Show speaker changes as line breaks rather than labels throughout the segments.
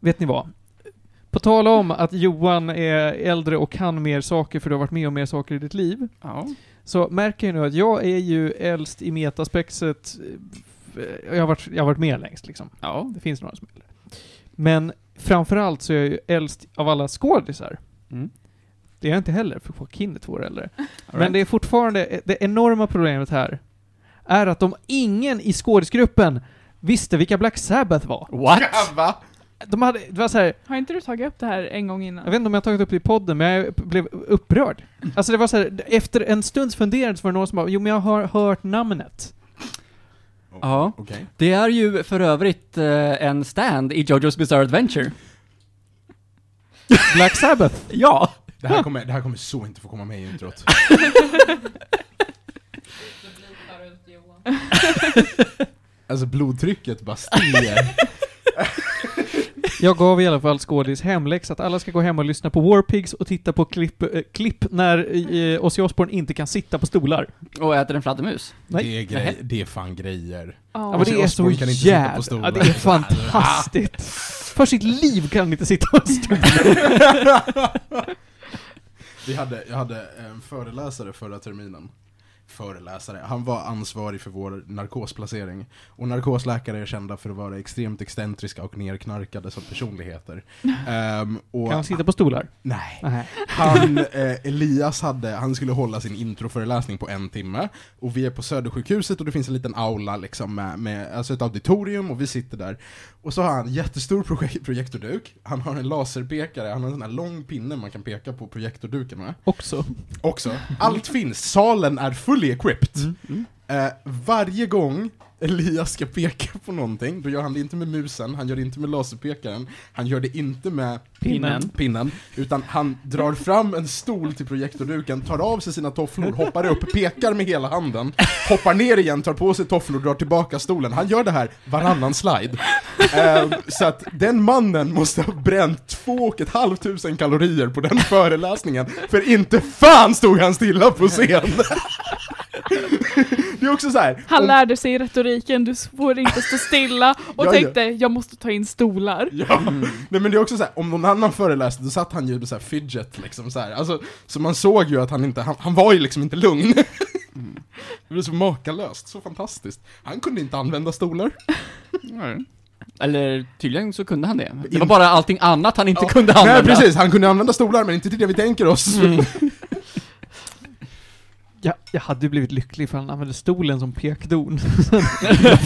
Vet ni vad? På tal om att Johan är äldre och kan mer saker för du har varit med om mer saker i ditt liv.
Ja.
Så märker jag nu att jag är ju äldst i metaspexet. eh, Jag har varit, jag har varit med längst liksom.
Ja.
Det finns några som är äldre. Men framförallt så är jag ju äldst av alla skådisar.
Mm.
Det är jag inte heller, för Joaquin är två år äldre. Men
Alright.
det är fortfarande, eh, det enorma problemet här är att de ingen i skådisgruppen visste vilka Black Sabbath var.
What?
Va?
De hade, det var så här,
Har inte du tagit upp det här en gång innan?
jag vet inte om jag har tagit upp det i podden, men jag blev upprörd. Alltså det var så här, efter en stunds funderande så var det någon som bara, jo men jag har hört namnet.
Ja.
Okej.
Det är ju för övrigt eh, en stand i Jojo's Bizarre Adventure.
Black Sabbath.
Ja!
Det, här kommer, det här kommer så inte få komma med i introt. Alltså blodtrycket bara stiger.
Jag gav i alla fall skådis hemläxa att alla ska gå hem och lyssna på Warpigs och titta på klipp, eh, klipp när eh, Ozzy Osbourne inte kan sitta på stolar.
Och äter en fladdermus.
Nej.
Det, är grej, det är fan grejer.
Ja.
Ja, men det är så
Osbourne kan inte sitta på
jävla...
stolar.
Ja, det är fantastiskt. För sitt liv kan han inte sitta på en stol.
Vi hade, jag hade en föreläsare förra terminen. Föreläsare. Han var ansvarig för vår narkosplacering. Och narkosläkare är kända för att vara extremt excentriska och nerknarkade som personligheter. Ehm, och
Kan han sitta på stolar?
Nej.
Nej.
Han, eh, Elias hade, han skulle hålla sin introföreläsning på en timme, och vi är på Södersjukhuset och det finns en liten aula liksom med, med alltså ett auditorium och vi sitter där. Och så har han en jättestor projek- projektorduk, han har en laserpekare, han har en sån här lång pinne man kan peka på projektorduken med.
Också.
Också. Allt finns, salen är fully equipped.
Mm.
Eh, varje gång Elias ska peka på någonting, då gör han det inte med musen, han gör det inte med laserpekaren, han gör det inte med
Pinnen.
pinnen, utan han drar fram en stol till projektorduken, tar av sig sina tofflor, hoppar upp, pekar med hela handen, hoppar ner igen, tar på sig tofflor, drar tillbaka stolen. Han gör det här varannan slide. Eh, så att den mannen måste ha bränt två och ett halvt tusen kalorier på den föreläsningen, för inte fan stod han stilla på scen! Det är också så här.
Han
om-
lärde sig retoriken, du får inte stå stilla, och
Ja, ja.
tänkte jag måste ta in stolar.
Ja, Mm. nej men det är också så här, om någon annan föreläste då satt han ju med så här fidget liksom så här. Alltså, så man såg ju att han inte, han, han var ju liksom inte lugn. Det var så makalöst, så fantastiskt. Han kunde inte använda stolar.
Eller tydligen så kunde han det. Det var bara allting annat han inte kunde använda. Mm.
Nej precis, han kunde använda stolar men inte till det vi tänker oss.
Jag, jag hade ju blivit lycklig ifall han använde stolen som pekdon.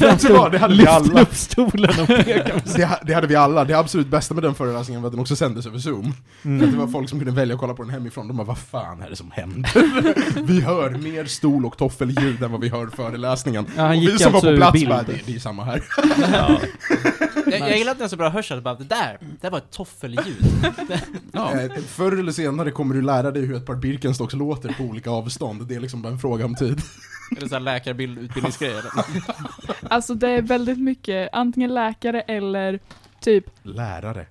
Vet du vad, det hade vi
Lyfte
alla.
upp stolen och pekade.
Det, ha- det hade vi alla, det absolut bästa med den föreläsningen var att den också sändes över zoom.
Mm.
För att det var folk som kunde välja att kolla på den hemifrån, de bara vad fan är det som händer? Vi hör mer stol och toffelljud än vad vi hör föreläsningen.
Ja, han
och vi
gick
som var
alltså
på
ur
plats bara,
bild.
det, det är samma här.
Jag, jag gillar att den har så bra hörsel, bara det där, det där var ett toffelljud.
Eh, Förr eller senare kommer du lära dig hur ett par Birkenstocks låter på olika avstånd. Det är liksom bara en fråga om tid.
Är det såhär läkarbild, utbildningsgrej eller?
Alltså det är väldigt mycket, antingen läkare eller typ
Lärare.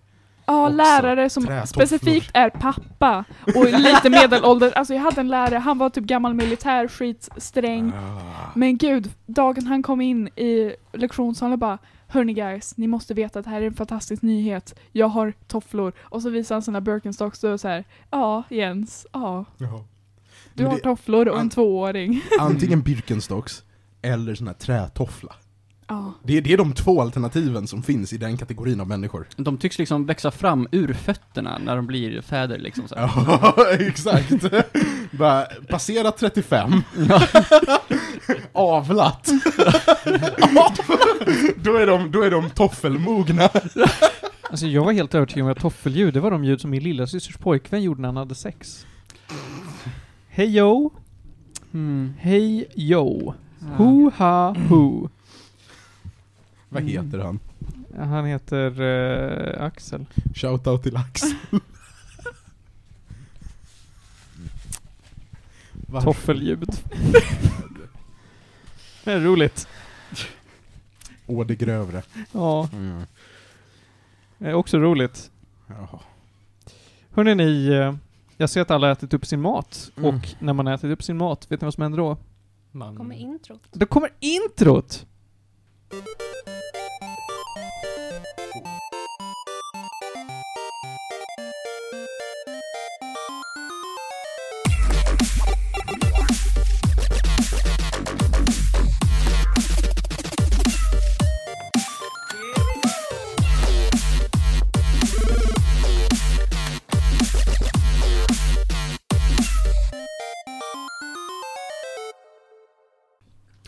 Ja,
Också.
lärare som
Trätofflor.
specifikt är pappa och lite medelålder. Alltså jag hade en lärare, han var typ gammal militär, skitsträng.
Ah.
Men gud, dagen han kom in i lektionssalen och bara Hörni guys, ni måste veta att det här är en fantastisk nyhet. Jag har tofflor. Och så visar han sina Birkenstocks och då är det så här. Ja, Jens, ja. Du
Men
har
det-
tofflor och en
han-
tvååring.
Antingen Birkenstocks eller sån här trätoffla.
Ja.
Det är, det är de två alternativen som finns i den kategorin av människor.
De tycks liksom växa fram ur fötterna när de blir fäder liksom så här.
Ja, exakt. Bara, passera 35. Avlat. då, är de, då är de toffelmogna.
Alltså jag var helt övertygad om att toffelljud, det var de ljud som min lilla systers pojkvän gjorde när han hade sex. Hej yo,
Mm.
hej yo, ho ha ho.
Vad heter han?
Han heter eh, Axel.
Shoutout till Axel. Varför?
Toffelljud. det är roligt.
Å det grövre.
Ja, det är också roligt.
Jaha.
Hörrni ni, eh, jag ser att alla har ätit upp sin mat.
Mm.
Och när man har ätit upp sin mat, vet ni vad som händer då?
Man...
Kommer
Mm.
introt.
Då kommer introt!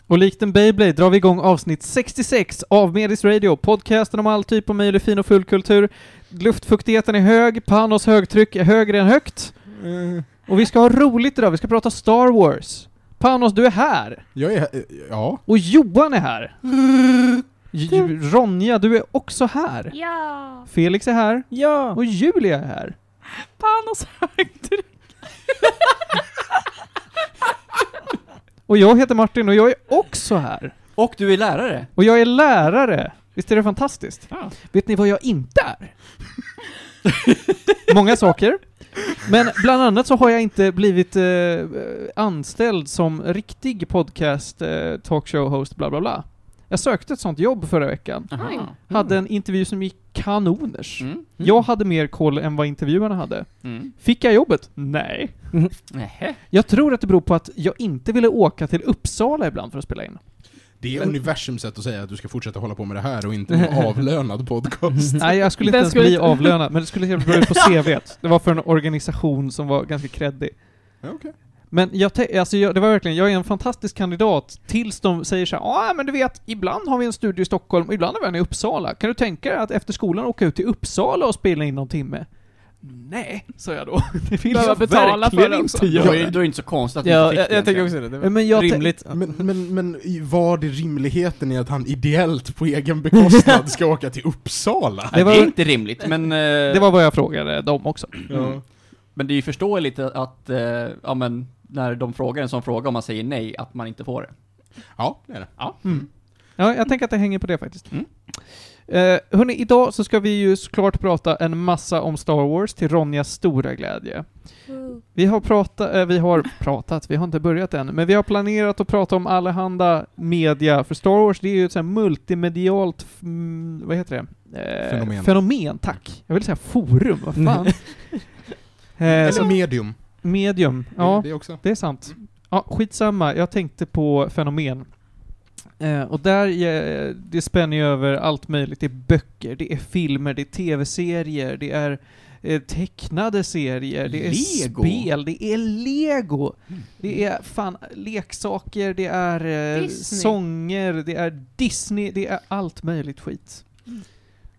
Och likt en Beyblade drar vi igång avsnitt 66 av Medis Radio, podcasten om all typ av möjlig fin och full kultur. Luftfuktigheten är hög, Panos högtryck är högre än högt. Och vi ska ha roligt idag, vi ska prata Star Wars. Panos, du är här!
Jag är... eh, Ja.
Och Johan är här! J- Ronja, du är också här!
Ja!
Felix är här.
Ja!
Och Julia är här.
Panos högtryck.
Och jag heter Martin och jag är också här.
Och du är lärare.
Och jag är lärare. Visst är det fantastiskt?
Ja.
Vet ni vad jag inte är? Många saker. Men bland annat så har jag inte blivit eh, anställd som riktig podcast, eh, talkshow-host, bla bla bla. Jag sökte ett sånt jobb förra veckan.
Aha.
Oj.
Hade en intervju som gick kanoners.
Mm. Mm.
Jag hade mer koll än vad intervjuarna hade.
Mm.
Fick jag jobbet? Nej.
Nähä.
Jag tror att det beror på att jag inte ville åka till Uppsala ibland för att spela in.
Det är universums sätt att säga att du ska fortsätta hålla på med det här och inte vara avlönad podcast.
Nej, jag skulle inte
Den
ens
skulle
bli
inte-
avlönad, men det skulle jävligt bra ut på CVt. Det var för en organisation som var ganska creddig.
Ja, okej.
Men jag, te- alltså jag, det var verkligen, jag är en fantastisk kandidat tills de säger så här, ja men du vet, ibland har vi en studio i Stockholm, och ibland har vi en i Uppsala. Kan du tänka dig att efter skolan åka ut till Uppsala och spela in någon timme? Nej, sa jag då. Det vill
Behöver
jag
betala för
verkligen
det också.
inte
Då
göra.
är då är det inte så konstigt att du
Ja,
inte
jag,
fick
jag
det
tänker
egentligen.
också det. det var
Men jag te-
rimligt.
Men, men, men i- var det rimligheten i att han ideellt på egen bekostnad ska åka till Uppsala?
Det
Det,
var-
är inte rimligt, men... eh,
Det var vad jag frågade dem också.
Ja.
Men det är ju förståeligt att, eh, ja men, när de frågar en sån fråga om man säger nej, att man inte får det.
ja, det är det.
Mm. Ja, jag tänker att det hänger på det faktiskt.
Mm.
Eh, hörni, idag så ska vi ju såklart prata en massa om Star Wars till Ronjas stora glädje. Vi har pratat, eh, vi har pratat, vi har inte börjat än, men vi har planerat att prata om allehanda media, för Star Wars det är ju ett sånt här multimedialt, f- mm, vad heter det? Eh,
Fenomen.
Fenomen, tack. Jag vill säga forum, vad fan. eh,
Eller
så,
medium.
medium, ja.
Det också.
Det är sant. Ja, skitsamma. Jag tänkte på fenomen. Eh, och där, eh, det spänner ju över allt möjligt. Det är böcker, det är filmer, det är tv-serier, det är eh, tecknade serier, det är
Lego.
spel, det är lego.
Mm.
Det är fan leksaker, det är eh,
Disney.
sånger, det är Disney, det är allt möjligt skit.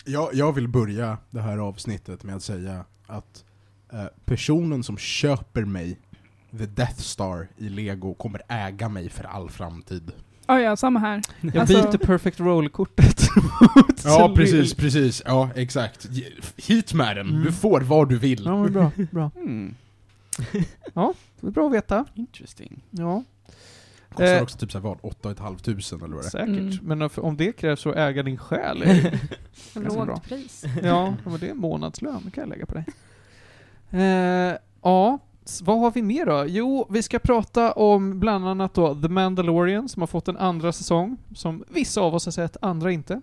Jag, jag vill börja det här avsnittet med att säga att eh, personen som köper mig The Death Star i Lego kommer äga mig för all framtid.
Ja, ja, samma här.
Jag
Alltså-
byter Perfect Roll-kortet mot
Ja, precis, precis. Ja, exakt. Ge- Hit med den.
Mm.
Du får vad du vill.
Ja, men bra, bra.
Hmm,
Det är bra att veta.
interesting.
Ja.
Kostar
Eh.
också typ såhär vad? 8 500 eller vad det är.
Säkert,
Mm.
men om- om det krävs så äga din själ. är ju- Ganska bra.
Lågt pris.
ja, men det är en månadslön, det kan jag lägga på dig. Eh, ja, s- vad har vi mer då? Jo, vi ska prata om bland annat då The Mandalorian som har fått en andra säsong, som vissa av oss har sett, andra inte.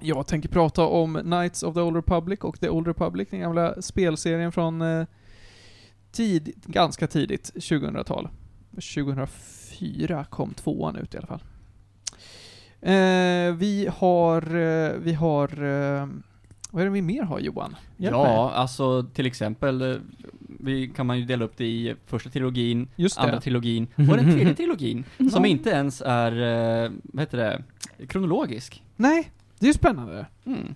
Jag tänker prata om Knights of the Old Republic och The Old Republic, den gamla spelserien från eh, tid, ganska tidigt 2000-tal. 2004 kom tvåan ut i alla fall. Eh, vi har, eh, vi har, eh, vad är det vi mer har Johan? Hjälp mig.
Ja, alltså till exempel, eh, vi, kan man ju dela upp det i första trilogin,
Just
andra
det.
trilogin och den tredje trilogin, som inte ens är, eh, vad heter det, kronologisk.
Nej, det är ju spännande.
Mm.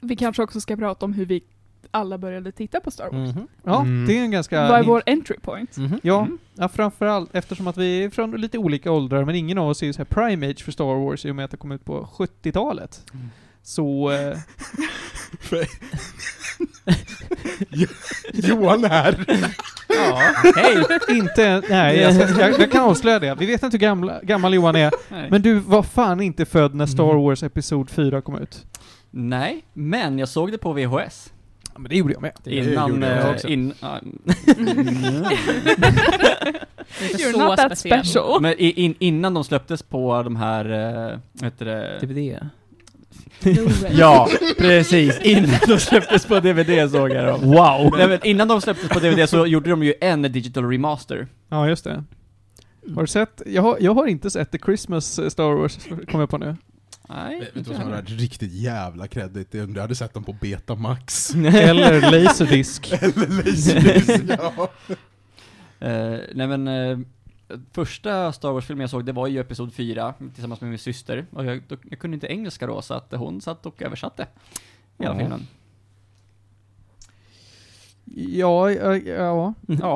Vi kanske också ska prata om hur vi alla började titta på Star Wars.
Ja,
Mm.
det är en ganska...
Vad är vår entry point?
Ja,
Mm.
ja, framförallt eftersom att vi är från lite olika åldrar, men ingen av oss är ju så här prime age för Star Wars i och med att det kom ut på 70-talet.
Mm.
Så... Eh,
Johan här!
Ja,
hej! Inte... Nej, jag, ska- jag, jag kan avslöja det. Vi vet inte hur gamla, gammal Johan är,
nej.
men du var fan inte född när Star Wars Episod 4 kom ut.
nej, men jag såg det på VHS.
Ja, men det gjorde jag med.
Det
Innan,
gjorde jag
eh,
också.
in, ja,
Inte
You're
så
not that
speciell.
special.
men i- in, innan de släpptes på de här, eh, vad heter det?
DVD.
Blu-ray.
Ja, precis. Innan de släpptes på DVD såg jag dem. Wow! Nej, men innan de släpptes på DVD så gjorde de ju en digital remaster.
Ja, just det. Har du sett? Jag har, jag har inte sett The Christmas eh, Star Wars, kommer jag på nu.
Nej,
Vet du vad som hade varit riktigt jävla kreddigt? Det är om Du hade sett den på Betamax.
Eller Laserdisc.
Eller Laserdisc. ja.
Eh, nej men, eh, första Star Wars-filmen jag såg, det var ju Episod 4, tillsammans med min syster. Och jag, då, jag kunde inte engelska då, så att hon satt och översatte hela
Ja.
filmen.
Ja, ja, ja.
Ja.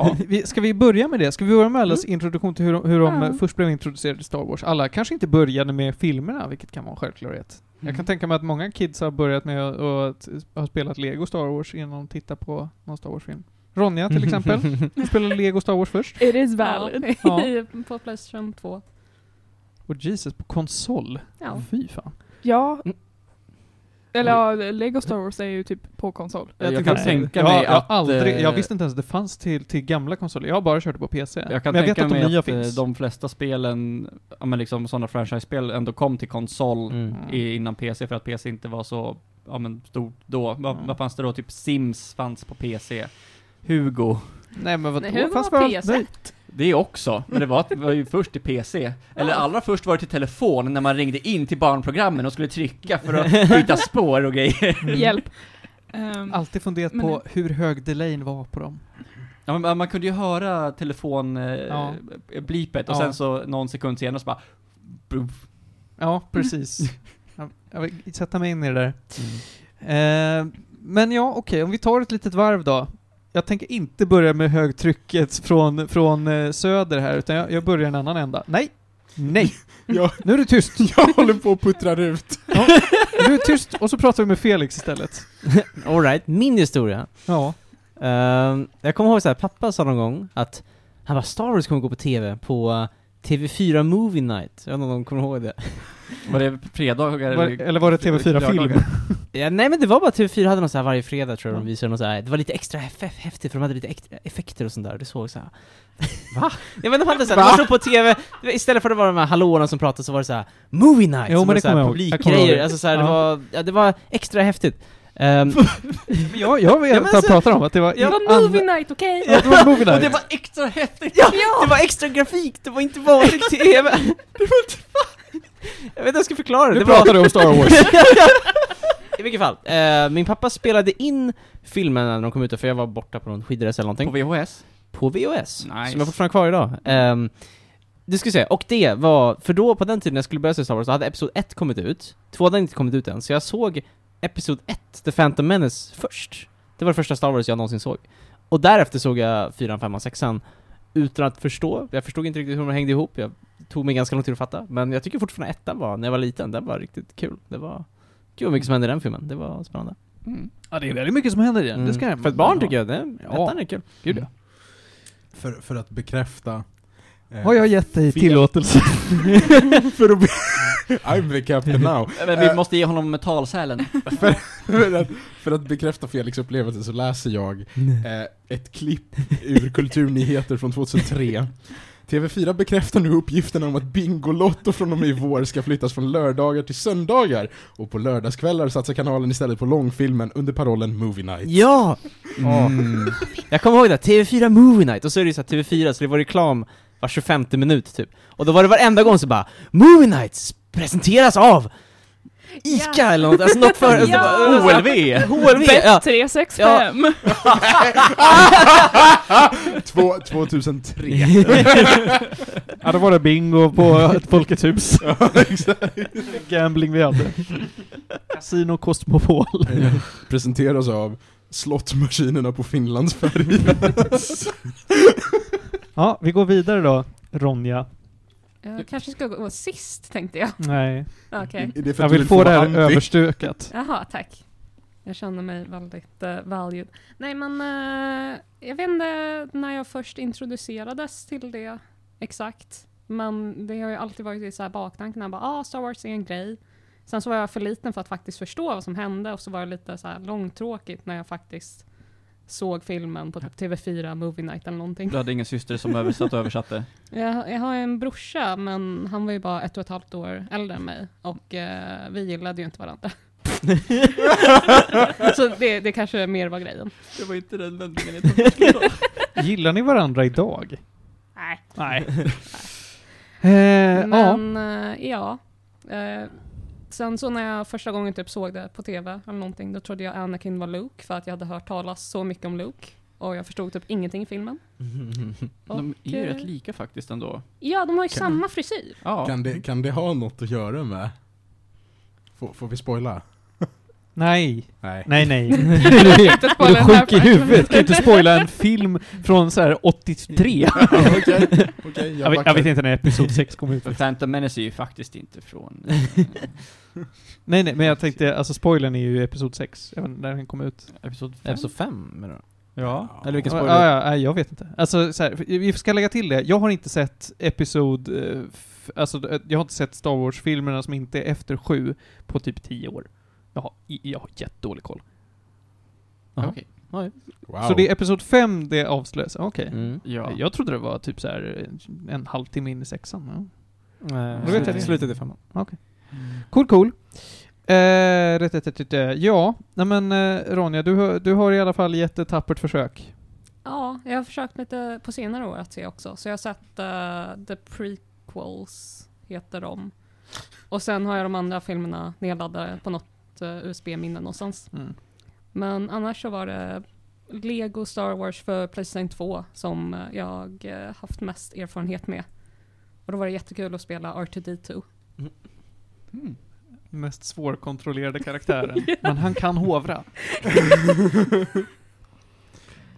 Mm.
Vi- Ska vi börja med det? Ska vi börja med allas introduktion till hur, de- hur de
Ja.
eh, först blev introducerade till Star Wars? Alla kanske inte började med filmerna, vilket kan vara en självklarhet. Jag
Mm.
kan tänka mig att många kids har börjat med att och att ha spelat Lego Star Wars innan de tittar på någon Star Wars-film. Ronja till exempel, hon spelade Lego Star Wars först.
It is valid.
Ja.
På Playstation 2.
Och Jesus, på konsol.
Ja.
Fy fan.
Ja.
Mm.
Eller ja, Lego Star Wars är ju typ på konsol.
Jag,
tycker
kan
det.
tänka
jag,
mig
jag har
att...
Aldrig,
eh,
jag visste inte ens att det fanns till, till gamla konsoler. Jag har bara kört det på PC.
Jag kan
Men jag
tänka
vet att de
mig
nya
att eh,
finns.
de flesta spelen, ja men liksom sådana franchise-spel ändå kom till konsol
Mm.
i, innan PC för att PC inte var så, ja men stort då. Vad-
Mm.
Vad fanns det då? Typ Sims fanns på PC. Hugo.
Nej men vadå?
Nej, hur
Fanns
var
bara-
PC?
nej.
Det också, men det var, det var ju först till PC. Eller allra först var det till telefon när man ringde in till barnprogrammen och skulle trycka för att byta spår och grejer.
Mm.
Hjälp. Ehm,
Alltid funderat
Men-
på hur hög delayen var på dem.
Ja, men man kunde ju höra telefon eh,
Ja.
blipet och
Ja.
sen så någon sekund senare så bara... Boof.
Ja, precis. jag, jag vill sätta mig in i det där. Eh, men ja, okej, om vi tar ett litet varv då. Jag tänker inte börja med högtrycket från, från eh, söder här, utan jag, jag börjar en annan ända. Nej! Nej!
Ja.
Nu är du tyst!
Jag håller på att puttra ut.
Du är tyst, och så pratar vi med Felix istället.
Alright, min historia.
Ja.
Ehm, jag kommer ihåg så här, pappa sa någon gång att han bara Star Wars kommer gå på TV på eh, TV4 Movie Night. Jag vet inte om de kommer ihåg det.
Var det fredagar
Var, eller var det TV4-film?
Ja, nej men det var bara typ TV4 hade någon så här varje fredag tror jag de visade någon så här, det var lite extra häf- häftigt för de hade lite extra effekter och sånt där, det såg så här. Va? Ja men de hade så här, de såg på TV, det var- istället för att vara de här hallåorna som pratade så var det så här Movie Night!
Jo, men
som var
det
så här
kommer jag ihåg. Jag kommer ihåg
publikgrejer,
det.
alltså så här, det
Ja.
var, ja det var extra häftigt. Ehm,
Ja, jag vet
Ja, men
vad jag
så-
pratar om, att det var...
Ja,
Det var movie night, okej?
Ja, det var movie
Och det
night.
var extra häftigt! Ja! Det var extra grafik, det var inte vanlig TV! det var inte Jag vet inte, jag ska förklara det.
Nu
det var...
pratar du om Star Wars.
I vilket fall, eh, min pappa spelade in filmen när de kom ut, för jag var borta på någon skidresa eller någonting.
På VHS?
på VHS,
Nice.
som jag fortfarande har kvar idag. Ehm, du ska se, och det var, för då på den tiden när jag skulle börja se Star Wars så hade Episod 1 kommit ut, 2 hade inte kommit ut än, så jag såg Episod 1, The Phantom Menace, först. Det var det första Star Wars jag någonsin såg. Och därefter såg jag 4, 5, 6 utan att förstå, jag förstod inte riktigt hur de hängde ihop, jag det tog mig ganska lång tid att fatta, men jag tycker fortfarande ettan var, när jag var liten, den var riktigt kul. Det var, gud vad mycket som hände i den filmen, det var spännande.
Mm.
Eh,
Ja, det är väldigt mycket som händer i den. Det ska jag-
För ett barn tycker jag, det,
Ja.
ettan är kul.
Gud, ja.
För, för att bekräfta... eh,
Har jag gett dig
Fel.
tillåtelse?
För att be- I'm the captain now.
Men vi måste ge honom metalsälen.
för, att, för att bekräfta Felix upplevelse så läser jag eh, ett klipp ur Kulturnyheter från 2003. TV4 bekräftar nu uppgifterna om att Bingolotto från och med i vår ska flyttas från lördagar till söndagar och på lördagskvällar satsar kanalen istället på långfilmen under parollen Movie Night.
Ja!
Mm.
Jag kommer ihåg det, TV4 Movie Night, och så är det ju så här TV4, så det var reklam var 25 minut typ. Och då var det varenda gång så bara Movie Night presenteras av ICA eller något, alltså något för...
Ja.
Alltså, bara- HLV! Ja. Ja.
365!
Två- 2003.
Ja, då var det bingo på ett Folkets hus.
Ja, exakt.
Gambling vi hade. Casino Cosmopol.
Eh, Presenteras av Slottmaskinerna på Finlandsfärjan.
Ja, vi går vidare då. Ronja.
Jag kanske ska gå sist, tänkte jag.
Nej.
Okej.
Är det för
Jag
att du
vill få det här
anti?
överstökat.
Jaha, tack. Jag känner mig väldigt uh, valued. Nej, men eh, jag vet inte när jag först introducerades till det exakt. Men det har ju alltid varit i så här baktankarna, bara ah, Star Wars är en grej. Sen så var jag för liten för att faktiskt förstå vad som hände och så var det lite så här långtråkigt när jag faktiskt såg filmen på typ TV4 Movie Night eller någonting.
Du hade ingen syster som översatt och översatte.
Jag, jag har en brorsa, men han var ju bara ett och ett halvt år äldre än mig. Och eh, vi gillade ju inte varandra. så det, det kanske mer var grejen.
Det var inte den vändningen
Gillar ni varandra idag?
Nej.
Nej. eh, ja.
Men eh, ja. Eh, sen så när jag första gången typ såg det på tv eller någonting, då trodde jag Anakin var Luke för att jag hade hört talas så mycket om Luke.
och jag förstod typ ingenting i filmen.
De är ju
Och, eh,
rätt lika faktiskt ändå.
Ja, de har ju
Kan-
samma frisyr.
Ja.
Kan, det, kan det ha något att göra med... Får, får vi spoila?
Nej.
Nej.
Nej, nej.
Du inte
Är
spoila
du
den här
sjuk i huvudet? Kan ju inte spoila en film från så här 83.
Okej, okej.
Jag vet, jag vet inte när Episod 6 kom ut.
För Phantom Menace är ju faktiskt inte från... eh,
Nej, nej, men jag tänkte, alltså spoilern är ju Episod 6, även när den kom ut.
Episod 5.
Episod 5 menar du?
Ja.
Eller vilken
Ja,
spoiler?
ja, ja, jag vet inte. Alltså, så här, för- vi ska lägga till det. Jag har inte sett Episod... eh, f- Alltså, eh, jag har inte sett Star Wars-filmerna som inte är efter sju på typ tio år. Jag har, jag har jättedålig koll.
Jaha.
Okej.
Wow.
Så det är Episod 5 det avslöjas? Okej.
Mm.
Ja.
Jag trodde det var typ så här eh, en halvtimme in i sexan. Ja. Mm.
Eh,
Mm. Då vet jag
slut-
det.
Slutet i femman.
Cool, cool. Eh, rätt, rätt, rätt, rätt, eh, ja, nej men eh, Ronja, du, har- du har i alla fall gett ett tappert försök.
Ja, jag har försökt lite på senare år att se också. Så jag har sett eh, The Prequels, heter de. Och sen har jag de andra filmerna nedladdade på något eh, USB-minne någonstans.
Mm.
Men annars så var det Lego Star Wars för Playstation 2 som eh, jag eh, haft mest erfarenhet med. Och då var det jättekul att spela R2D2.
Mm.
Mm. Mest svårkontrollerade karaktären. Men han kan hovra.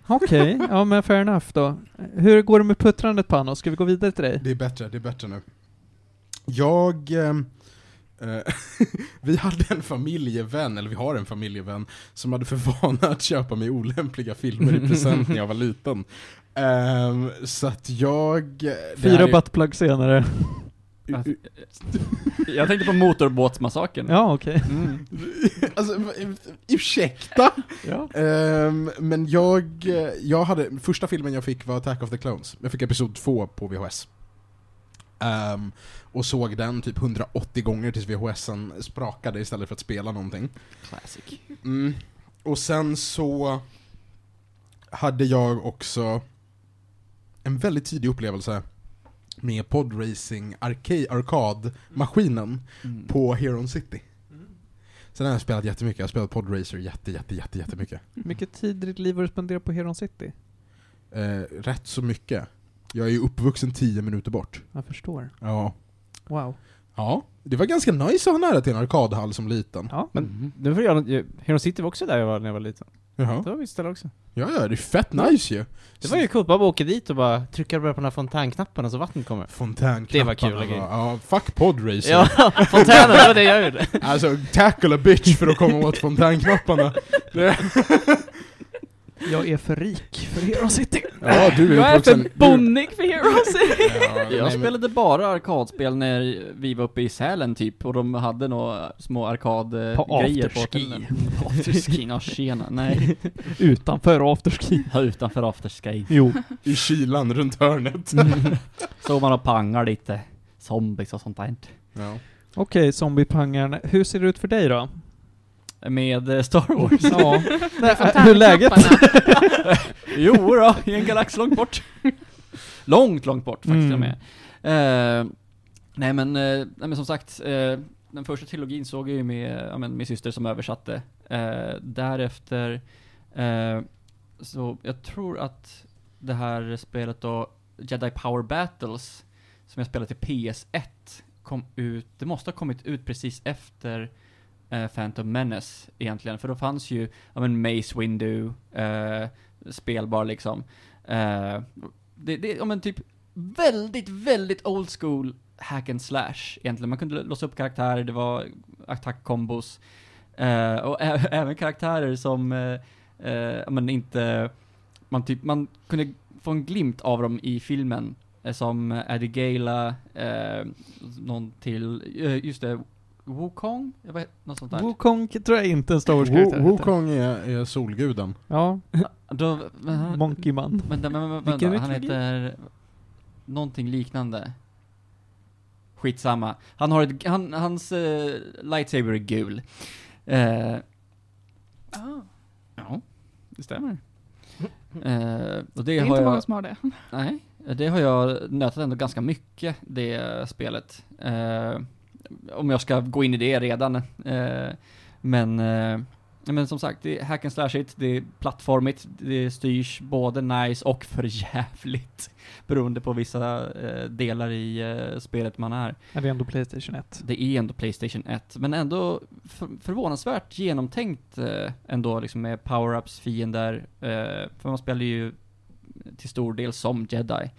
Okej, ja men fair enough då. Hur går det med puttrandet Panos? Ska vi gå vidare till dig?
Det är bättre, det är bättre nu. Jag... ehm, eh, vi hade en familjevän, eller vi har en familjevän, som hade för vana att köpa mig olämpliga filmer i present när jag var liten. Ehm, så att jag... eh, det här
Fyra
är-
buttplug senare.
Alltså,
eh,
Jag tänkte på motorbåtsmassakern.
Ja, okej.
Mm.
Alltså, ursäkta!
Ja.
Ehm, men jag, eh, jag hade, första filmen jag fick var Attack of the Clones. Jag fick episod 2 på VHS. Ehm, och såg den typ 180 gånger tills VHSen sprakade istället för att spela någonting.
Classic.
Mm. Och sen så hade jag också en väldigt tidig upplevelse med podracing arcade, arkadmaskinen
Mm.
på Heron City. Sen har jag spelat jättemycket, jag har spelat podracer jätte, jätte, jätte, jättemycket.
Mycket tid i ditt liv har du spenderat på Heron City.
Eh, rätt så mycket. Jag är ju uppvuxen 10 minuter bort.
Jag förstår.
Ja.
Wow.
Ja, det var ganska nice att ha nära till en arkadhall som liten.
Ja.
Men
Mm.
nu får jag, Heron City var också där jag var när jag var liten.
Jaha.
Det var mitt ställe också.
Ja, ja, det är fett nice ju.
Det var ju coolt, bara åka dit och bara trycka bara på den här fontänknappen och så vattnet kommer.
Fontänknapparna
Det var kul,
var-
grej.
Ja, fuck podracer.
Ja, fontänen, det var det jag gjorde.
Alltså, tackle a bitch för att komma åt fontänknapparna.
Jag är för rik för Heron City.
Ja, du
Jag
är
är
uppvuxen...
för bonnig för Heroes.
Ja,
Jag
nej, men-
spelade bara arkadspel när vi var uppe i Sälen typ, och de hade några små arkadgrejer
På
på
afterski.
hotellen. På afterski? Ja, tjena. Nej,
Utanför afterski.
Ja, utanför afterski.
Jo.
I kylan runt hörnet.
Så man och pangar lite. Zombies och sånt där.
Ja.
Okej, zombiepangarna. Hur ser det ut för dig då?
Med eh, Star Wars.
Ja. Nej, äh, hur är läget?
jo då, i en galax långt bort. Långt, långt bort faktiskt
Mm.
mm. med. Eh, nej, men, eh, nej men som sagt, eh, den första trilogin såg jag ju med ja, men, min syster som översatte. Eh, därefter, eh, så jag tror att det här spelet då, Jedi Power Battles, som jag spelade till PS1, kom ut, det måste ha kommit ut precis efter eh, Phantom Menace egentligen, för då fanns ju, ja men Mace Windu, eh, spelbar liksom. Eh, det, det, ja men typ väldigt, väldigt old school hack and slash egentligen. Man kunde låsa upp karaktärer, det var attackkombos. Eh, och ä- även karaktärer som, eh, eh, ja, men inte, man typ, man kunde få en glimt av dem i filmen. Eh, som Eddie Gala, eh, någon till, eh, just det, Wukong? Jag vet, något sånt där.
Wukong tror jag inte en Star Wars-karaktär
Wo-
heter.
Wukong är, är solguden.
Ja,
Då,
Monkey Man.
Vänta, men, men,
Vilken
vänta. han
mytologi?
heter någonting liknande. Skitsamma. Han har ett, han, hans eh, lightsaber är gul. Eh, ja, det stämmer. Eh, och det,
Det är
har
inte
jag,
många som har det.
Nej, det har jag nötat ändå ganska mycket, det spelet. Eh, om jag ska gå in i det redan. Eh, men eh, Ja, men som sagt, det är hack and slash it, det är plattformigt, det styrs både nice och för jävligt Beroende på vissa eh, delar i eh, spelet man är.
Är det ändå Playstation 1?
Det är ändå Playstation 1, men ändå för, förvånansvärt genomtänkt eh, ändå liksom med power-ups, fiender, eh, för man spelar ju till stor del som jedi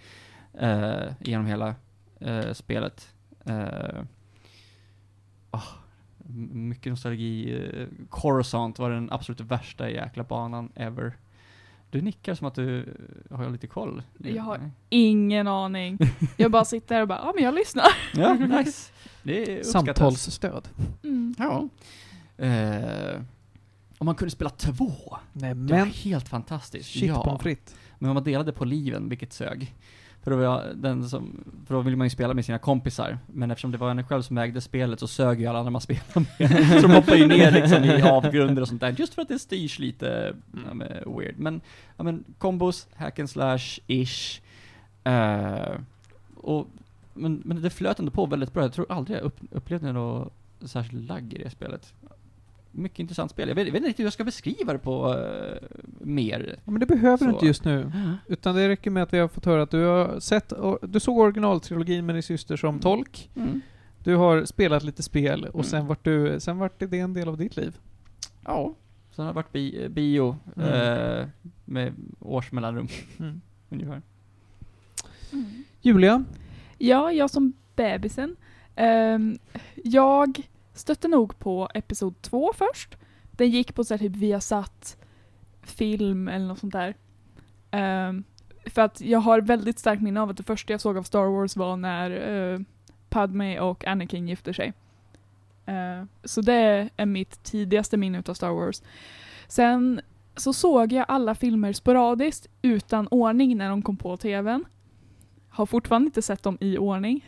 eh, genom hela eh, spelet. Eh, ah, m- mycket nostalgi. Eh, Coruscant var den absolut värsta jäkla banan ever. Du nickar som att du eh, har lite koll.
Jag har- Ingen aning. Jag bara sitter här och bara, ja men jag lyssnar.
Ja, nice. Det uppskattas.
Samtalsstöd?
Mm.
Ja. Eh, om man kunde spela två,
Nej
det var
men,
helt fantastiskt.
shit pommes frites.
Men om man delade på liven, vilket sög. För då, var jag den som, för då ville man ju spela med sina kompisar, men eftersom det var en själv som ägde spelet så sög ju alla andra man spelade med. så de hoppade ju ner liksom i avgrunder och sånt där, just för att det styrs lite ja, men, weird. Men, ja men, kombos, hack and slash-ish. Eh, och, men, men det flöt ändå på väldigt bra, jag tror aldrig jag upp, upplevde något särskilt lagg i det spelet. Mycket intressant spel. Jag vet, jag vet inte riktigt hur jag ska beskriva det på eh, mer.
Ja, men det behöver du
Så.
inte just nu. Utan det räcker med att vi har fått höra att du har sett, och- du såg originaltrilogin med din syster som tolk.
Mm.
Du har spelat lite spel och
Mm.
sen vart du, sen vart det en del av ditt liv.
Ja. Sen har det varit bi- bio
Mm.
eh, med års mellanrum
Mm.
ungefär.
Mm.
Julia?
Ja, jag som bebisen. Ehm, jag stötte nog på episod två först. Den gick på så här typ Viasat film eller något sånt där. Ehm, för att jag har väldigt starkt minne av att det första jag såg av Star Wars var när eh, Padme och Anakin gifter sig. Eh, så det är mitt tidigaste minne av Star Wars. Sen så såg jag alla filmer sporadiskt utan ordning när de kom på tvn. Har fortfarande inte sett dem i ordning.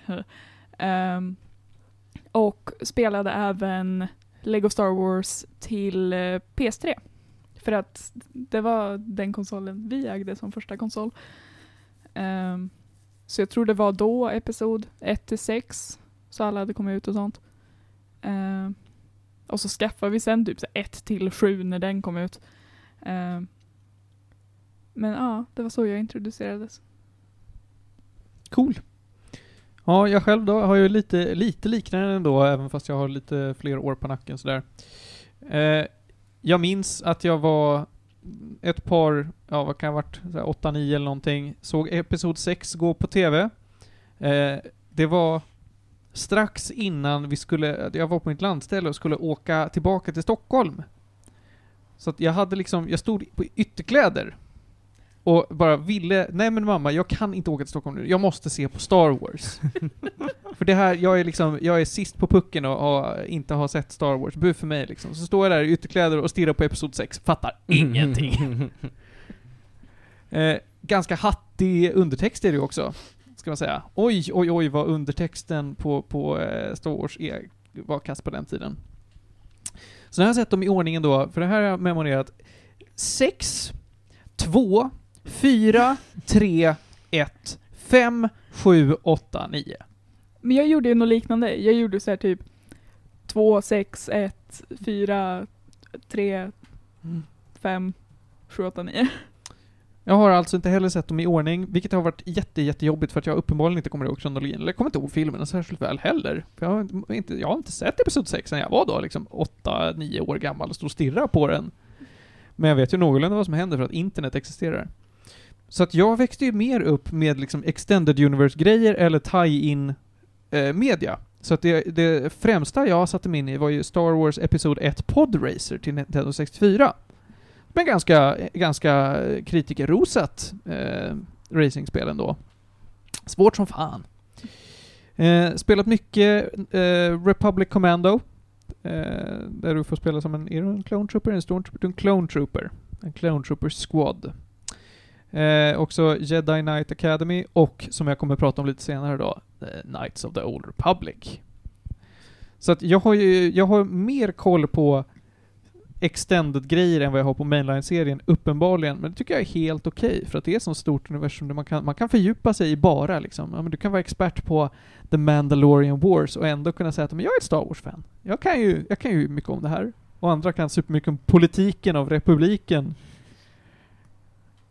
Ehm, och spelade även Lego Star Wars till eh, PS3. För att det var den konsolen vi ägde som första konsol. Ehm, så jag tror det var då Episod 1-6, så alla hade kommit ut och sånt. Ehm, och så skaffade vi sen typ 1-7 när den kom ut. Ehm, men ja, det var så jag introducerades.
Cool. Ja, jag själv då har ju lite, lite liknande ändå, även fast jag har lite fler år på nacken sådär. Eh, jag minns att jag var ett par, ja vad kan jag ha varit, såhär åtta, nio eller någonting, såg Episod 6 gå på TV. Eh, det var strax innan vi skulle, jag var på mitt landställe och skulle åka tillbaka till Stockholm. Så att jag hade liksom, jag stod på ytterkläder och bara ville, nej men mamma, jag kan inte åka till Stockholm nu, jag måste se på Star Wars. för det här, jag är liksom, jag är sist på pucken och har, inte har sett Star Wars, bu för mig liksom. Så står jag där i ytterkläder och stirrar på Episod 6, fattar
Mm.
ingenting. eh, ganska hattig undertext är det ju också, ska man säga. Oj, oj, oj vad undertexten på, på eh, Star Wars är, var kass på den tiden. Så nu har jag sett dem i ordningen då, för det här har jag memorerat. 6, 2, 4, 3, 1, 5, 7, 8, 9.
Men jag gjorde ju något liknande. Jag gjorde så här typ 2, 6, 1, 4, 3, 5, 7, 8, 9.
Jag har alltså inte heller sett dem i ordning, vilket har varit jätte, jättejobbigt för att jag uppenbarligen inte kommer ihåg kronologin. Eller jag kommer inte ihåg filmerna särskilt väl heller. För jag, har inte- inte, jag har inte sett Episod 6 sen jag var då liksom 8-9 år gammal och stod och stirrade på den. Men jag vet ju någorlunda vad som händer för att internet existerar. Så att jag växte ju mer upp med liksom extended universe-grejer eller tie-in eh, media. Så att det, det främsta jag satte mig in i var ju Star Wars Episod 1 Podracer till Nintendo 64. Men ganska, ganska kritikerrosat eh, racingspel ändå. Svårt som fan. Eh, spelat mycket eh, Republic Commando. Eh, där du får spela som en... Är du en clone trooper? En stormtrooper? Du är en clone trooper. En clone trooper squad. Eh, också Jedi Knight Academy och, som jag kommer att prata om lite senare då, eh, Knights of the Old Republic. Så att jag har ju, jag har mer koll på extended-grejer än vad jag har på mainline-serien, uppenbarligen. Men det tycker jag är helt okej, för att det är ett sånt stort universum där man kan, man kan fördjupa sig i bara liksom. Ja, men du kan vara expert på The Mandalorian Wars och ändå kunna säga att men jag är ett Star Wars-fan. Jag, kan ju- jag kan ju mycket om det här.
Och andra kan supermycket om politiken av republiken.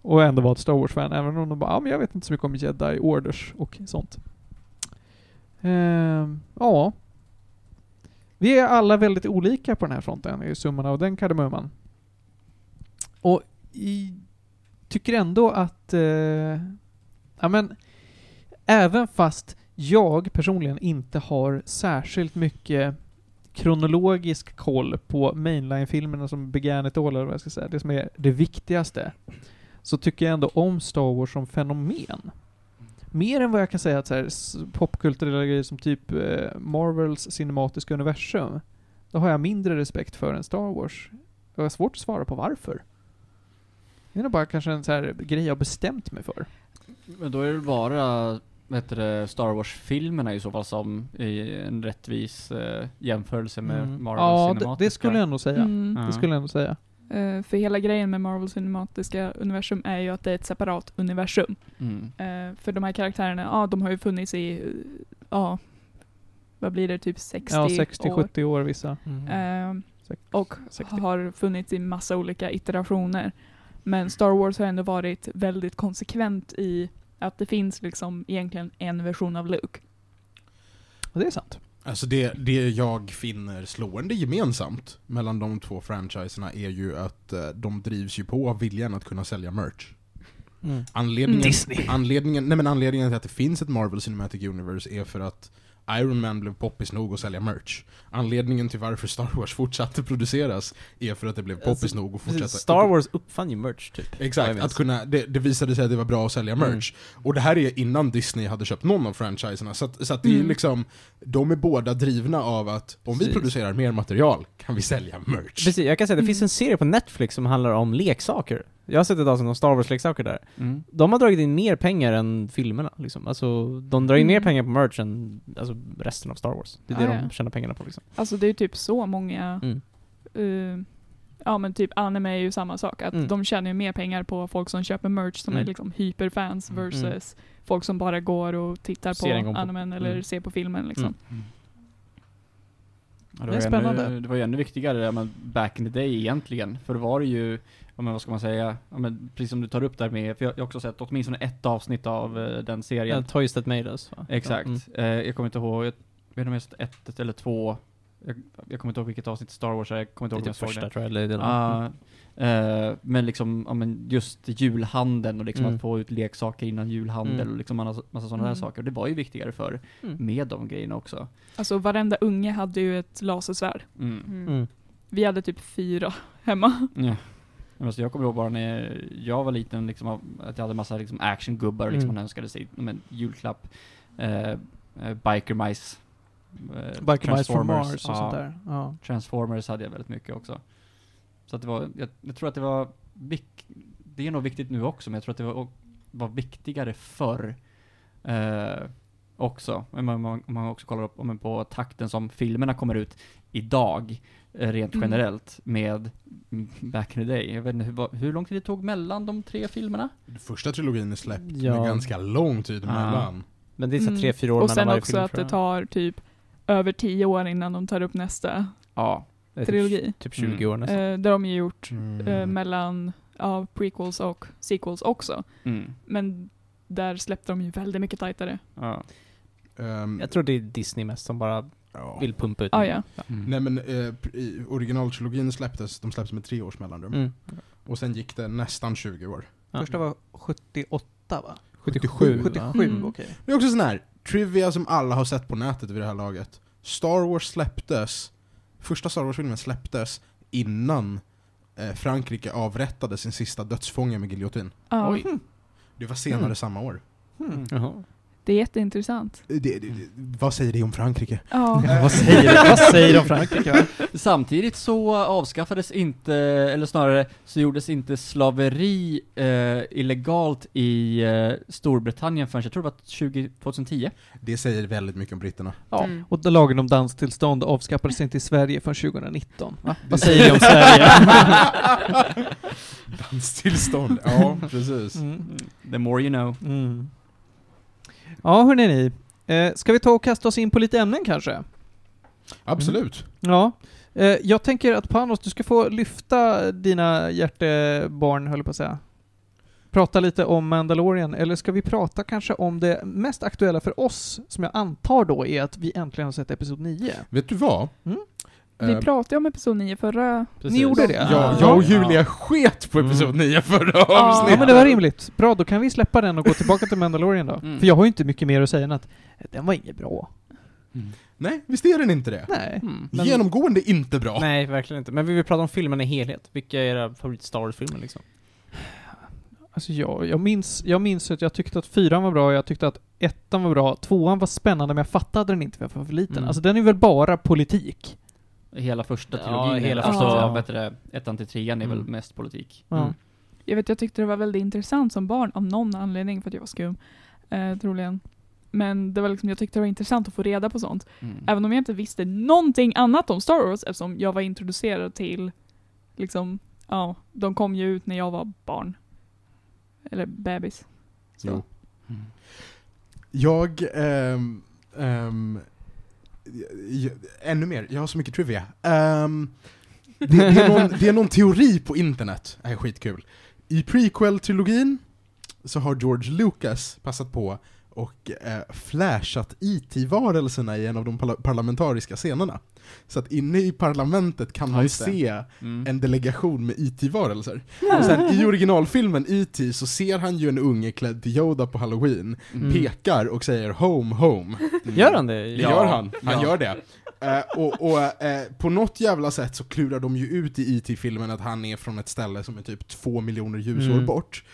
Och ändå var ett Star Wars-fan, även om de bara ah, men jag vet inte så mycket om Jedi Orders och sånt. Ehm, ja. Vi är alla väldigt olika på den här fronten, i summan av den kardemumman. Och i, tycker ändå att... Eh, ja men... Även fast jag personligen inte har särskilt mycket kronologisk koll på mainline-filmerna som Began It All, eller vad jag ska säga, det som är det viktigaste, så tycker jag ändå om Star Wars som fenomen. Mer än vad jag kan säga att så här, s- popkulturella grejer som typ eh, Marvels cinematiska universum, då har jag mindre respekt för än Star Wars. Jag har svårt att svara på varför. Det är nog bara kanske en så här grej jag bestämt mig för.
Men då är det bara vad heter det, Star Wars-filmerna i så fall som i en rättvis eh, jämförelse med
Mm.
Marvel
Ja, det,
cinematiska.
det skulle jag nog säga.
Mm.
Ja.
Det skulle jag nog säga.
Eh, för hela grejen med Marvels cinematiska universum är ju att det är ett separat universum.
Mm.
Eh, för de här karaktärerna, ja de har ju funnits i, eh, ja, vad blir det, typ 60,
Ja, 60,
år.
70 år vissa.
Mm.
Eh,
Sex-
och
60.
har funnits i massa olika iterationer. Men Star Wars har ändå varit väldigt konsekvent i att det finns liksom egentligen en version av Luke.
Och det är sant.
Alltså det, det jag finner slående gemensamt mellan de två franchiserna är ju att eh, de drivs ju på av viljan att kunna sälja merch. Anledningen,
Mm.
Anledningen, nej men anledningen till att det finns ett Marvel Cinematic Universe är för att Iron Man blev poppis nog att sälja merch. Anledningen till varför Star Wars fortsatte produceras är för att det blev poppis
Alltså,
nog att fortsätta.
Precis, Star Wars uppfann ju merch typ. Vad jag Mm.
Exakt,
minns.
att kunna, det, det visade sig att det var bra att sälja merch. Och det här är innan Disney hade köpt någon av franchiserna, så att, så att det är
Mm.
liksom, de är båda drivna av att om vi
Precis.
producerar mer material kan vi sälja merch.
Precis, jag kan säga det finns
Mm.
en serie på Netflix som handlar om leksaker. Jag har sett ett avsnitt om Star Wars-leksaker där.
Mm.
De har dragit in mer pengar än filmerna liksom. Alltså, de drar in mer
Mm.
pengar på merch än alltså, resten av Star Wars. Det är
Ah,
det
ja.
de tjänar pengarna på liksom.
Alltså det är ju typ så många,
Mm.
eh, ja men typ anime är ju samma sak, att
Mm.
de tjänar ju mer pengar på folk som köper merch som
Mm.
är liksom hyperfans
Mm.
versus folk som bara går och tittar
Ser en gång
på
på-
animen eller
Mm.
ser på filmen liksom.
Mm.
Ja,
Det är
var ju Ännu,
spännande.
det var ju ännu viktigare ja, men back in the day egentligen. För då var det ju, ja, men vad ska man säga, ja, men precis som du tar upp där med, för jag jag har också sett åtminstone ett avsnitt av eh, den serien.
Yeah, Toys That Made Us va?
Exakt.
Ja, mm.
Eh, jag kommer inte ihåg, jag vet inte om jag sett ett eller två, jag, jag kommer inte ihåg vilket avsnitt Star Wars är, jag kommer inte
Det är
ihåg
den
om
typ
typ
första
jag såg det.
tror jag, eller delen.
Ja,
Mm.
Ah.
eh, men liksom, ja, men just julhandeln och liksom
Mm.
att få ut leksaker innan julhandel
Mm.
och liksom massa, massa sådana där
Mm.
saker. Det var ju viktigare för
Mm.
med de grejerna också.
Alltså varenda unge hade ju ett lasersvärd.
Mm.
Mm.
Vi hade typ fyra hemma.
Mm. Ja. Men Alltså jag kommer ihåg bara när jag var liten, liksom, av- att jag hade massa liksom, actiongubbar liksom,
Mm.
man önskade sig men, julklapp. Eh, eh, Biker Mice. Eh,
Biker Mice from
Transformers.
Mars och
Ja,
sånt där. Ja.
Transformers hade jag väldigt mycket också. Så att det var, jag, jag tror att det var, vik, det är nog viktigt nu också, men jag tror att det var, var viktigare förr eh, också. Men man, man, om man också kollar upp, om man på takten som filmerna kommer ut idag, eh, rent
Mm.
generellt, med mm, back in the day. Jag vet inte hur, vad- hur lång tid det tog mellan de tre filmerna?
Första trilogin är släppt
Ja.
med ganska lång tid
Ah.
emellan.
Men det är så
Mm.
tre, fyra år
Och
mellan
sen
varje
också
film,
att
tror
det
jag.
tar typ över tio år innan de tar upp nästa
Ja.
Det är typ-
trilogi.
Typ 20
Mm.
år nästan.
Eh, där har de ju gjort eh,
Mm.
mellan ja, prequels och sequels också.
Mm.
Men där släppte de ju väldigt mycket tajtare.
ja.
Ehm,
Jag tror det är Disney mest som bara
ja.
vill pumpa ut.
Ah, ja.
Nej men eh, pr- i originaltrilogin släpptes, de släpptes med tre års mellanrum.
Mm.
Och sen gick det nästan 20 år.
Ja.
Första var 78 va?
77,
77,
Mm.
okej.
Det är också sån här trivia som alla har sett på nätet vid det här laget. Star Wars släpptes, första Star Wars-filmen släpptes innan eh, Frankrike avrättade sin sista dödsfånge med giljotin.
Ja.
Oj.
Det var senare
Mm.
samma år.
Hmm.
Jaha.
Det är jätteintressant.
Det, det, det, vad säger det om Frankrike?
Ja.
Eh.
Vad säger, vad säger de Frank?
Frankrike va?
Samtidigt så avskaffades inte, eller snarare så gjordes inte slaveri eh, illegalt i eh, Storbritannien förrän jag tror det var 20, 2010.
Det säger väldigt mycket om britterna.
Ja.
Mm.
Och då lagen om danstillstånd avskaffades inte i Sverige förrän 2019. Va?
Vad säger de om Sverige?
Danstillstånd, ja precis.
Mm.
The more you know.
Mm. Ja, hörni ni. Eh, ska vi ta och kasta oss in på lite ämnen kanske?
Absolut.
Ja.
Eh, jag tänker att Panos, du ska få lyfta dina hjärtebarn, höll jag på att säga. Prata lite om Mandalorian, eller ska vi prata kanske om det mest aktuella för oss, som jag antar då är att vi äntligen har sett Episod 9?
Vet du vad?
Mm.
Vi
Eh,
pratade om episod 9 förra...
Ni gjorde det?
Ja, jag och Julia sket på episod 9 förra
Ja,
avsnittet.
men det var rimligt. Bra, då kan vi släppa den och gå tillbaka till Mandalorian då.
Mm.
För jag har ju inte mycket mer att säga än att den var inget bra.
Nej, visst är den inte det?
Nej.
Mm.
Men-
Genomgående inte bra.
Nej, verkligen inte. Men vi vill prata om filmen i helhet. Vilka är era favorit Star Wars-filmer liksom?
Alltså jag, jag, minns, jag minns att jag tyckte att fyran var bra, jag tyckte att ettan var bra, tvåan var spännande men jag fattade den inte för jag var för liten.
Mm.
Alltså den är väl bara politik?
Hela första
Ja,
trilogin,
hela
hela
första,
första,
ja.
ja. bättre, ettan till trean är väl
Mm.
mest politik.
Ja.
Mm.
Jag vet, jag tyckte det var väldigt intressant som barn av någon anledning, för att jag var skum. Eh, troligen. Men det var liksom, jag tyckte det var intressant att få reda på sånt.
Mm.
Även om jag inte visste någonting annat om Star Wars eftersom jag var introducerad till, liksom, ja, de kom ju ut när jag var barn. Eller bebis. Så.
Jo.
Mm.
Jag... ehm, ehm, jag- ännu mer, jag har så mycket trivia. Ehm, det, det, är någon, det är någon teori på internet, det här är skitkul. I prequel-trilogin så har George Lucas passat på och eh, flashat IT-varelserna i en av de parla- parlamentariska scenerna. Så att inne i parlamentet kan man
just det.
se
Mm.
en delegation med E IT-varelser. Och sen i originalfilmen IT så ser han ju en unge klädd till Yoda på halloween,
Mm.
pekar och säger 'Home, home'
Gör han det?
Det gör han, han gör det. Eh, och och eh, på något jävla sätt så klurar de ju ut i IT-filmen att han är från ett ställe som är typ två miljoner ljusår
Mm.
bort.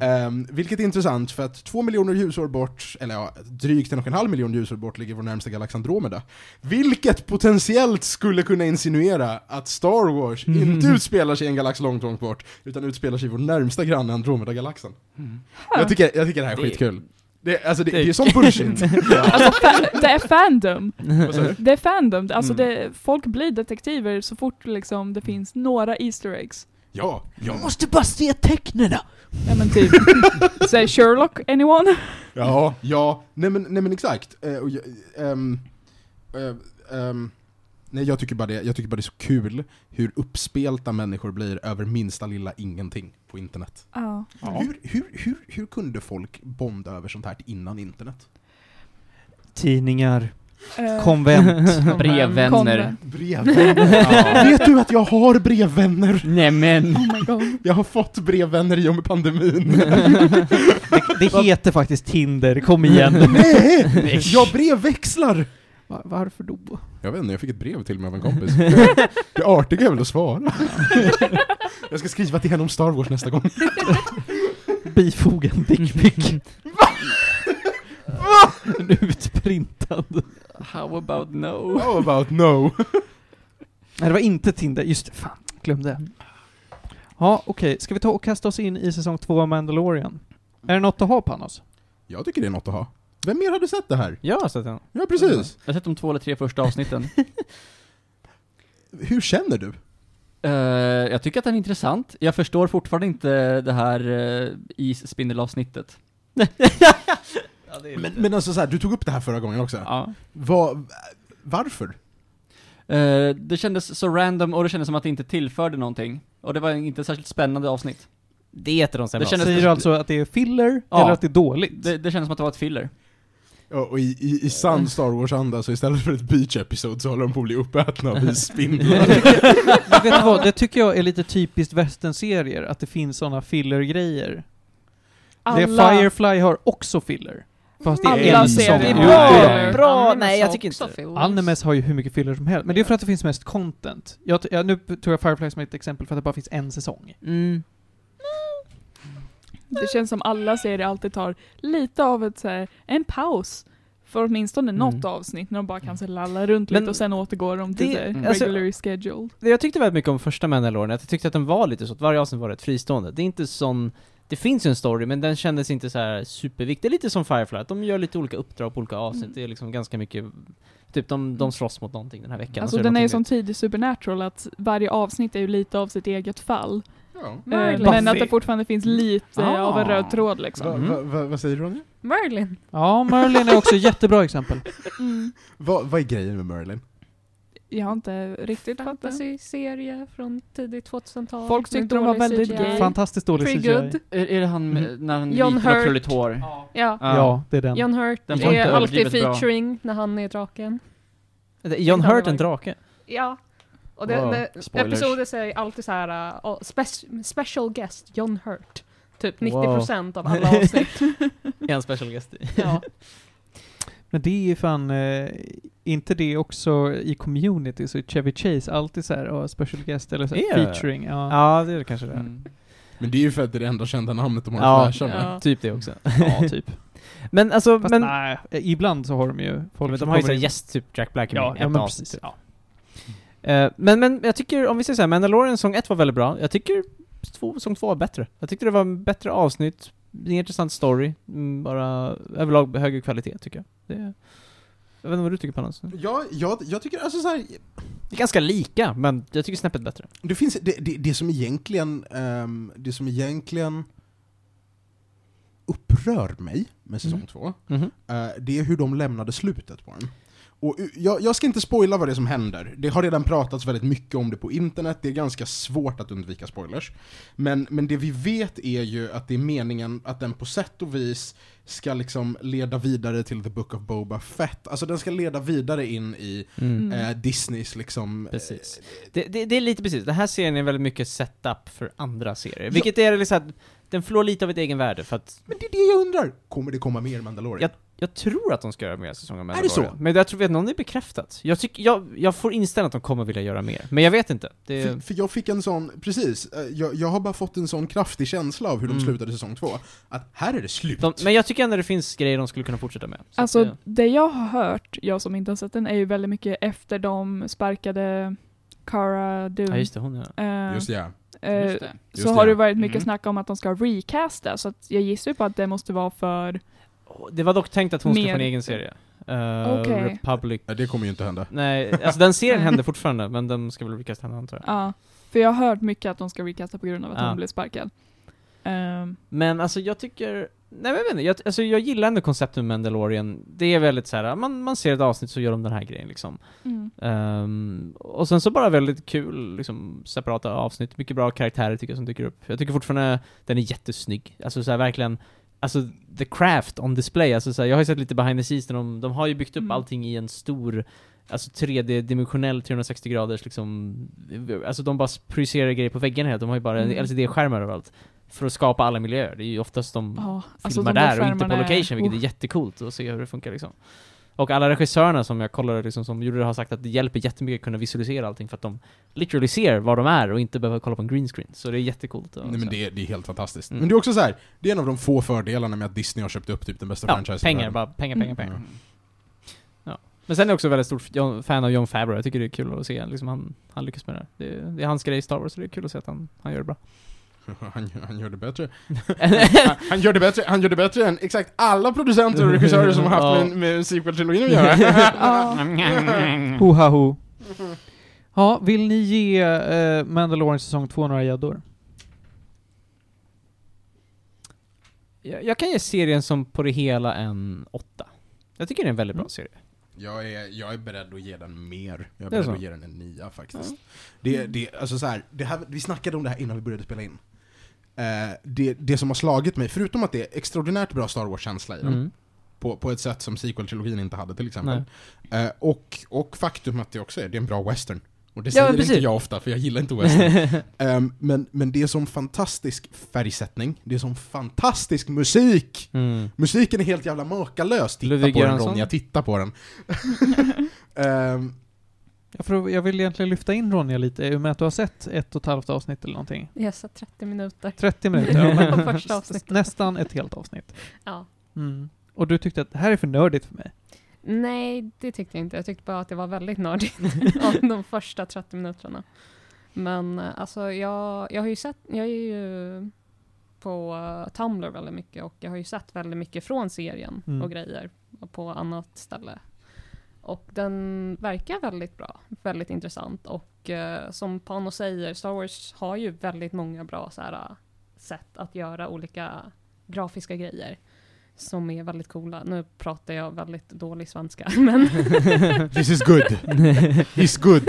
Ehm, vilket är intressant för att två miljoner ljusår bort, eller ja, drygt en och en halv miljon ljusår bort ligger vår närmsta galax Andromeda. Vilket potentiellt skulle kunna insinuera att Star Wars
Mm.
inte utspelar sig i en galax långt, långt bort, utan utspelar sig i vår närmsta granne Andromeda-galaxen. Jag, tycker, jag tycker det här är
Det-
skitkul. Det, alltså det,
det-
det är sån bullshit.
Alltså, fa- det är fandom.
Vad sa du?
Det är fandom. Alltså,
Mm.
det, folk blir detektiver så fort liksom, det finns några Easter eggs.
ja, ja.
måste bara se tecknen!
Ja men typ. Säg Sherlock, anyone?
Ja, ja, nej men, nej men exakt. Eh, och jag, ehm, eh, ehm, nej jag tycker, bara det, jag tycker bara det är så kul hur uppspelta människor blir över minsta lilla ingenting på internet.
Ja.
Hur, hur, hur, hur kunde folk bonda över sånt här innan internet?
Tidningar,
Eh,
konvent.
Brevvänner.
konvent.
Brevvänner. Vet du att jag har brevvänner?
Nämen!
Oh my god.
Jag har fått brevvänner i och med pandemin.
det, det heter faktiskt Tinder, kom igen.
nej! Jag brevväxlar!
Va- Varför då?
Jag vet inte, jag fick ett brev till mig av en kompis. Det artiga är väl att svara. Jag ska skriva till henne om Star Wars nästa gång.
Bifoga en dickpic. En utprintad.
How about no?
How about no?
Nej, det var inte Tinder. Just det, fan. Glömde.
Mm.
Ja, okej. Ska vi ta och kasta oss in i säsong två av Mandalorian? Är det något att ha, Panos?
Jag tycker det är något att ha. Vem mer hade sett det här?
Jag har sett den.
Ja, precis.
Jag har sett de två eller tre första avsnitten.
Hur känner du?
Eh, jag tycker att den är intressant. Jag förstår fortfarande inte det här uh, isspindelavsnittet.
Men, men alltså så här, du tog upp det här förra gången också.
Ja.
Vad- varför?
Eh, det kändes så random och det kändes som att det inte tillförde någonting. Och det var inte ett särskilt spännande avsnitt.
Det heter de
Det
sämre
kändes-
Säger du alltså att det är filler,
Ja.
eller att det är dåligt?
Det, det kändes som att det var ett filler.
Ja, och i, i, i sann Star Wars-anda, så istället för ett beach episode så håller de på att bli uppätna av isspindlar.
Men vet du vad? Det tycker jag är lite typiskt västernserier, att det finns sådana filler-grejer. Det
Alla,
Firefly har också filler. Fast det är
alla
en
serier.
säsong.
Det är
Jo,
bra.
det är det.
Bra, nej, jag tycker inte.
Animes har ju hur mycket filler som helst, men det är för att det finns mest content. Jag, t- jag, nu tog jag Firefly som ett exempel för att det bara finns en säsong.
Mm.
Det känns som alla serier alltid tar lite av ett, så här, en paus. För åtminstone något
Mm.
avsnitt när de bara kan så här lalla runt
Men
lite och sen återgår de till
det-
det,
Mm. alltså-
regular scheduled.
Det Jag tyckte väldigt mycket om första Mandalorian, att jag tyckte att den var lite så, att varje avsnitt var rätt fristående. Det är inte sån... Det finns ju en story, men den kändes inte så här superviktig. Det är lite som Firefly, att de gör lite olika uppdrag på olika avsnitt.
Mm.
Det är liksom ganska mycket... Typ de,
Mm.
de slåss mot någonting den här veckan. och
Alltså
så
den är ju
någonting
som tidig Supernatural att varje avsnitt är ju lite av sitt eget fall.
ja.
Eh,
Verkligen.
Men att det fortfarande finns lite
Ah.
av en röd tråd liksom.
Va, va, va, vad säger du om det?
Merlin.
Ja, Merlin är också ett jättebra exempel.
Mm.
Va, vad är grejen med Merlin?
jag har inte riktigt fattat.
Fantasy-serie från tidigt 2000-tal.
Folk
med
tyckte de var
dålig
väldigt
CGI.
gay.
Fantastiskt dålig
Pretty
CGI.
good.
Är, är det han med, när han är
John
liten och
Hurt.
krulligt hår?
Ja.
Ja, det är den.
John Hurt
Den var
är
inte
alltid
överdrivet bra.
featuring när han är draken.
John Hurt en drake?
Ja. Och det,
Wow.
det-
Spoilers.
episoder säger alltid så här uh, spe- special guest John Hurt. Typ
Wow.
90% av alla avsnitt.
Är han special guest?
ja.
Men det är ju fan, eh, inte det också i community så är Chevy Chase alltid så här, "Åh, special guest eller så här,
Är det?
featuring. Ja.
Ja, det är det kanske det. är.
Mm.
Men det är ju för att det är det enda kända namnet de har
Ja.
att flasha med.
Ja.
Typ det också.
ja, typ.
Men alltså,
Fast
men...
nej, eh, ibland så har de ju folk
men
som
de har ju
kommer
sån
in-
gäst, typ Jack Black i
Ja,
ett
ja men
avsnitt,
precis. Ja.
Eh, men, men jag tycker, om vi säger såhär, Mandalorian säsong 1 var väldigt bra. Jag tycker två, säsong 2 var bättre. Jag tyckte det var en bättre avsnitt, en intressant story, mm, bara överlag högre kvalitet tycker jag. Det, jag vet inte vad du tycker Panos?
Ja, jag, jag tycker alltså så här,
Det är ganska lika, men jag tycker snäppet bättre.
det finns, det, det, det som egentligen, ehm, det som egentligen upprör mig med säsong
Mm.
två, eh, det är hur de lämnade slutet på den. Och u- jag, jag ska inte spoila vad det är som händer, det har redan pratats väldigt mycket om det på internet, det är ganska svårt att undvika spoilers. Men, men det vi vet är ju att det är meningen att den på sätt och vis ska liksom leda vidare till The Book of Boba Fett, alltså den ska leda vidare in i
Mm.
eh, Disneys liksom...
Precis. Det, det, det är lite precis, den här serien är väldigt mycket setup för andra serier. Vilket är liksom att den förlorar lite av ett egen värde för att
Men det är det jag undrar, kommer det komma mer Mandalorian?
Jag jag tror att de ska göra mer säsonger av
Är det så?
Mandalorian. Men jag tror, vet inte om det är bekräftat. Jag, tycker, jag, jag får inställningen att de kommer vilja göra mer. Men jag eh. vet inte. Det,
För, för jag fick en sån, precis, eh, jag, jag har bara fått en sån kraftig känsla av hur de
Mm.
slutade säsong två, att här är det slut.
De, men jag tycker ändå det finns grejer de skulle kunna fortsätta med. Så
Alltså
att, eh,
det jag har hört, jag som inte har sett den, är ju väldigt mycket efter de sparkade Cara Dune.
ja just det, hon ja.
Eh,
Just ja.
eh,
Just det.
så
det,
har det
ja.
varit mycket
Mm.
snack om att de ska recasta, så att jag gissar ju på att det måste vara för...
Och Det var dock tänkt att hon skulle
Mer.
få en egen serie. Uh,
Okej.
Republic.
Ja, det kommer ju inte hända.
Nej, alltså den serien händer fortfarande, men den ska väl recasta henne antar jag.
Ja. för jag har hört mycket att de ska recasta på grund av att
Ja.
hon blev sparkad. Ehm,
Men alltså jag tycker... Nej men jag vet inte, jag, alltså, jag gillar ändå konceptet med Mandalorian. Det är väldigt så här, man, man ser ett avsnitt så gör de den här grejen liksom.
mm.
Ehm, och sen så bara väldigt kul, liksom separata avsnitt. Mycket bra karaktärer tycker jag som dyker upp. Jag tycker fortfarande den är jättesnygg. Alltså så här, verkligen, alltså the craft on display. Alltså så här, jag har ju sett lite behind the scenes, där de, de har ju byggt upp
Mm.
allting i en stor, alltså 3D-dimensionell 360 graders liksom, alltså de bara projicerar grejer på väggarna här. De har ju bara
Mm.
LCD-skärmar överallt. För att skapa alla miljöer. Det är ju oftast de
Ja, alltså
filmar
de
där och inte på
skärmarna är-
location, vilket
oh.
är jättecoolt att se hur det funkar liksom. Och alla regissörerna som jag kollade liksom, som gjorde det har sagt att det hjälper jättemycket att kunna visualisera allting för att de literally ser var de är och inte behöver kolla på en green screen. Så det är jättecoolt. att
Nej men
se.
det är, det är helt fantastiskt.
Mm.
Men det är också så här, det är en av de få fördelarna med att Disney har köpt upp typ den bästa
ja,
franchisen i
pengar,
världen.
bara pengar, pengar,
Mm.
pengar. Men sen är jag också väldigt stor f- John- fan av John Favreau. Jag tycker det är kul att se liksom, han, han lyckas med det här. Det är, det är hans grej i Star Wars, så det är kul att se att han, han gör det bra.
Han, gör- han gör det bättre. han, han gör det bättre. Han gör det bättre än exakt alla producenter och regissörer som har haft med, med sequel-trilogin att göra.
Ja.
Ho, ha, ho. Ja, vill ni ge eh, Mandalorian säsong 2 några gäddor?
Jag, jag kan ge serien som på det hela en åtta. Jag tycker det är en väldigt bra
Mm.
serie.
jag, är, jag är beredd att ge den mer.
Det
Jag är
är
beredd
så.
att ge den en nia faktiskt. Det, det, alltså så här, det här, vi snackade om det här innan vi började spela in. Eh, det, det som har slagit mig, förutom att det är extraordinärt bra Star Wars-känsla i den,
Mm.
på, på ett sätt som sequel-trilogin inte hade till exempel. Eh, och, och faktum att det också är, det är en bra western. Och det
Ja,
säger
men precis.
inte jag ofta, för jag gillar inte western. Ehm, men, men det är som fantastisk färgsättning, det är som fantastisk musik!
Mm.
Musiken är helt jävla makalös, titta
Ludwig
på
Göransson?
den Ronja, titta på den. Ehm,
Jag, får, jag vill egentligen lyfta in Ronja lite, i och med att du har sett ett och ett halvt avsnitt eller någonting.
Jag satt 30 minuter.
30 minuter. ja, men
På första avsnittet.
Nästan ett helt avsnitt.
Ja.
Mm. Och du tyckte att det här är för nördigt för mig.
Nej, det tyckte jag inte. Jag tyckte bara att det var väldigt nördigt av de första 30 minuterna. Men eh, alltså, jag, jag har ju sett, jag är ju på eh, Tumblr väldigt mycket och jag har ju sett väldigt mycket från serien
Mm.
och grejer på annat ställe. Och den verkar väldigt bra, väldigt intressant och eh, som Pano säger, Star Wars har ju väldigt många bra så här, eh, sätt att göra olika grafiska grejer. som är väldigt coola. Nu pratar jag väldigt dålig svenska, men
This is good. He's good.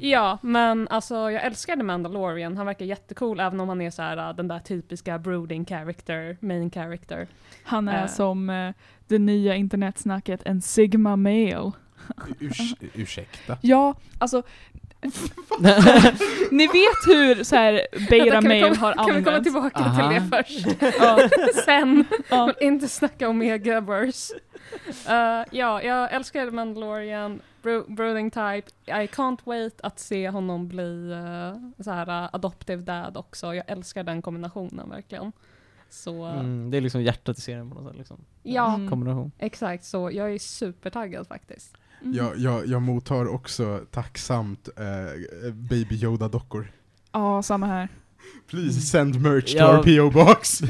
ja, men alltså jag älskar The Mandalorian. Han verkar jättecool, även om han är så här äh, den där typiska brooding character, main character.
Han är
Eh.
som eh, det nya internetsnacket, en sigma male.
Urs ursäkta.
Ja, alltså... ni vet hur så här, beta
Vänta, kan vi
male
komma-
har
Kan vi komma
använts?
tillbaka
Aha.
till det först?
Ja,
Sen.
ja.
Men inte snacka om megaverse. Eh, ja, jag älskar The Mandalorian, bro- brooding type. I can't wait att se honom bli uh, så här eh, adoptive dad också. Jag älskar den kombinationen verkligen. Så eh,
Mm, det är liksom hjärtat i serien på något sätt. Liksom.
ja,
Mm.
Kombination.
exakt så. Jag är supertaggad faktiskt.
Mm.
Jag, jag, jag mottar också tacksamt eh, Baby Yoda-dockor.
ja, samma här.
Please send merch to
Mm. Ja.
our PO box.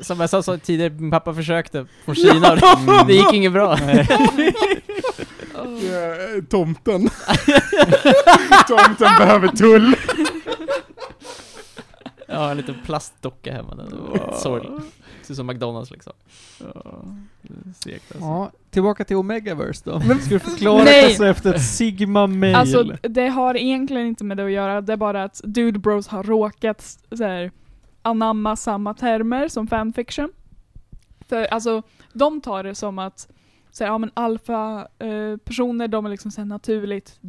Som jag sa, sa tidigare, min pappa försökte från Kina och
Mm.
det, det gick inget bra.
Eh, Tomten. Tomten behöver tull.
Jag har en liten plastdocka hemma. Den är sorglig. Ser ut som McDonalds liksom. Segt alltså.
Ja, tillbaka till Omegaverse då. Ska du förklara
Nej.
konceptet Sigma Mail?
Alltså, det har egentligen inte med det att göra, det är bara att Dude Bros har råkat så här, anamma samma termer som fanfiction. För alltså, de tar det som att så här, ja men alfa-personer, de är liksom så här naturligt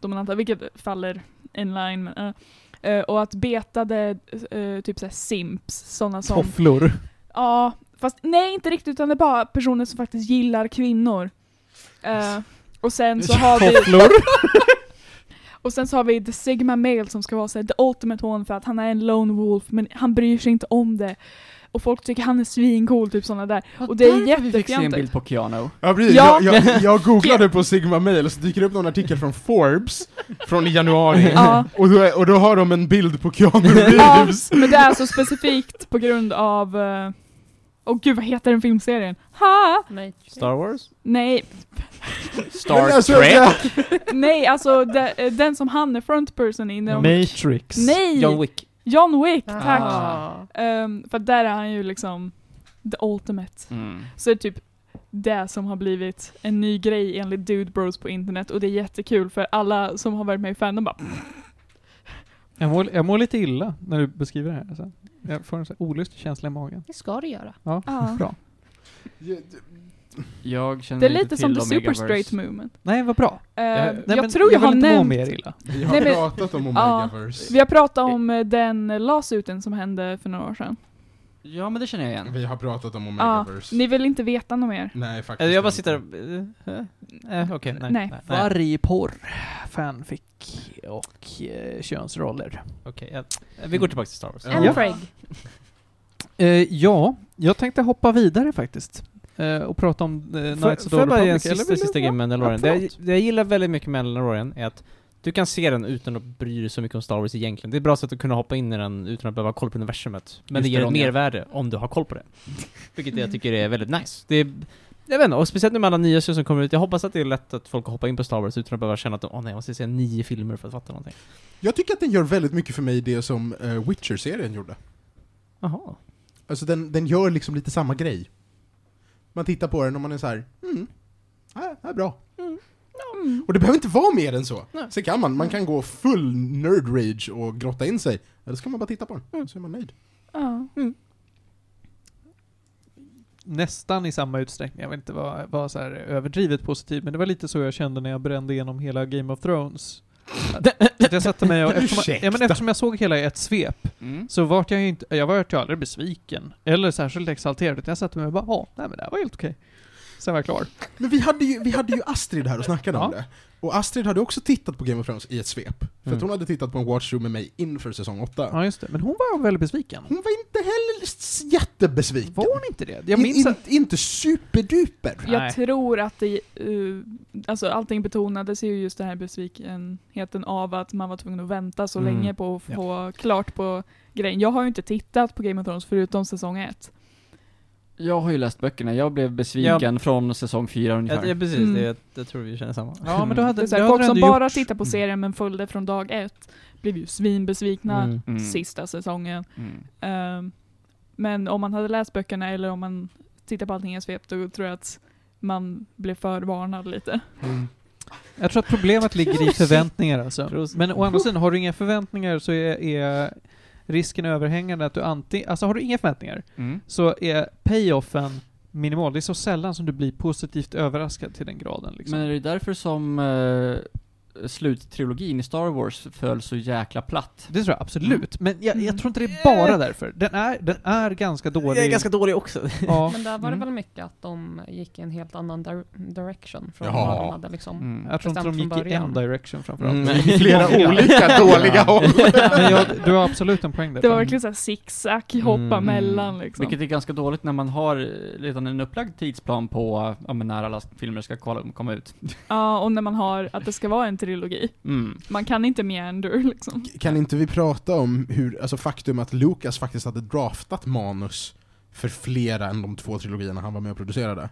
dominanta, vilket faller in line men, eh. Eh, Och att betade, eh, typ såhär simps, sådana som...
Tofflor.
Ja, fast nej inte riktigt utan det är bara personer som faktiskt gillar kvinnor. Eh, och sen så har vi...
Tofflor.
Och sen så har vi The Sigma Male som ska vara så här, the ultimate one för att han är en lone wolf men han bryr sig inte om det. Och folk tycker han är svincool, typ sådana där. Och det är
Därför vi fick se en
jättefjantigt.
bild på Keanu.
Ja, precis.
Ja.
Jag, jag, jag googlade på Sigma Mail, så dyker det upp någon artikel från Forbes från i januari.
Ja.
Och, då, är- och då har de en bild på Keanu
ja,
Reeves.
men det är så specifikt på grund av... Åh oh, gud, vad heter den filmserien? Ha!
Ah,
Star Wars?
Nej,
Men alltså, jag-
nej alltså de, eh, den som han är frontperson i. när de-
Matrix.
Nej!
John Wick.
John Wick, tack!
Ah.
Ehm, för där är han ju liksom the ultimate.
Mm.
Så det är typ det som har blivit en ny grej enligt Dude Bros på internet och det är jättekul för alla som har varit med i fandom bara
Jag mår, jag mår lite illa när du beskriver det här. Alltså. Jag får en så här olustig känsla i magen.
Det ska du göra.
Ja,
Ja.
bra.
Jag känner
Det är
inte
lite som
till
the super
Omegaverse.
straight movement.
Nej, vad bra.
Eh,
Nej,
jag
men
tror jag, har
vill inte må
nämnt,
mer illa.
Vi har
Nej, men-
pratat om
Ja.
Omegaverse.
vi har pratat om eh, den lasuten som hände för några år sedan.
Ja men det känner jag igen.
Vi har pratat om
Ja,
Omegaverse.
ni vill inte veta något mer?
Nej, faktiskt
Eh, Jag bara
inte.
sitter och... eh, eh, eh, Okej, nej.
Nej.
nej.
Vargporr, fanfic och eh, könsroller.
Okej, jag- vi går tillbaka till Star Wars.
Ja.
And Craig.
Eh, ja, jag tänkte hoppa vidare faktiskt. Eh, och prata om eh,
Får
Knights of the
får jag
Old
bara ge en
Republic. eller
sista,
vill
sista
du-
grej med Mandalorian? Det
Ja,
jag,
förlåt.
det jag gillar väldigt mycket med Mandalorian är att du kan se den utan att bry dig så mycket om Star Wars egentligen. Det är ett bra sätt att kunna hoppa in i den utan att behöva ha koll på universumet. Men
Just
det ger
det,
ett
Ronja.
mervärde om du har koll på det. Vilket jag tycker är väldigt nice. Det är, jag vet inte, och speciellt nu med alla nya serier som kommer ut. Jag hoppas att det är lätt att folk hoppar in på Star Wars utan att behöva känna att de, åh nej, jag måste se nio filmer för att fatta någonting.
Jag tycker att den gör väldigt mycket för mig det som eh, Witcher-serien gjorde.
Jaha.
Alltså den, den gör liksom lite samma grej. Man tittar på den och man är så här, mm, ja, det är bra. Och det behöver inte vara mer än så.
Nej.
Sen kan man, man kan gå full nerd rage och grotta in sig. Eller så kan man bara titta på den, så är man nöjd.
Ja.
Nästan i samma utsträckning. Jag vet inte vad var så här överdrivet positiv, men det var lite så jag kände när jag brände igenom hela Game of Thrones. Att- att jag satte mig och... Eftersom, jag- ja, men
Ursäkta.
eftersom jag såg hela i ett svep
Mm.
så vart jag ju inte... Jag vart ju aldrig besviken. Eller särskilt exalterad. utan Jag satte mig och bara ja, nej men det här var helt okej. Sen var jag klar.
Men vi hade ju, vi hade ju Astrid här och snackade om
Ja.
det. Och Astrid hade också tittat på Game of Thrones i ett svep. För
Mm.
att hon hade tittat på en watchroom med mig inför säsong 8.
Ja, just det. Men hon var väldigt besviken.
Hon var inte heller s- jättebesviken.
Var hon inte det? Jag
In-
minns
in,
att...
Inte superduper.
Nej.
Jag tror att det, eh, alltså allting betonades ju just den här besvikenheten av att man var tvungen att vänta så
Mm.
länge på att få klart på grejen. Jag har ju inte tittat på Game of Thrones förutom säsong ett.
Jag har ju läst böckerna, jag blev besviken från säsong fyra ungefär.
Ja, ja, precis.
Mm.
Det, jag, jag tror vi känner samma.
Ja, men
Mm.
Det
då hade,
är så här,
då
folk
hade du
som
ändå
bara
gjort-
tittar på serien men följde från dag ett blev ju svinbesvikna
Mm.
Mm.
sista säsongen.
Mm.
Ehm, Men om man hade läst böckerna eller om man tittar på allting i en svep, då tror jag att man blev förvarnad lite.
Jag tror att problemet ligger i förväntningar alltså. Men å andra sidan, har du inga förväntningar så är, är risken överhängande att du antingen... Alltså har du inga förväntningar
Mm.
så är payoffen minimal. Det är så sällan som du blir positivt överraskad till den graden liksom.
Men är det därför som eh, sluttrilogin i Star Wars föll så jäkla platt?
det tror jag absolut, men jag, jag
Mm.
tror inte det är bara därför. Den är, den är ganska dålig.
Jag är ganska dålig också.
ja.
Men där var det
Mm.
väl mycket att de gick i en helt annan dir- direction från
Ja.
vad de hade
Mm.
liksom.
Mm. Jag tror inte de
Bestämt
gick
från
i en
början.
direction framförallt.
Mm, I flera olika dåliga håll.
Men jag, du har absolut en poäng där.
Det var verkligen såhär zigzag, hoppa
Mm.
mellan liksom.
Vilket är ganska dåligt när man har eh, redan en upplagd tidsplan på ja, men när alla filmer ska kolla- komma ut.
Ja, och när man har att det ska vara en trilogi.
Mm.
Man kan inte mer än du liksom.
Kan inte vi prata om hur, alltså faktum att Lucas faktiskt hade draftat manus för flera än de två trilogierna han var med och producerade?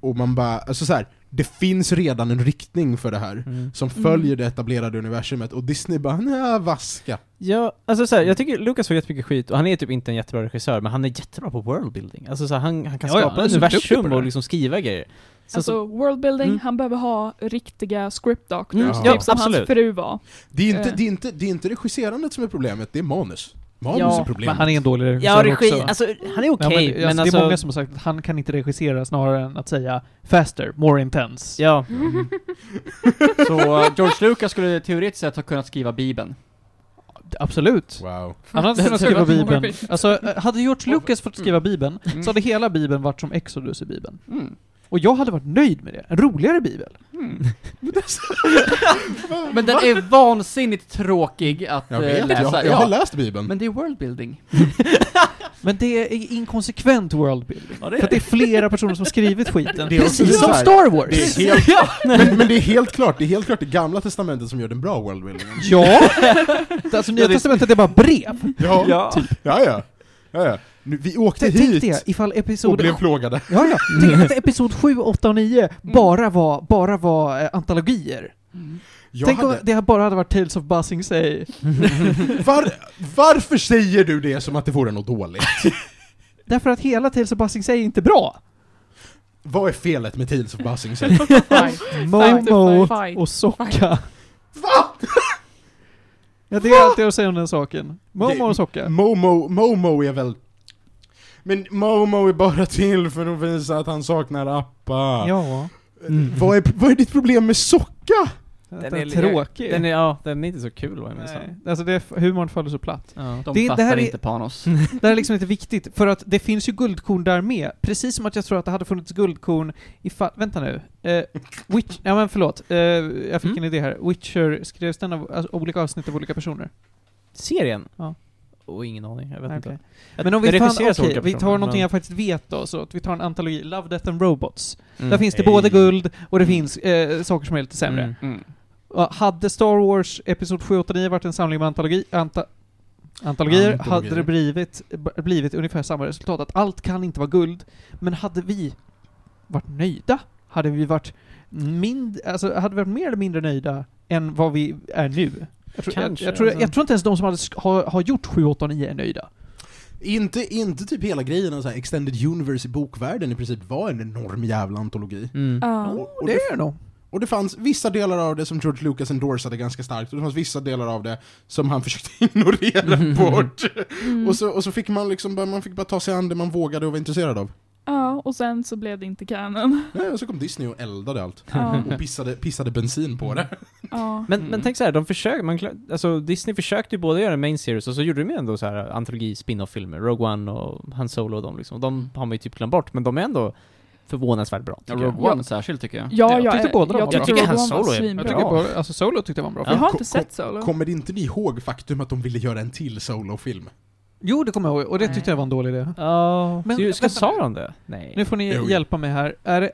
Och man bara, alltså så här, det finns redan en riktning för det här
Mm.
som
Mm.
följer det etablerade universumet och Disney bara nja, vaska.
Ja, alltså så här, jag tycker Lucas får jättemycket skit och han är typ inte en jättebra regissör men han är jättebra på worldbuilding. Alltså så här, han, han kan
Ja, ja,
skapa
han är så duktig på
universum
det.
och liksom skriva grejer. Sen så,
Alltså worldbuilding,
Mm.
han behöver ha riktiga script doctors,
Mm,
ja,
typ som
absolut.
hans fru var.
Det är, inte,
Eh.
det, är inte, det är inte regisserandet som är problemet, det är manus. Manus
Ja,
är
Men
problemet.
han är en dålig
ja,
regissör
regi,
också.
alltså han är okej
Ja, men,
men,
alltså,
alltså...
det är många som har sagt att han kan inte regissera snarare än att säga faster, more intense.
Ja,
Så eh, George Lucas skulle teoretiskt sett ha kunnat skriva Bibeln.
Absolut.
Wow.
Han hade kunnat
skulle
skriva
vara
Bibeln.
morbid.
Alltså, eh, hade George Lucas fått skriva Bibeln
Mm.
så hade hela Bibeln varit som Exodus i Bibeln.
Mm.
Och jag hade varit nöjd med det. En roligare Bibel.
Men den är vansinnigt tråkig att
Jag
eh,
vet,
läsa.
jag, jag
Ja.
har läst Bibeln.
Men det är worldbuilding.
Men det är inkonsekvent worldbuilding.
Ja,
För att det är flera personer som har skrivit skiten.
Det är också
Precis som
så här-
Star Wars!
Det är helt, men, men det är helt klart, det är helt klart det gamla testamentet som gör den bra worldbuildingen.
Ja! Alltså Nya Testamentet är bara brev. Typ.
Ja, ja. ja, ja. ja. Nu, vi åkte
Tänk
hit
det, ifall
och
episod
blev plågade.
Ja, ja. Tänk att episod 7, 8 och 9
Mm.
bara var, bara var eh, antologier.
Mm.
Jag
Tänk om
hade,
det här bara hade varit Tales of Buzzing Say.
var, varför säger du det som att det vore något dåligt?
Därför att hela Tales of Buzzing Say är inte bra.
Vad är felet med Tales of Buzzing Say?
Fight. Fight,
Momo
fight,
och Socka. Ja, det är allt jag har att säga om den saken. Momo
Det-
och Socka.
Momo, Momo är väl... Men Momo är bara till för att visa att han saknar Appa. Mm.
Ja.
Vad, är, vad är ditt problem med Socka?
Den,
Den
är,
är-
tråkig.
den är, ja, den är inte så kul vad jag minns.
Nej. Alltså det är, f- humorn faller så platt.
Ja.
De
Det- det
fattar
här är-
inte Panos.
Det här är liksom inte viktigt, för att det finns ju guldkorn där med. Precis som att jag tror att det hade funnits guldkorn ifall... Vänta nu. Eh, Witch... Ja men förlåt. Eh, jag fick
Mm.
en idé här. Witcher, skrevs den av alltså, olika avsnitt av olika personer?
Serien?
Ja.
Och ingen aning, jag vet
Nej,
inte.
okej. Men om vi,
Det
fan,
regisseras av
okej,
olika
vi tar
personer,
någonting
men-
jag faktiskt vet då, så att vi tar en antologi. Love, Death and Robots.
Mm.
Där finns det både guld och det finns eh, saker som är lite sämre.
Mm.
Mm.
Och hade Star Wars Episod 7, 8, 9 varit en samling med antologi, anta, antologier,
Antologier.
hade det blivit, b- blivit ungefär samma resultat. Att allt kan inte vara guld, men hade vi varit nöjda? Hade vi varit, mind, alltså, hade vi varit mer eller mindre nöjda än vad vi är nu? Jag tror,
Kanske,
jag, jag, tror,
alltså.
jag tror inte ens de som hade, sk- har, har gjort 7, 8 och 9 är nöjda.
Inte, inte typ hela grejen av så här Extended Universe i bokvärlden i princip var en enorm jävla antologi.
Mm.
Ja.
Och, och
Det
det
är det nog.
Och det fanns vissa delar av det som George Lucas endorsade ganska starkt, och det fanns vissa delar av det som han försökte ignorera bort.
Mm.
Och, så, och så fick man liksom bara, man fick bara ta sig an det man vågade och var intresserad av.
Ja, och sen så blev det inte canon.
Nej, och så kom Disney och eldade allt.
Ja,
Och pissade, pissade bensin på det.
ja.
Men,
Mm.
men tänk så här, de försöker, man, kla- alltså Disney försökte ju både göra en main series och så gjorde de ju ändå så här antologi spin-off-filmer, Rogue One och Han Solo och de liksom. De har man ju typ glömt bort, men de är ändå förvånansvärt bra
Ja,
tycker jag.
Rogue One särskilt tycker jag.
Ja,
Jag
jag,
tyckte båda de var
jag,
bra.
tyckte
Jag tycker
Rogue
hans
One var
solo är-
svinbra.
Jag
Bra.
tycker bara, alltså Solo tyckte jag var en bra
Jag
film.
har inte
Ko-
sett Solo.
Kommer inte ni ihåg faktum att de ville göra en till solofilm?
Jo, det kommer jag ihåg, och det tyckte jag var en dålig idé.
Ja,
Men-
så ju- ska
vänta.
sa de det? Nej.
Nu får
Jo,
ni
jo.
hjälpa mig här. Är det,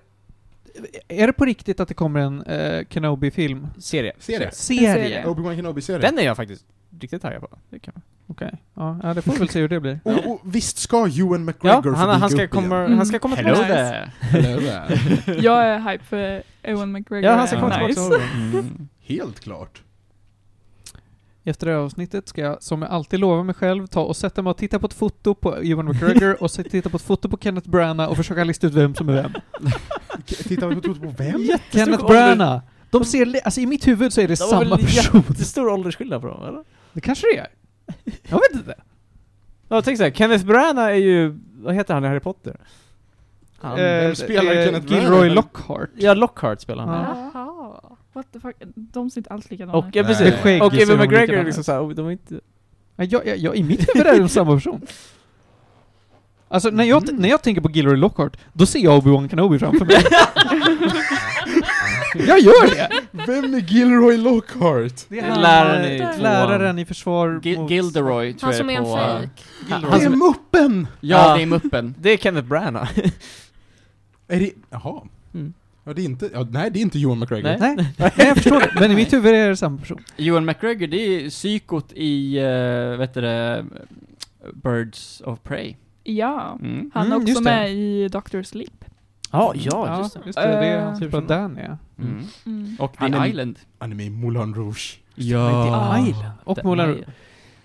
är det på riktigt att det kommer en eh, Kenobi-film?
Serie.
Serie.
Serie?
serie.
Okej,
Obi-Wan Kenobi-serien.
Den är jag faktiskt riktigt taggad på. Det kan man.
ja, ja, det får vi väl se hur det blir.
Och, och visst ska Ewan
Ja,
McGregor
han, han, ska komma, han ska komma
Hello
tillbaka.
there!
igen?
Jag är hype för Ewan McGregor.
Mm.
Ja, han ska komma
Nice.
tillbaka.
Helt klart.
Efter det här avsnittet ska jag, som jag alltid lovar mig själv, ta och sätta mig och titta på ett foto på Ewan McGregor och se- titta på ett foto på Kenneth Branagh och försöka lista ut vem som är vem.
Tittar vi på, på vem?
Kenneth
ålder.
Branagh! De ser, li- alltså i mitt huvud så är det
var
samma
väl
person.
Jättestor åldersskillnad på dem, eller?
Det kanske det är. Jag vet inte.
Ja, tänk såhär, Kenneth Branagh är ju, vad heter han i Harry Potter? Han,
vem spelar Kenneth Branagh?
eh, Gilroy Lockhart.
ja, Lockhart spelar han.
Ja.
Jaha. What the fuck? De ser inte alls likadana
Och, ja,
Nej.
precis.
Skägg
Och
ser
Evan
de
McGregor är
likadana
liksom
ut.
såhär, oh, de är inte...
Ja, jag, jag, jag, I mitt huvud är de samma person. Alltså när jag, när jag tänker på Gilroy Lockhart, då ser jag Obi-Wan Kenobi framför mig. jag gör det!
Mm. Vem är Gilroy Lockhart?
Det
han, läraren i
eh,
tvåan.
läraren i försvar
Gil-
mot...
Gilderoy tror
Han
jag
som är en
på... eh,
fejk.
Gilroy.
Det är muppen!
Ja,
Ja.
det är muppen.
Det är Kenneth Branagh.
Är det... Jaha.
Mm.
Ja, det är inte... Ja, nej, det är inte Johan McGregor.
Nej.
Nej, nej, jag förstår det. Men i mitt huvud är det samma person.
Ewan McGregor, det är psykot i, uh, vet du det, Birds of Prey.
Ja.
Mm.
Han
Mm,
är
just
också
det.
med i Dr. Sleep.
Ja, ja, just det.
just det. Det är
Eh.
han som spelar Dania.
Mm.
Mm.
Och The
Han är-
Island.
Han är med i Moulin Rouge.
Ja.
The
Och Moulin Rouge.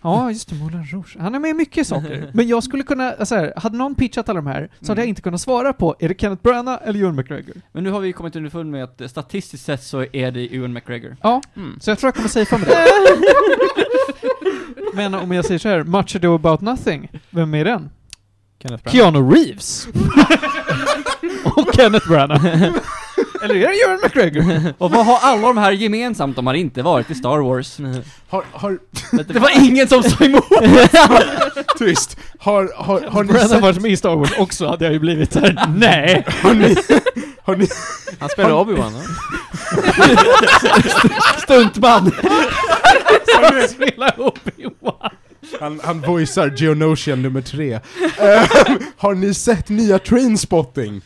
Ja, just det, Moulin Rouge. Han är med i mycket saker. Men jag skulle kunna, alltså här, hade någon pitchat alla de här, så hade
Mm.
jag inte kunnat svara på, är det Kenneth Branagh eller Ewan McGregor?
Men nu har vi kommit underfund med att eh, statistiskt sett så är det Ewan McGregor.
Ja.
Mm.
Så jag tror jag kommer safea med det. Men om jag säger så här, Much Ado About Nothing, vem är den?
Kenneth Branagh.
Keanu Reeves! och Kenneth Branagh. Eller är det Ewan McGregor?
Och vad har alla de här gemensamt? De har inte varit i Star Wars.
Har... Har...
det var ingen som sa emot!
Tyst! Har, har, har, ni
Branagh
sett,
varit med i Star Wars också, hade jag ju blivit där. Nej!
har, ni, har ni
Han spelar Obi-Wan, va?
Stuntman! Som spelar Obi-Wan.
Han, han voicear Geonosian nummer tre. Ehm, har ni sett nya Trainspotting?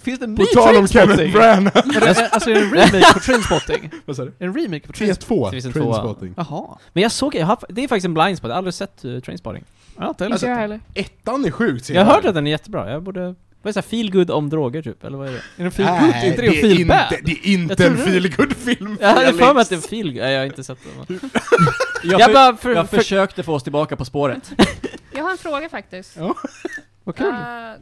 Finns det en
På
ny
tal om
Trainspotting?
Kenneth Branagh.
Är det-
eh,
Alltså är det en remake på Trainspotting?
Vad sa du?
En remake på Trainspotting?
Det finns
3-2.
en tvåa.
Trainspotting.
Jaha.
Men jag såg, jag har, det är faktiskt en blindspot, jag har aldrig sett
eh,
uh, Trainspotting.
Ja, inte
Inte
heller.
jag heller.
Ettan är sjukt
Jag har hört att den är jättebra, jag borde... Vad är det, så här feel good om droger typ, eller vad är det?
Är det feel good? Inte det en feel bad?
Det är
Jag
inte
tror
en
det.
feelgood-film
Jag hade för mig att det är
Felix.
feel good, nej jag har inte sett den.
Jag,
Jag
för,
bara, för,
jag
för,
försökte få oss tillbaka på spåret.
Jag har en fråga faktiskt.
Ja.
Vad kul.
Eh, Cl-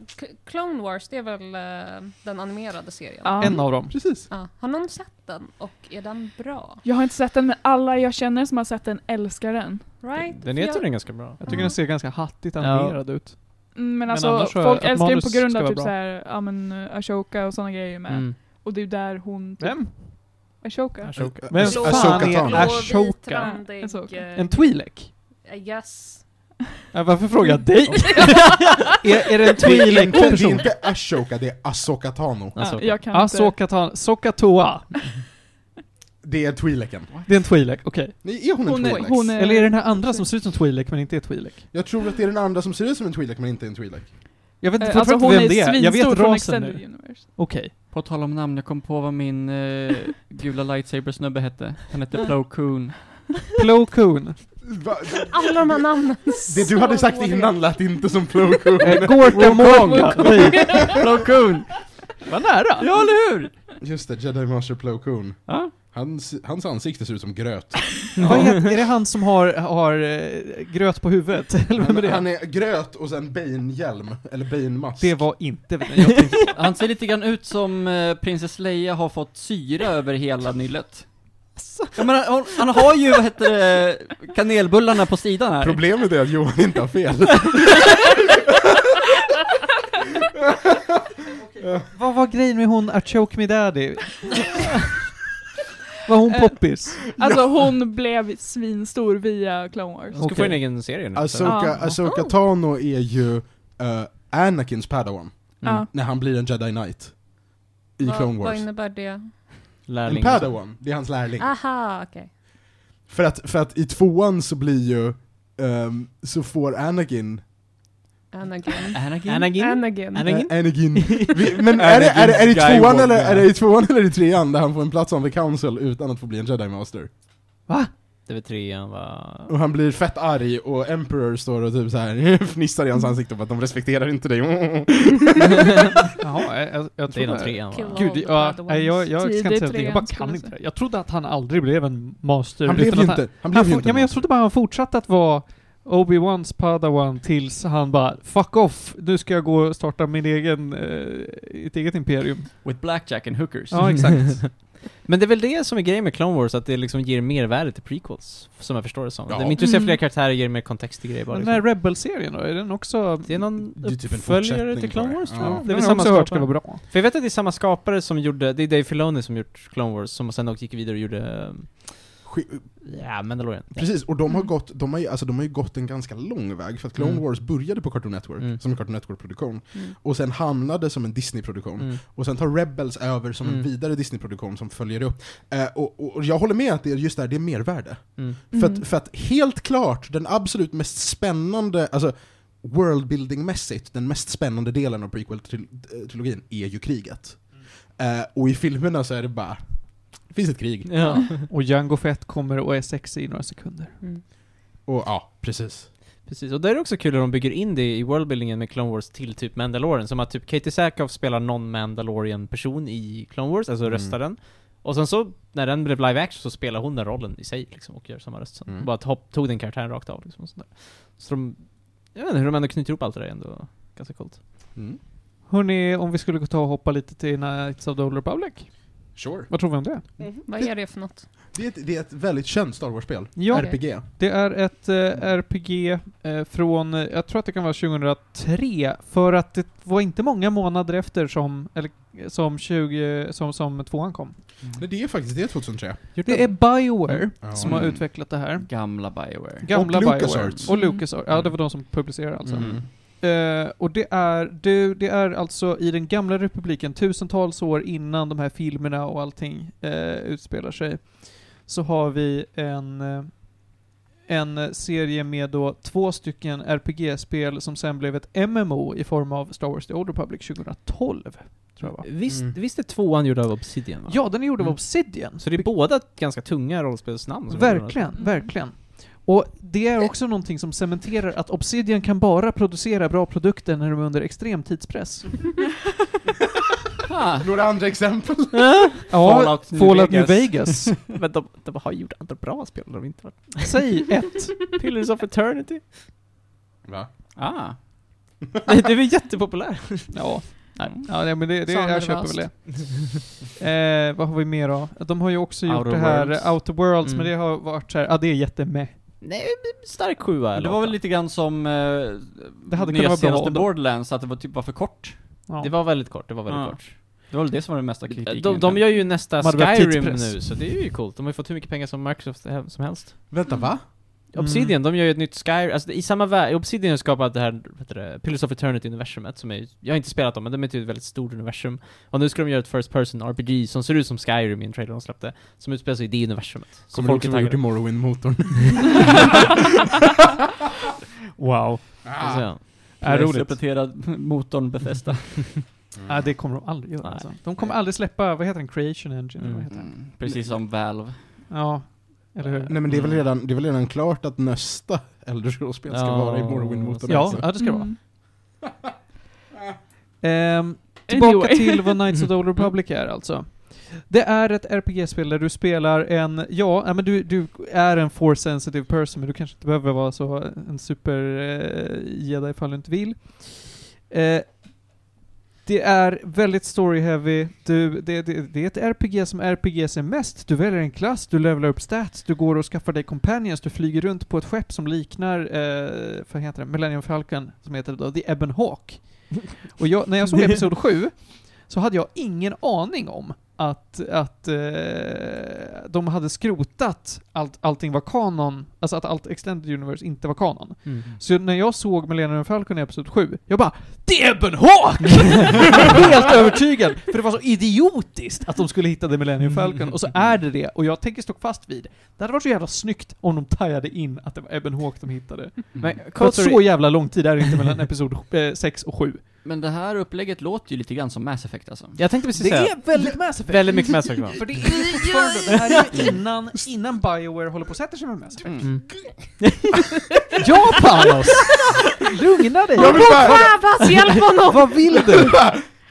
Clone Wars, det är väl eh, den animerade serien?
Ja.
En av dem.
Precis.
Ja. har någon sett den och är den bra?
Jag har inte sett den, men alla jag känner som har sett den älskar den.
Right?
den
För
är
jag-
tydligen ganska bra.
Jag tycker den ser ganska hattigt animerad ut.
Mm, Men alltså,
annars så-
folk
att
älskar den på
manus
grund
ska
av
vara
typ
bra.
såhär, ja men eh, Ashoka och sådana grejer med.
Mm.
Och det är ju där hon... Typ,
Vem?
Ashoka?
Ashoka.
Men
Ash-
fan
Ashoka
är
Tano.
Ash-
Blå,
Ashoka.
vit, randig,
Ashoka.
eh,
En Twi'lek?
I guess.
Äh, varför frågar jag dig? är, är det en
Det är inte, det är
Twi'lek-person?
inte Ashoka, det är Asoka Tano.
Ja,
Ashoka.
jag kan inte.
Asoka Tano, Ah, Soka Toa.
Det är Twi'leken.
Det är en Twi'lek, okej.
Nej, är hon en
Hon är,
Twi'lek?
hon är,
Eller är det den här andra som ser ut som Twi'lek men inte är Twi'lek?
Jag tror att det är den andra som ser ut som en Twi'lek men inte är en Twi'lek.
Jag vet
eh,
inte
alltså
fortfarande
hon
vem
är
det är, jag
svinstor
vet
från
rasen
Extended
nu.
Universe.
Okej.
På tal om namn, jag kom på vad min eh, gula lightsaber-snubbe hette. Han hette Plo Koon.
Plo Koon.
Va?
Alla de här namnen.
Det du hade sagt
Alltså,
innan lät inte som Plo Koon.
Äh,
Eh, Gortamonga. Nej,
Plo Koon!
Vad nära!
Ja, eller hur?
Just det, Jedi Master Plo Koon.
Ja.
Hans, hans ansikte ser ut som gröt.
Vad heter, är det han som har, har eh, gröt på huvudet? Eller vem är
Han,
det?
han är gröt och sen Bane-hjälm, eller Bane-mask.
Det var inte vem jag tänkte.
Han ser lite grann ut som eh, prinsess Leia har fått syra över hela nyllet. Jag menar, hon, han har ju, vad heter det, kanelbullarna på sidan här.
Problemet är att Johan inte har fel.
Vad var grejen med hon att choke me daddy? var hon
Eh,
poppis?
Alltså hon blev svinstor via Clone Wars.
Hon ska få
Okej.
en egen serie nu.
Asoka,
Ja.
Asoka Tano är ju eh, Anakins padawan,
Mm.
Ja.
när han blir en Jedi Knight. I Clone
Vad
Wars.
innebär det?
En
Lärling.
padawan, det är hans
Ah.
lärling.
Aha, okej.
För att, för att i tvåan så blir ju, ehm, så får Anakin,
Anakin.
Anakin?
Anakin?
Anakin.
Anakin?
eh, Anakin, Vi- men är det, är, det, är, det i
Anakin
tvåan eller,
Skywalker.
är det i tvåan eller i trean där han får en plats on the council utan att få bli en jedi master?
Va?
över trean va?
Och han blir fett arg och Emperor står och typ så här fnissar i hans ansikte på att de respekterar inte dig.
Jaha, jag, jag, jag
Det är nog
trodde...
trean
Kill
va?
Gud,
all the
ja,
bad
nej, jag,
ones.
jag ska inte säga
Tidigt
någonting. Jag bara
trean,
kan
skulle
inte
jag
det. Jag trodde att han aldrig blev en master.
Han blev
utan
ju
att
inte, han blev
Han
ju
for,
inte
ja, men jag
något.
trodde bara han fortsatte att vara Obi-Wans padawan tills han bara 'fuck off, nu ska jag gå och starta min egen, eh, ett eget imperium'
With blackjack and hookers.
Ja, exakt.
Men det är väl det som är grejen med Clone Wars, att det liksom ger mer värde till prequels, som jag förstår det som.
Ja.
De introducerar
Mm.
fler karaktärer, ger mer kontext till grejer bara.
Men den
Liksom.
här Rebel-serien då, är den också...
Det är någon
Det är typ en
uppföljare
fortsättning
till Clone
på det.
Wars tror
Ja.
jag.
den
Det är
har
väl
jag
samma
också hört ska
skapare.
vara bra.
För jag vet att det är samma skapare som gjorde, det är Dave Filoni som gjort Clone Wars, som sen också gick vidare och gjorde, um,
Sk-
ja, Mandalorian.
Precis, och de har,
Mm.
gått, de, har ju, alltså, de har ju gått en ganska lång väg, för att Clone
Mm.
Wars började på Cartoon Network,
Mm.
som en Cartoon Network-produktion,
Mm.
och sen hamnade som en Disney-produktion.
Mm.
Och sen tar Rebels över som en
Mm.
vidare Disney-produktion som följer upp. Eh, och, och, och jag håller med att det är just där, det är mervärde.
Mm.
Mm.
För, att, för att helt klart, den absolut mest spännande, alltså worldbuilding-mässigt, den mest spännande delen av prequel-trilogin är ju kriget. Eh, och i filmerna så är det bara, det finns ett krig.
Ja.
Och Jango Fett kommer och är sexig i några sekunder.
Och ja, precis.
Precis, och där är det också kul hur de bygger in det i worldbuildingen med Clone Wars till typ Mandalorian. Som att typ Katie Sackhoff spelar någon Mandalorian-person i Clone Wars, alltså
Mm.
röstar den. Och sen så, när den blev live action så spelar hon den rollen i sig liksom, och gör samma röst sen.
Mm.
Bara tog, tog den karaktären rakt av liksom, och sånt där. Så de, jag vet inte, hur de ändå knyter ihop allt det där är ändå ganska coolt.
Mm.
Hörni, om vi skulle gå ta och hoppa lite till Knights of the Old Republic?
Sure.
Vad tror vi om det?
Vad är det för något?
Det är ett, det är ett väldigt känt Star Wars-spel.
Ja,
Okej.
RPG.
det är ett eh, RPG eh, från, eh, jag tror att det kan vara 2003, för att det var inte många månader efter som, eller eh, som 20, som, som tvåan kom.
Nej, det är faktiskt det är 2003.
Det är Bioware
Ja.
som har
Mm.
utvecklat det här.
Gamla Bioware.
Gamla
Och
Bioware.
LucasArts.
Och LucasArts. Ja, det var de som publicerade alltså.
Mm.
Eh, och det är, det, det är alltså i den gamla republiken, tusentals år innan de här filmerna och allting eh, utspelar sig, så har vi en, eh, en serie med då två stycken RPG-spel som sen blev ett MMO i form av Star Wars The Old Republic 2012, tror jag va?
Visst,
Mm.
visst är tvåan gjord av Obsidian va?
Ja, den är gjord av
Mm.
Obsidian.
Så det är båda ganska tunga
Alltså,
rollspelsnamn. som
Verkligen,
Mm.
verkligen. Och det är också någonting som cementerar att Obsidian kan bara producera bra produkter när de är under extrem tidspress.
Ah,
Några andra exempel?
Fallout New Vegas.
Fallout New Vegas.
Men de, de har gjort andra bra spel, de inte varit...
Säg ett.
Pillars of Eternity?
Va?
ah.
Nej, det är väl jättepopulär?
Ja,
Nej.
ja nej, men det, det, jag
Sander
köper väl
Vast.
det. Eh, vad har vi mer då? De har ju också gjort
Outer
det här
Worlds.
eh, Outer Worlds, men
Mm.
det har varit såhär, ja ah, det är jättemeh.
Nej, stark sjua
Men
eller
Det var väl
åtta.
lite grann som eh,
Det hade
nya
kunnat vara bra
senaste
om de-
Borderlands, att det var typ bara för kort.
Ja.
Det var väldigt kort, det var väldigt
Ja.
kort.
Det var väl det som var den mesta kritiken.
De, de gör ju nästa
De hade börjat
Skyrim
tidspress.
nu, så det är ju coolt. De har ju fått hur mycket pengar som Microsoft he- som helst.
Vänta, va?
Obsidian, de gör ju ett nytt Skyrim, alltså det- i samma värld, Obsidian har skapat det här, vad heter det, Pillars of Eternity-universumet som är, jag har inte spelat dem, men de är typ ett väldigt stort universum. Och nu ska de göra ett First Person RPG som ser ut som Skyrim i en trailer de släppte, som utspelar sig i det universumet. Så
Kommer
folk
folk
är
att gjort
taggade.
i Morrowind-motorn.
Wow.
Så, ja.
Är roligt.
Uppdaterad motorn Bethesda.
Ja, det kommer de aldrig göra
Nej.
alltså. De kommer aldrig släppa, vad heter den, Creation Engine? eller Vad heter den?
Mm. Precis som Valve.
Ja, eller hur?
Nej men det Mm. är väl redan, det är väl redan klart att nästa Elder Scrolls-spel ska
Ja.
vara i Morrowind-motorn
Ja,
alltså.
ja, det ska det vara.
Mm.
Ehm, tillbaka
Anyway.
till vad Knights of the Old Republic är alltså. Det är ett RPG-spel där du spelar en, ja, ja, men du, du är en force sensitive person, men du kanske inte behöver vara så en super eh, jedi ifall du inte vill. Eh, det är väldigt story heavy, du, det, det, det är ett RPG som RPGs är mest. Du väljer en klass, du levelar upp stats, du går och skaffar dig companions, du flyger runt på ett skepp som liknar, eh, vad heter det, Millennium Falcon, som heter då The Ebon Hawk. Och jag, när jag såg Episod 7 så hade jag ingen aning om att, att eh, de hade skrotat allt, allting var kanon, alltså att allt Extended Universe inte var kanon.
Mm.
Så när jag såg Millennium Falcon i Episod 7, jag bara Det är Ebon Hawk! Helt övertygad! För det var så idiotiskt att de skulle hitta The Millennium
Mm.
Falcon, och så är det det, och jag tänker stå fast vid. Det hade varit så jävla snyggt om de tajade in att det var Ebon Hawk de hittade.
Men
För att
Kotori,
så jävla lång tid är det inte mellan Episod 6 eh, och 7. Men det här upplägget låter ju lite grann som Mass Effect alltså.
Jag tänkte precis
Det
säga,
är väldigt Mass Effect.
väldigt mycket Mass Effect va?
För det är ju fortfarande, det här är ju innan, innan Bioware håller på och sätter sig med Mass Effect.
Mm.
Ja, Panos! Lugna dig!
Jag vill bara,
Abbas, hjälp honom!
Vad vill du?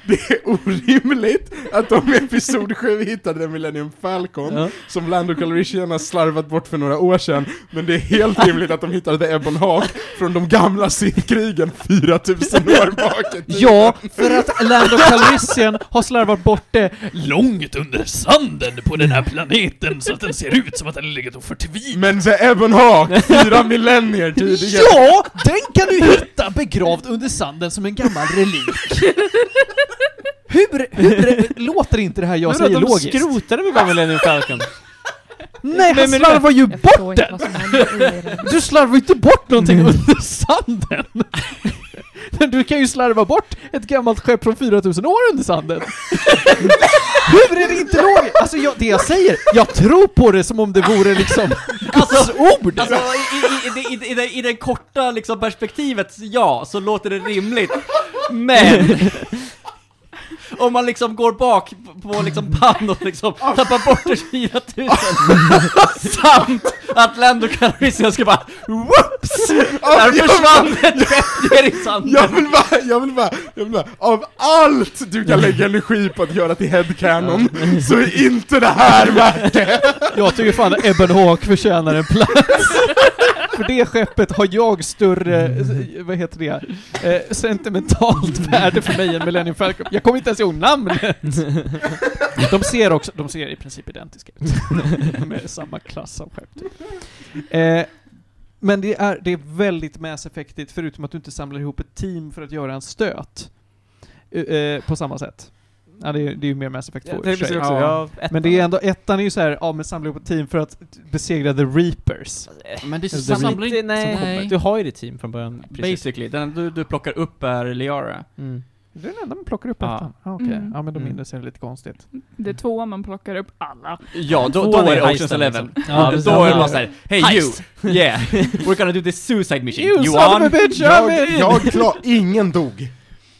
det är orimligt att de i Episod 7 hittade den Millennium Falcon
Ja.
som Lando Calrissian har slarvat bort för några år sedan, men det är helt rimligt att de hittade The Ebon Hawk från de gamla Sithkrigen 4000 år bak i tiden.
Ja, för att Lando Calrissian har slarvat bort det.
Långt under sanden på den här planeten så att den ser ut som att den legat och förtvinat.
Men The Ebon Hawk, fyra millennier tidigare!
Ja! Den kan du hitta begravd under sanden som en gammal relik. Hur, hur låter inte det här jag
Men vadå,
säger
de
logiskt?
skrotade väl bara Millennium Falcon?
Nej, han slarvar ju bort den!
vad som händer i den.
Du slarvar ju inte Mm. bort någonting under sanden! Men du kan ju slarva bort ett gammalt skepp från 4000 år under sanden! Hur är det inte logiskt? Alltså jag, det jag säger, jag tror på det som om det vore liksom Guds ord!
Alltså i, i, i, i, i, det, i det korta liksom perspektivet, ja, så låter det rimligt. Men! Om man liksom går bak på- på liksom Panos liksom, tappar bort det 4000 Samt att Lando Calrissian ska bara whoops! Där försvann den ner i sanden!
Jag vill bara, jag vill bara, jag vill bara, av allt du kan lägga energi på att göra till headcanon, så är inte det här värt det!
Jag tycker fan att Ebben Hawk förtjänar en plats. För det skeppet har jag större, eh, vad heter det, eh, sentimentalt värde för mig än Millennium Falcon. Jag kommer inte ens ihåg namnet! De ser också, de ser i princip identiska ut. Med samma klass av skepp typ. eh, Men det är, det är väldigt Mass Effectigt förutom att du inte samlar ihop ett team för att göra en stöt. Eh, Eh, på samma sätt. Ja, det är ju det är ju mer Mass Effect 2 i och för sig.
ja.
Men det är ändå, ettan är ju såhär, ja men samla ihop ett team för att besegra the reapers.
Men det
The
samlar inte...
nej, du har ju ditt team från början. precis.
Basically, den du, du plockar upp är Liara.
Mm.
Det är den enda man plockar upp
Ja.
ettan. Ja, okej.
Mm.
Ja men de
Mm.
mindre ser det lite konstigt.
Det är två man plockar upp alla.
Ja, då,
Två
då är det
heisten,
Oceans Eleven.
liksom. Ja, precis.
då är det bara
Ja.
såhär, hey you! Yeah! We're gonna do this suicide mission!
You
you
son of a
on?
bitch, I'm
Jag,
in!
jag klar, ingen dog.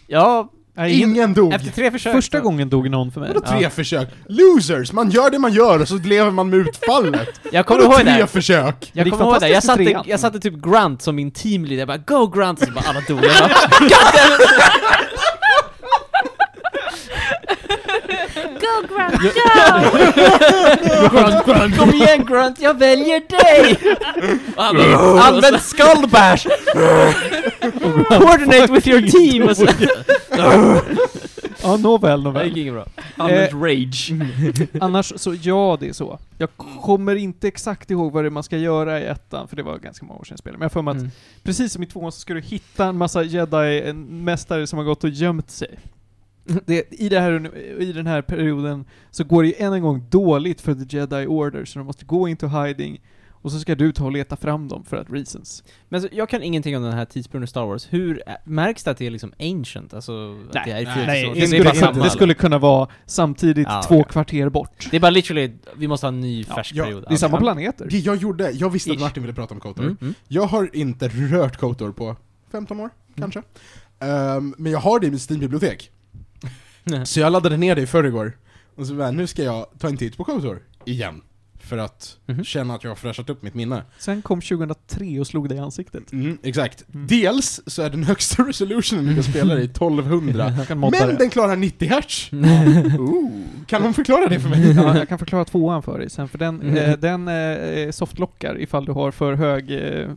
Ja,
Nej, ingen,
Ingen dog.
efter tre försök.
första
så-
gången dog någon för mig.
Vadå tre försök? Losers! Man gör det man gör och så lever man med utfallet.
Jag kommer
Vadå
ihåg
tre
det.
försök?
Det
Jag
gick
kommer ihåg det. Jag
fantastiskt i
satte,
trean.
jag satte typ Grant som min teamleader. Jag bara 'Go Grant' och så bara alla dog. Jag bara,
Go Grant, go!
Grunt, grunt. Kom igen Grunt, jag väljer dig! Använd- Använd skullbash! Coordinate with your team! alltså. Och så-
Ja, nåväl,
Det
nåväl. Eh, mm.
gick inget bra.
Använd rage.
Annars så, ja det är så. Jag kommer inte exakt ihåg vad det är man ska göra i ettan, för det var ganska många år sedan spelet. Men jag har för mig
Alltså.
att
Mm.
precis som i tvåan så ska du hitta en massa jedi-mästare som har gått och gömt sig. Det, i, det här, I den här perioden så går det ju än en gång dåligt för the jedi order, så de måste gå into hiding, och så ska du ta och leta fram dem för att reasons.
Men så, jag kan ingenting om den här tidsperioden i Star Wars. Hur, ä- märks det att det är liksom ancient? Alltså,
typ.
att det är i
nej,
4000 år? är
det,
bara
skulle,
samma,
inte, det skulle kunna vara samtidigt
Ja,
två
okej.
kvarter bort.
Det är bara literally, vi måste ha en ny färsk
ja,
period.
Det är samma
Alltså.
planeter.
Det jag gjorde, jag visste att
Ish.
Martin ville prata om Kotor.
Mm. Mm.
Jag har inte rört Kotor på 15 år,
Mm.
kanske. Ehm, men jag har det i mitt Steam-bibliotek.
Nej.
Så jag laddade ner det i förrgår. Och så bara, nu ska jag ta en titt på Kotor igen. För att
Mhm.
känna att jag har fräschat upp mitt minne.
Sen kom 2003 och slog dig i ansiktet.
Mm, exakt.
Mm.
Dels så är den högsta resolutionen du kan spela i 1200.
Jag kan modda
Men
det.
den klarar 90 hertz!
Mm.
Ooh. Kan någon förklara det för mig?
Ja, jag kan förklara tvåan för dig sen, för den,
Mm.
eh, den eh, softlockar ifall du har för hög eh,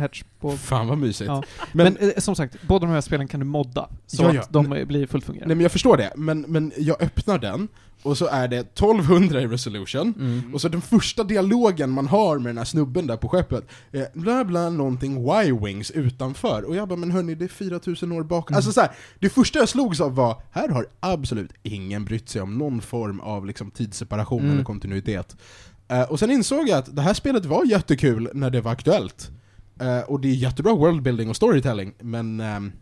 hertz på...
Fan vad mysigt.
Ja.
Men,
Men, eh, som sagt, båda de här spelen kan du modda, så
Ja, ja.
att de eh, blir fullt fungerande.
nej men jag förstår det, men, men jag öppnar den, och så är det 1200 i resolution,
Mm.
och så den första dialogen man har med den här snubben där på skeppet, är bla bla någonting Y-wings utanför, och jag bara men hörni det är 4000 år bakom,
Mm.
alltså så här, det första jag slogs av var, här har absolut ingen brytt sig om någon form av liksom, tidsseparation
Mm.
eller kontinuitet. Eh, och sen insåg jag att det här spelet var jättekul när det var aktuellt. Eh, och det är jättebra worldbuilding och storytelling, men ehm,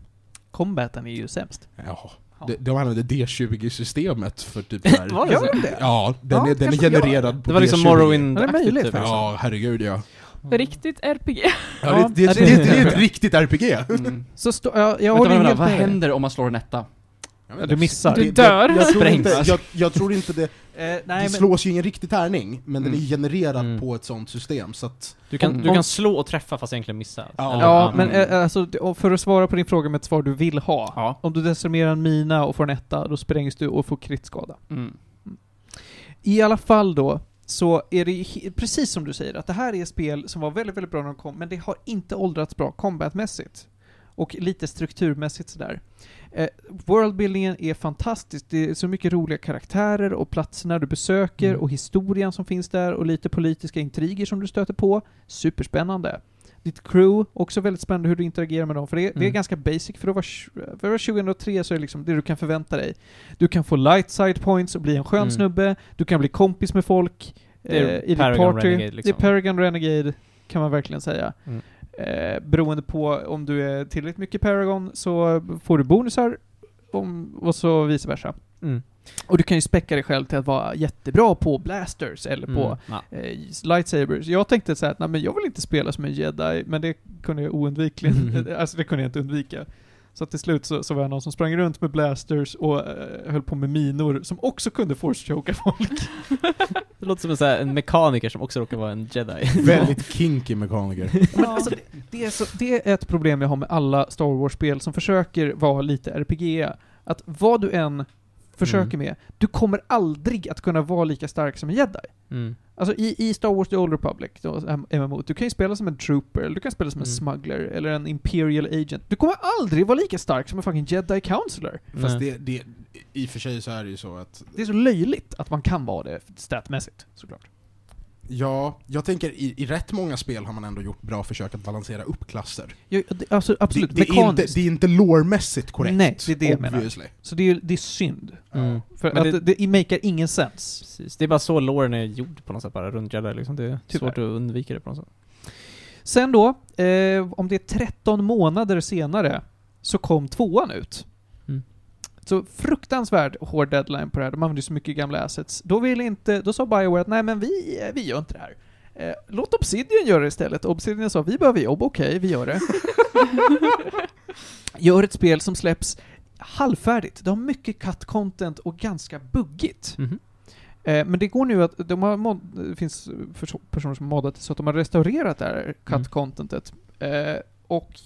Combaten är ju sämst.
Ja.
Ja.
De, de använde D20-systemet för typ såhär...
Var det så?
Ja, den
Ja,
är, den är
kanske de gör.
genererad på
Det var liksom
D20.
Ja, det är
Morrowind-aktigt
möjligt
typ.
faktiskt.
Ja, herregud ja.
Mm.
Riktigt RPG.
Ja, det, det, det, det, det är ett riktigt RPG.
Mm.
Så stå, jag, jag
Vänta,
håller
vänta,
helt
vad
med dig.
händer om man slår en etta?
Ja, Du missar.
Du dör.
Jag, jag, tror
Sprängs.
inte, jag, jag tror inte det,
Eh, nej,
det slås ju ingen riktig tärning, men den är
Mm.
ju genererad
Mm.
på ett sånt system så att...
Du kan,
Om-
du
om-
kan slå och träffa fast egentligen missa.
Ja.
Eller-
Ja,
mm.
men eh, alltså, det- och för att svara på din fråga med ett svar du vill ha.
Ja.
Om du desarmerar en mina och får en etta, då sprängs du och får kritskada.
Mm.
I alla fall då, så är det ju he- precis som du säger, att det här är spel som var väldigt, väldigt bra när de kom, men det har inte åldrats bra combatmässigt. Och lite strukturmässigt sådär. Eh, worldbuildingen är fantastisk, det är så mycket roliga karaktärer och platserna du besöker
Mm.
och historien som finns där och lite politiska intriger som du stöter på. Superspännande. Ditt crew, också väldigt spännande hur du interagerar med dem, för det, det är
Mm.
ganska basic för att vara, tj- för att vara 2003 så är det liksom det du kan förvänta dig. Du kan få light side points och bli en skön
Mm.
snubbe, du kan bli kompis med folk
Det är
eh, i ditt
Paragon
party.
Renegade, liksom.
Det är Paragon Renegade, kan man verkligen säga.
Mm.
Eh, beroende på om du är tillräckligt mycket Paragon så får du bonusar, om, och så vice versa.
Mm.
Och du kan ju späcka dig själv till att vara jättebra på blasters eller på
Mm. Ja.
eh, lightsabers. Jag tänkte så här, nej men jag vill inte spela som en jedi, men det kunde jag oundvikligen,
Mhm.
alltså det kunde jag inte undvika. Så att till slut så, så var jag någon som sprang runt med blasters och eh, höll på med minor som också kunde force-choka folk.
Det låter som en, så här, en mekaniker som också råkar vara en jedi.
Väldigt kinky mekaniker.
Men alltså, det, det, är så, det är ett problem jag har med alla Star Wars-spel som försöker vara lite RPG. Att vad du än försöker med, du kommer aldrig att kunna vara lika stark som en jedi.
Mm.
Alltså i, i Star Wars The Old Republic, då, eh, M- MMO, du kan ju spela som en trooper, eller du kan spela som en
Mm.
smuggler, eller en imperial agent. Du kommer aldrig vara lika stark som en fucking jedi counselor.
Nej.
Fast det, det, i och för sig så är det ju så att
Det är så löjligt att man kan vara det statmässigt, såklart.
Ja, jag tänker i, i rätt många spel har man ändå gjort bra försök att balansera upp klasser.
Jag, det, alltså absolut,
det, det, är inte,
mekaniskt.
det är inte lore-mässigt korrekt.
Nej, det är det jag menar.
obviously.
så det är, det är synd.
Mm.
För
Men
att det, det maker ingen sens.
Precis. Det är bara så loren är gjord på något sätt bara, runt jedi liksom. Det är
Tyvärr.
svårt att undvika det på något sätt.
Sen då, eh, om det är 13 månader senare, så kom tvåan ut.
Mm.
Så fruktansvärd hård deadline på det här, de använde ju så mycket gamla assets. Då ville inte, då sa Bioware att nej men vi, eh, vi gör inte det här. Eh, låt Obsidian göra det istället. Obsidian sa vi behöver jobb, okej vi gör det. gör ett spel som släpps halvfärdigt. De har mycket cut content och ganska buggigt.
Mhm.
Eh, men det går nu att, de har mod, det finns perso- personer som har moddat det så att de har restaurerat det här
Mm.
cut-contentet. Eh, och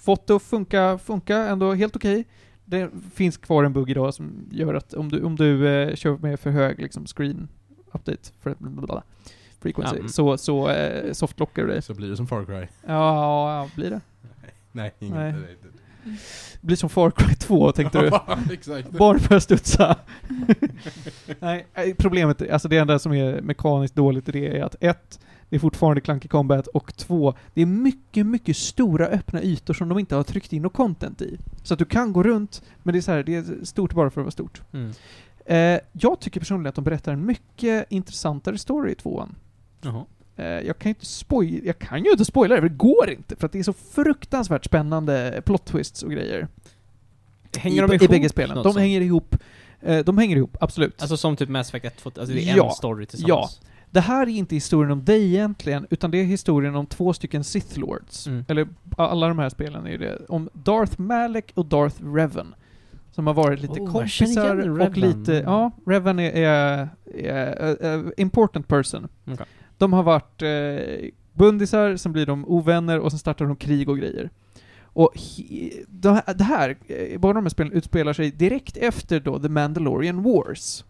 fått det att funka, funka ändå helt okej. Det finns kvar en bugg idag som gör att om du, om du eh, kör med för hög liksom, screen update för blablabla, frequency
Ja, mm.
så, så eh, softlockar du dig.
Så blir det som Far Cry.
Ja, ja, blir det?
Nej, inget.
Nej.
Nej.
Blir som Far Cry 2 tänkte du?
Exakt.
Barn börjar studsa. Nej, eh, problemet, alltså det enda som är mekaniskt dåligt i det är att ett, det är fortfarande Clunky Combat och två, det är mycket, mycket stora öppna ytor som de inte har tryckt in något content i. Så att du kan gå runt, men det är så här, det är stort bara för att vara stort.
Mm.
Eh, jag tycker personligen att de berättar en mycket intressantare story i tvåan.
Jaha.
Eh, jag kan ju inte spoil, jag kan ju inte spoila det, för det går inte, för att det är så fruktansvärt spännande plot twists och grejer.
Hänger
I,
de
i
ihop?
bägge spelen.
något
De
sånt?
hänger ihop, eh, de hänger ihop, absolut.
Alltså som typ Mass Effect 1, alltså det är
Ja.
en story tillsammans.
Det här är inte historien om dig egentligen, utan det är historien om två stycken Sith Lords.
Mm.
Eller alla de här spelen är ju det. Om Darth Malek och Darth Revan. Som har varit lite
Oh, jag känner igen
kompisar och
Revan.
lite... Ja, Revan är, är, är, är important person.
Okej.
De har varit eh, bundisar, sen blir de ovänner och sen startar de krig och grejer. Och he, de här- det här, eh, båda de här spelen utspelar sig direkt efter då The Mandalorian Wars.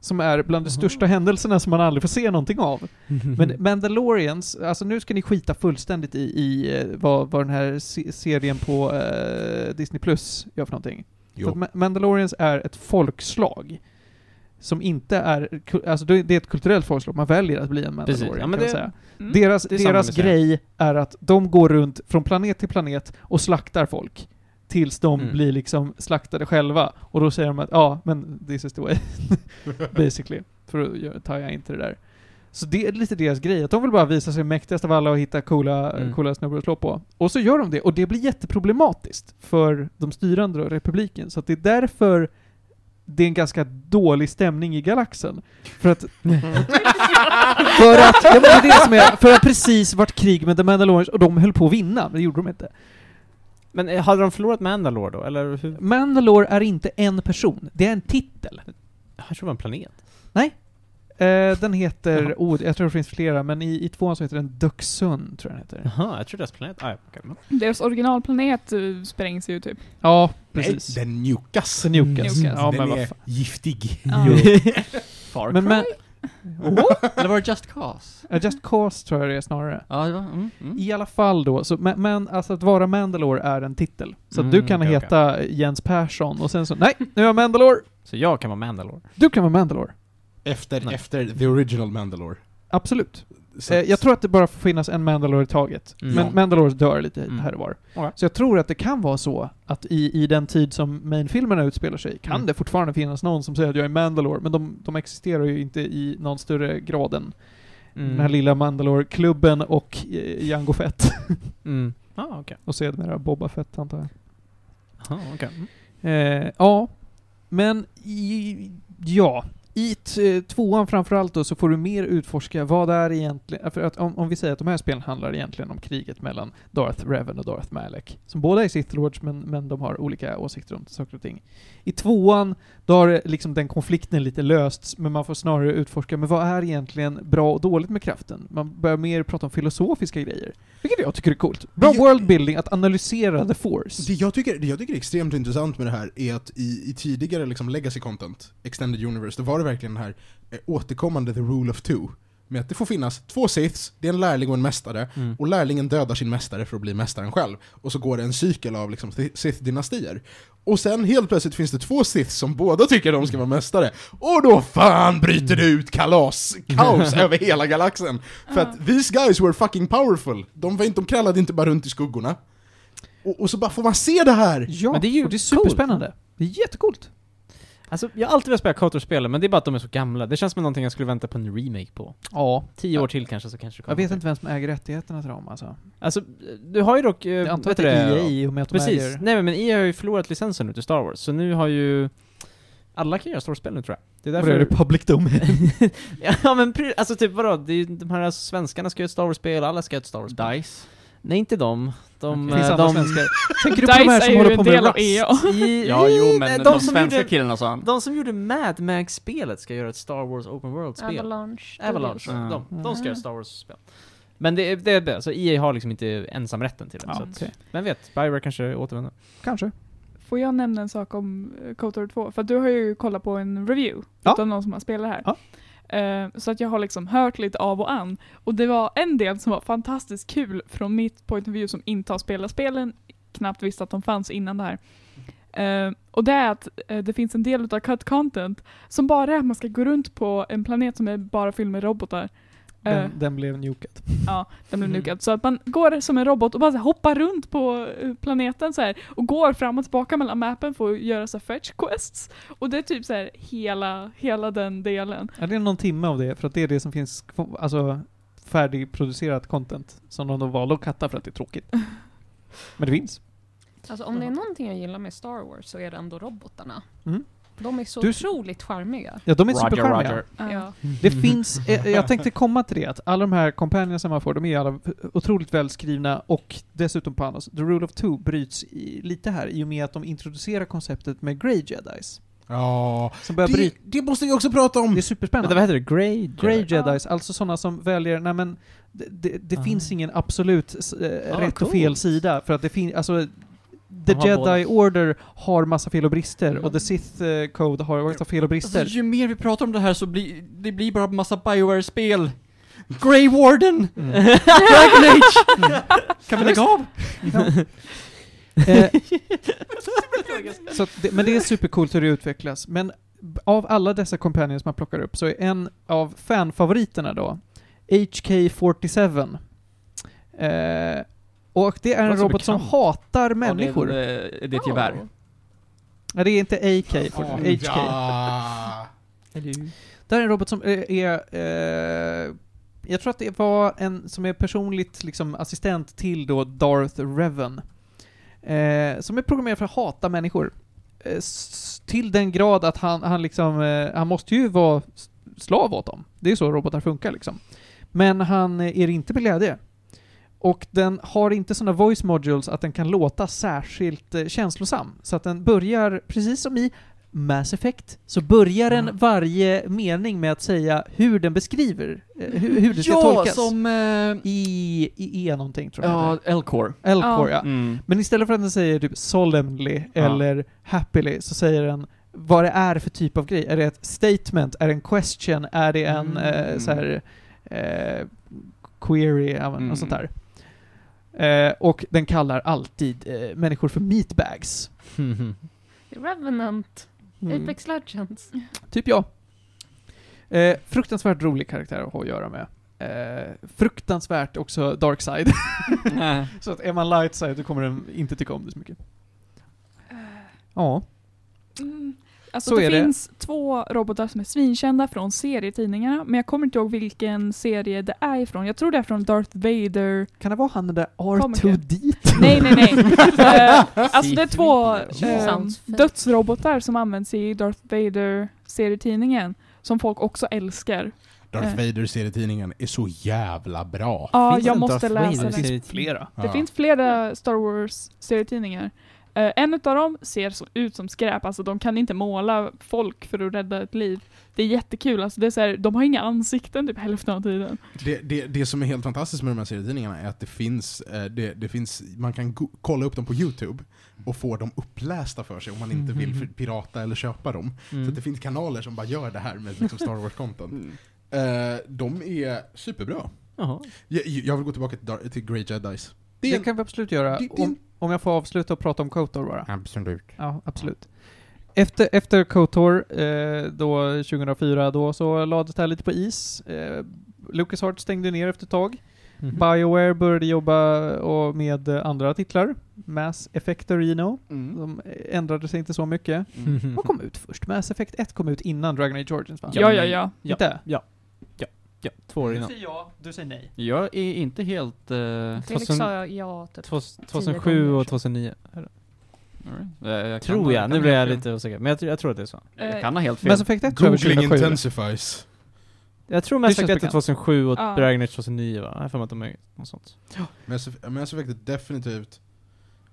Som är bland de
Jaha.
största händelserna som man aldrig får se någonting av. Men
Mm.
Mandalorians, alltså nu ska ni skita fullständigt i, i eh, vad, vad den här se- serien på eh, Disney Plus gör för någonting. För att Ma- Mandalorians är ett folkslag. Som inte är, ku- alltså det det är ett kulturellt folkslag, man väljer att bli en
Precis.
Mandalorian
Ja, men
kan man
det-
säga.
Mm.
Deras,
Det är samma
deras
med serien.
grej är att de går runt från planet till planet och slaktar folk. Tills de
Mm.
blir liksom slaktade själva. Och då säger de att ja, men this is the way. Basically. För att göra- taja inte det där. Så det är lite deras grej, att de vill bara visa sig mäktigast av alla och hitta coola,
Mm.
coola snubbar att slå på. Och så gör de det, och det blir jätteproblematiskt för de styrande och republiken. Så att det är därför det är en ganska dålig stämning i galaxen. För att... för att... Ja, men det är det som är, för att precis vart krig med The Mandalorians och de höll på att vinna, men det gjorde de inte.
Men eh, hade de förlorat Mandalore då, eller hur?
Mandalore är inte en person, det är en titel.
Jag tror det var en planet.
Eh, den heter, oh, jag tror det finns flera, men i, i tvåan så heter den Duxun, tror jag den heter.
Jaha, jag tror deras planet... Ah, ja, okej. men-
Deras originalplanet eh, sprängs ju typ.
Ja, precis.
Nej, den mjukas.
Nukas.
Nukas.
Ja, men
den
vad
är
fan.
giftig.
Far
Men, men,
Eller var det Just Cause?
Ja, Just Cause tror jag det är snarare.
Ja, det var... Mm, mm.
I alla fall då, så, men, men alltså att vara Mandalore är en titel. Så att du
Mm,
kan
okej,
heta Jens Persson och sen så, nej, nu är jag Mandalore!
Så jag kan vara Mandalore.
Du kan vara Mandalore.
Efter,
Nej.
efter the original Mandalore.
Absolut.
Så
Eh,
att-
jag tror att det bara får finnas en Mandalore i taget.
Mm.
Men
Ja.
Mandalore dör lite
Mm.
här och var.
Okej.
Så jag tror att det kan vara så att i, i den tid som mainfilmerna utspelar sig kan
Mm.
det fortfarande finnas någon som säger att jag är Mandalore, men de, de existerar ju inte i någon större grad än
Mm.
den här lilla Mandalore-klubben och eh, Jango Fett.
Mm. Ah, okej.
och sedermera Boba Fett, antar jag.
Jaha, okej. Mm.
Eh, ja, men i, ja. I t- eh, tvåan framförallt då så får du mer utforska vad det är egentligen, eh, för att om, om vi säger att de här spelen handlar egentligen om kriget mellan Darth Revan och Darth Malek, som båda är Sith Lords men, men de har olika åsikter om saker och ting. I tvåan, då har det liksom den konflikten lite lösts, men man får snarare utforska, men vad är egentligen bra och dåligt med kraften? Man börjar mer prata om filosofiska grejer, vilket jag tycker är coolt. Bra
Men jag-
worldbuilding, att analysera the force.
Det jag, tycker, det jag tycker är extremt intressant med det här är att i, i tidigare liksom legacy content, extended universe, då var det verkligen den här eh, återkommande the rule of two. Med att det får finnas två siths, det är en lärling och en mästare,
Mm.
och lärlingen dödar sin mästare för att bli mästaren själv. Och så går det en cykel av liksom thi- sith-dynastier. Och sen helt plötsligt finns det två siths som båda tycker de ska vara mästare. Och då fan bryter det ut kalas, kaos över hela galaxen! För att these guys were fucking powerful! De, var inte, de krallade inte bara runt i skuggorna. Och, och så bara får man se det här!
Ja,
Men det är ju
och det är
coolt.
superspännande. Det är jättecoolt.
Alltså, jag har alltid velat spela Kotor-spelen, men det är bara att de är så gamla. Det känns som någonting jag skulle vänta på en remake på.
Ja.
Tio år till kanske, så kanske det kommer.
Jag vet inte vem som äger rättigheterna till dem alltså.
Alltså, du har ju dock... eh,
Jag antar att
vet du
det är EA i och med att de
Precis.
äger...
Nej men EA har ju förlorat licensen nu till Star Wars, så nu har ju... Alla kan göra Star Wars-spel nu tror jag. Det är
Därför är det public domain.
ja men pre- alltså typ vadå? Det är ju, de här alltså, svenskarna ska göra ett Star Wars-spel, alla ska göra ett Star Wars-spel.
Dice.
Nej inte de. De...
Finns
eh,
andra
de
svenskar. Tänker du på de här som håller på med
E
E
Rust?
i,
Ja, jo, men de,
som
svenska
gjorde,
killarna alltså. sa han.
De som gjorde Mad Max-spelet ska göra ett Star Wars Open World-spel.
Avalanche.
Avalanche.
Mm.
De, de ska göra Star Wars-spel. Men det, är- det, är det, så EA har liksom inte ensamrätten till det. så att,
okej.
Vem vet, Bioware kanske återvänder.
Kanske.
Får jag nämna en sak om eh, KOTOR 2? För att du har ju kollat på en review
Ja.
utav någon som har spelat här.
Ja.
Eh, Så att jag har liksom hört lite av och an. Och det var en del som var fantastiskt kul från mitt point of view som inte har spelat spelen, knappt visste att de fanns innan det här. Eh, och det är att eh, det finns en del utav cut content som bara är att man ska gå runt på en planet som är bara fylld med robotar. Eh,
Den, den blev njukat.
Ja, den blev
Mm.
nukad. Så att man går som en robot och bara så här hoppar runt på eh, planeten så här och går fram och tillbaka mellan mappen för att göra så här fetch quests. Och det är typ så här hela, hela den delen.
Ja, det är någon timme av det, för att det är det som finns kv- alltså, färdigproducerat content som de då valde att katta för att det är tråkigt. Men det finns.
Alltså om det är någonting jag gillar med Star Wars så är det ändå robotarna.
Mm.
De är så
Du-
otroligt charmiga.
Ja, de är
Roger,
supercharmiga.
Roger.
Ja.
Det finns, eh, jag tänkte komma till det, att alla de här kompanjerna som man får, de är ju alla otroligt välskrivna och dessutom på annars, the rule of two bryts i, lite här i och med att de introducerar konceptet med grey jedis.
Ja,
Som börjar
det,
bryta,
det måste vi också prata om!
det är
Vänta,
superspännande.
vad heter det? Grey?
Grey jedis, alltså sådana som väljer, nej men, det, det, det
Ah.
finns ingen absolut s- eh,
Ah,
rätt och
coolt.
fel sida, för att det finns, alltså The
De har
Jedi
båda.
Order har massa fel och brister, och The
Mm.
Sith eh, Code har massa fel och
Alltså,
brister.
ju mer vi pratar om det här så blir det blir bara massa Bioware-spel. Grey Warden!
Mm.
Dragon Age! Kan vi lägga av?
Eh, så att det, men det är supercoolt hur det utvecklas. Men b- av alla dessa companions man plockar upp så är en av fanfavoriterna då HK47. Eh, och det är en
Låter
robot som
bekant.
hatar människor.
Ja,
Nej,
det är eh, det är ett gevär.
det är inte AK,
Ja.
HK.
Ja.
Det här är en robot som är... är eh, jag tror att det var en som är personligt liksom, assistent till då Darth Revan. Eh, som är programmerad för att hata människor. eh, s- till den grad att han, han liksom, eh, han måste ju vara s- slav åt dem. Det är så robotar funkar liksom. Men han eh, är det inte med glädje. Och den har inte sådana voice modules att den kan låta särskilt eh, känslosam. Så att den börjar, precis som i Mass Effect, så börjar
Mm.
den varje mening med att säga hur den beskriver, eh, hur, hur det ska
Ja,
tolkas.
som... Eh,
I, i E någonting tror jag
ja, Elcor.
det är. Elcor,
Ja.
ja.
Mm.
Men istället för att den säger typ solemnly eller happily så säger den vad det är för typ av grej. Är det ett statement? Är det en question? Är det en
Mm.
eh, så här, eh, query? ja, men,
Mm.
Något sånt där. Eh, och den kallar alltid eh, människor för meatbags.
Revenant,
Mm.
Apex Legends.
Typ jag. Eh, fruktansvärt rolig karaktär att ha att göra med. Eh, fruktansvärt också dark side.
Nej.
Så att är man light side, då kommer den inte tycka om det så mycket. Ja.
Mm. Alltså
Så
det
är det.
finns två robotar som är svinkända från serietidningarna, men jag kommer inte ihåg vilken serie det är ifrån. Jag tror det är från Darth Vader.
Kan det vara han den där
Komiker.
R2D2?
Nej, nej, nej. Eh, alltså det är två
C-3PO.
eh,
Sounds fake.
dödsrobotar som används i Darth Vader serietidningen, som folk också älskar.
Darth
Eh.
Vader serietidningen är så jävla bra.
Ja,
Finns
jag
det
måste
Darth
läsa
Vader? Mm.
den.
Det
finns flera.
Det finns flera Star Wars serietidningar. Eh, en av dem ser så, ut som skräp, alltså de kan inte måla folk för att rädda ett liv. Det är jättekul, alltså det är så här, de har inga ansikten typ hälften av tiden.
Det, det, det som är helt fantastiskt med de här serietidningarna är att det finns, eh, det, det finns man kan go- kolla upp dem på YouTube och få dem upplästa för sig om man inte
Mhm.
vill för- pirata eller köpa dem. Så
Mm.
att det finns kanaler som bara gör det här med liksom Star Wars-content. Eh, de är superbra.
Jaha.
Jag, jag vill gå tillbaka till, Dar- till Grey Jedis.
Det,
Det är en,
kan vi absolut göra.
det- det är en-
Om, om jag får avsluta och prata om Kotor bara.
Absolut.
Ja, absolut. Efter, efter Kotor, eh, då 2004, då så lades det här lite på is. Eh, LucasArts stängde ner efter ett tag. Mm.
Mhm.
Bioware började jobba och med eh, andra titlar. Mass Effect Arena. De ändrade sig inte så mycket.
Mm.
Vad kom ut först? Mass Effect 1 kom ut innan Dragon Age Origins va?
Ja,
Ja,
men-
ja, ja.
Ja.
Inte?
Två år innan.
ja, du säger nej.
Jag är inte helt... eh,
Felix
Fast-
sa ja, typ.
Tvås-
Tio
2007
gånger.
och 2009.
alright. Eh, jag kan ha-
Tror jag,
kan
nu
ha
blir jag
helt fel.
lite osäker. Men jag, tror- jag tror att det är så.
Jag kan ha helt fel.
Mass Effect 1 tror jag
Googling
var 2007.
intensifies.
Jag tror Mass
känns
Effect 1 är
bekant.
2007 och
Ja.
Dragon Age 2009 va? Jag har för mig att de är något sånt.
Mass Eff- Mass Effect är definitivt...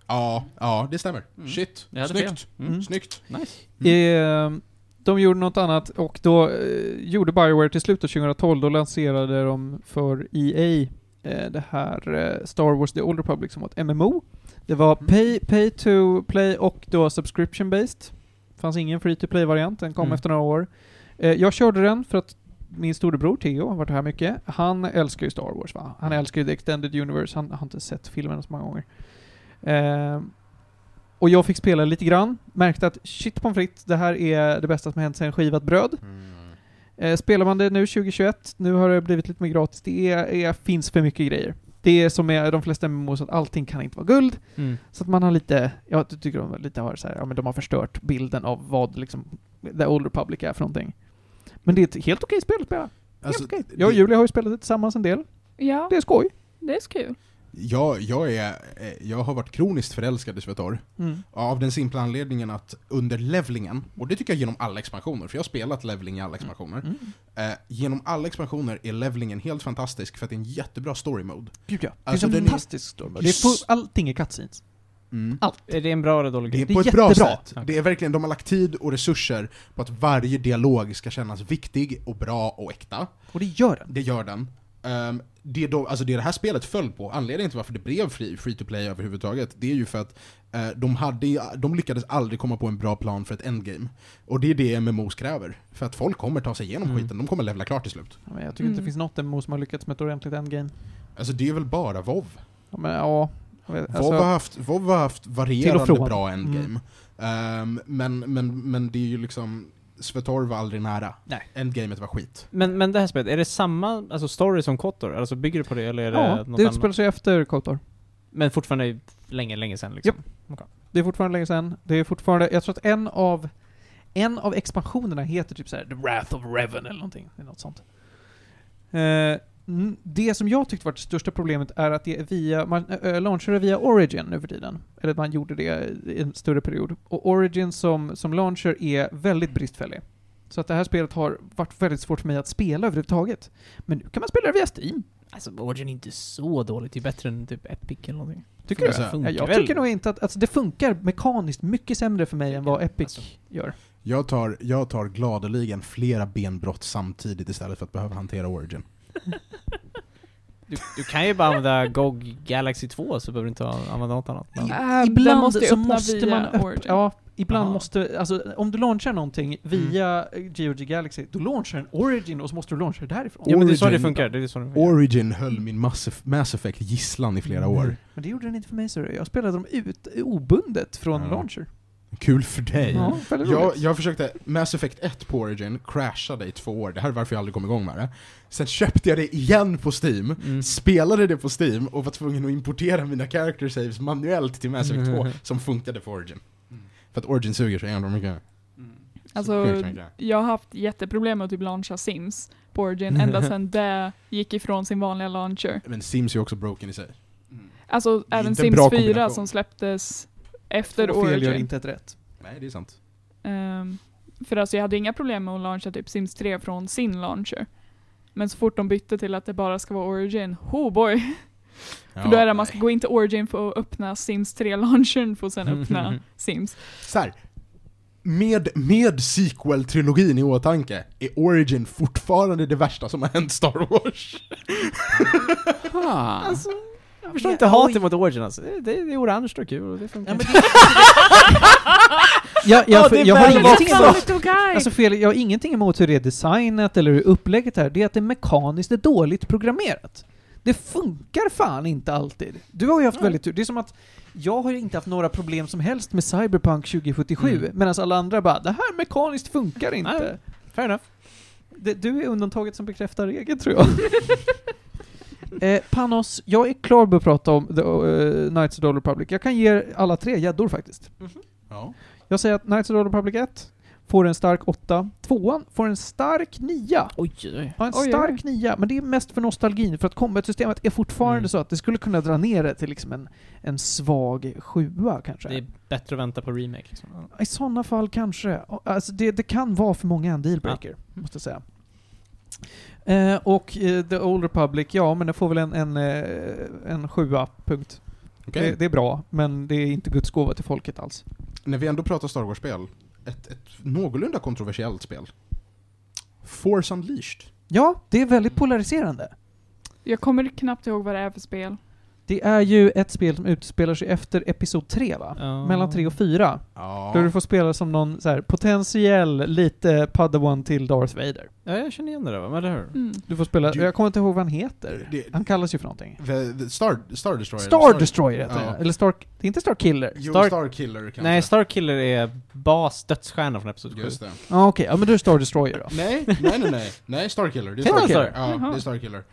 Ja, ja det stämmer.
Mm.
Shit.
Jag hade
Snyggt.
Mm.
Snyggt.
Eh, de gjorde något annat och då eh, gjorde Bioware till slut då 2012, då lanserade de för EA eh, det här eh, Star Wars The Old Republic som var ett MMO. Det var
Mm.
pay, pay to play och då subscription based. fanns ingen free to play-variant, den kom
Mm.
efter några år. Eh, jag körde den för att min storebror Theo har varit här mycket. Han älskar ju Star Wars va? Han älskar ju The Extended Universe, han har inte sett filmerna så många gånger. Eh, och jag fick spela lite grann, märkte att shit pommes frites, det här är det bästa som hänt sedan skivat bröd. Eh, spelar man det nu 2021, nu har det blivit lite mer gratis, det är, är, finns för mycket grejer. Det är som med de flesta MMOs, att allting kan inte vara guld.
Mm.
Så att man har lite, jag tycker de lite har så här, ja men de har förstört bilden av vad liksom The Old Republic är för någonting. Men det är ett helt okej spel att spela.
Alltså,
helt okej. Jag och
det-
Julia har ju spelat det tillsammans en del.
Ja,
Det är skoj.
det är så kul.
Jag, jag, är, eh, jag har varit kroniskt förälskad i Svetor.
Mm.
Av den simpla anledningen att under levlingen, och det tycker jag genom alla expansioner, för jag har spelat levling i alla expansioner.
Mm.
Eh, genom alla expansioner är levlingen helt fantastisk för att det är en jättebra story mode.
Gud ja. Det
Alltså,
är
den
en
är- Mm.
fantastisk story. Det är full, allting är cutscenes.
Är det en bra eller dålig
Det
grej?
är
Det är
på ett bra
jättebra.
sätt. Det är verkligen, de har lagt tid och resurser på att varje dialog ska kännas viktig och bra och äkta.
Och det gör den.
Det gör den. Ehm, det, då, alltså det det här spelet föll på, anledningen till varför det blev free, free to play överhuvudtaget, det är ju för att eh, de, hade, de lyckades aldrig komma på en bra plan för ett endgame. Och det är det MMOs kräver. För att folk kommer ta sig igenom
Mm.
skiten, de kommer levla klart till slut.
Ja, men jag tycker inte
Mm.
det finns något MMO som har lyckats med ett ordentligt endgame.
Alltså det är väl bara WoW.
Ja, men ja. Jag vet, alltså,
WoW har haft, WoW har haft varierande
Till och från. Mm.
bra endgame. Ehm, men, men, men det är ju liksom, Svetor var aldrig nära.
Nej.
Endgamet var skit.
Men, men det här spelet, är det samma alltså story som Kotor? Alltså bygger det på det eller är det
ja,
något
det utspelar
annat?
sig efter Kotor.
Men fortfarande länge, länge sedan liksom?
Det är fortfarande länge sedan. Det är fortfarande, jag tror att en av, en av expansionerna heter typ så här The Wrath of Revan eller någonting. Det är något sånt. Eh, n- det som jag tyckte var det största problemet är att det är via, man äh, launchar det via Origin nu för tiden. Eller man gjorde det i en större period. Och Origin som, som launcher är väldigt bristfällig. Så att det här spelet har varit väldigt svårt för mig att spela överhuvudtaget. Men nu kan man spela det via Steam.
Alltså, Origin är inte så dåligt. Det är bättre än typ Epic eller någonting.
Tycker du?
Alltså,
Ja,
Funkar
jag
väl?
tycker nog inte att... Alltså det funkar mekaniskt mycket sämre för mig än vad Epic
Alltså.
gör.
Jag tar, jag tar gladeligen flera benbrott samtidigt istället för att behöva hantera Origin.
Du, du kan ju bara använda GOG Galaxy 2 så behöver du inte ha- använda något annat. Men,
Äh, den
ibland
måste
så
öppna
måste
via
man öppna...
Origin.
Ja, ibland
Aha.
måste... Alltså om du launchar någonting via GOG Galaxy, då launchar den Origin och så måste du launcha det därifrån.
Ja,
ja men det är så det
Origin-
funkar. Det är så det funkar.
Origin höll min Mass, Eff- Mass Effect gisslan i flera år.
Men det gjorde den inte för mig, så Jag spelade dem ut obundet från
Ja.
launcher.
Kul för dig.
Ja, väldigt
Jag,
roligt.
jag försökte, Mass Effect 1 på Origin crashade i två år, det här är varför jag aldrig kom igång med det. Sen köpte jag det igen på Steam,
Mm.
spelade det på Steam och var tvungen att importera mina character saves manuellt till Mass Effect
Mm.
2 som funkade för Origin. För att Origin suger så jävla mycket.
Alltså,
Sjukt mycket.
jag har haft jätteproblem med att typ launcha Sims på Origin ända sedan det gick ifrån sin vanliga launcher.
Men Sims är ju också broken i sig.
Alltså
är
även
inte en bra
Sims 4
kombination.
som släpptes efter
Två fel gör
Origin.
inte ett rätt.
Nej, det är sant.
Ehm, för alltså jag hade inga problem med att launcha typ Sims 3 från sin launcher. Men så fort de bytte till att det bara ska vara Origin, oh boy!
Ja,
för då är det, man
nej.
ska gå in till Origin för att öppna Sims 3-launchern för att sen öppna Sims.
Så här. Med, med sequel-trilogin i åtanke är Origin fortfarande det värsta som har hänt Star Wars.
Alltså, jag förstår inte hatet mot Origin alltså. Det, det, det är orange och kul och det funkar.
Ja, men
Jag, jag,
Ja, det är
jag, har
väl
ingenting
också.
emot,
Little guy!
alltså fel, jag har ingenting emot hur det är designat eller hur upplägget är. Det är att det mekaniskt är dåligt programmerat. Det funkar fan inte alltid. Du har ju haft väldigt tur. Det är som att jag har ju inte haft några problem som helst med Cyberpunk 2077
Mm.
medan alla andra bara ”det här mekaniskt funkar inte”.
Nej. Fair enough.
Det, du är undantaget som bekräftar regeln, tror jag. eh, Panos, jag är klar med att prata om The eh, Knights of the Old Republic. Jag kan ge er alla tre gäddor faktiskt.
Ja.
Jag säger att Knights of the Old Republic 1 får en stark 8. Tvåan får en stark 9.
Oj, oj.
Ja, en
Oj, oj, oj.
stark 9, men det är mest för nostalgin, för att combat-systemet är fortfarande
Mm.
så att det skulle kunna dra ner det till liksom en, en svag 7 kanske.
Det är bättre att vänta på remake liksom. Ja.
I sådana fall kanske. Alltså det, det kan vara för många en dealbreaker, måste jag säga. Eh, och eh, The Old Republic, ja men det får väl en, en, eh, en sjua, punkt.
Okej.
Det, det är bra, men det är inte Guds gåva till folket alls.
När vi ändå pratar Star Wars-spel, ett, ett någorlunda kontroversiellt spel. Force Unleashed.
Ja, det är väldigt polariserande.
Jag kommer knappt ihåg vad det är för spel.
Det är ju ett spel som utspelar sig efter Episod 3 va?
Ja.
Mellan 3 och 4.
Ja.
Där du får spela som någon så här, potentiell, lite padawan till Darth Vader.
Ja, jag känner igen det där va? Men Eller hur?
Mm.
Du får spela,
Du-
jag kommer inte ihåg vad han heter.
Det-
Han kallas ju för någonting.
The, the Star, Star Destroyer.
Star Destroyer heter
Ja.
det. Eller Star... Det är inte Star Killer.
Jo,
Star...
Star, Killer kanske.
Nej, Starkiller är bas, dödsstjärna från Episod 7.
Just det.
Ja, okej. Ja, men du är det Star Destroyer då.
Nej, nej, nej, nej. Nej, Star Killer. Det är
Heter
Star
han
Killer.
så?
Ja,
Jaha.
det är Star Killer.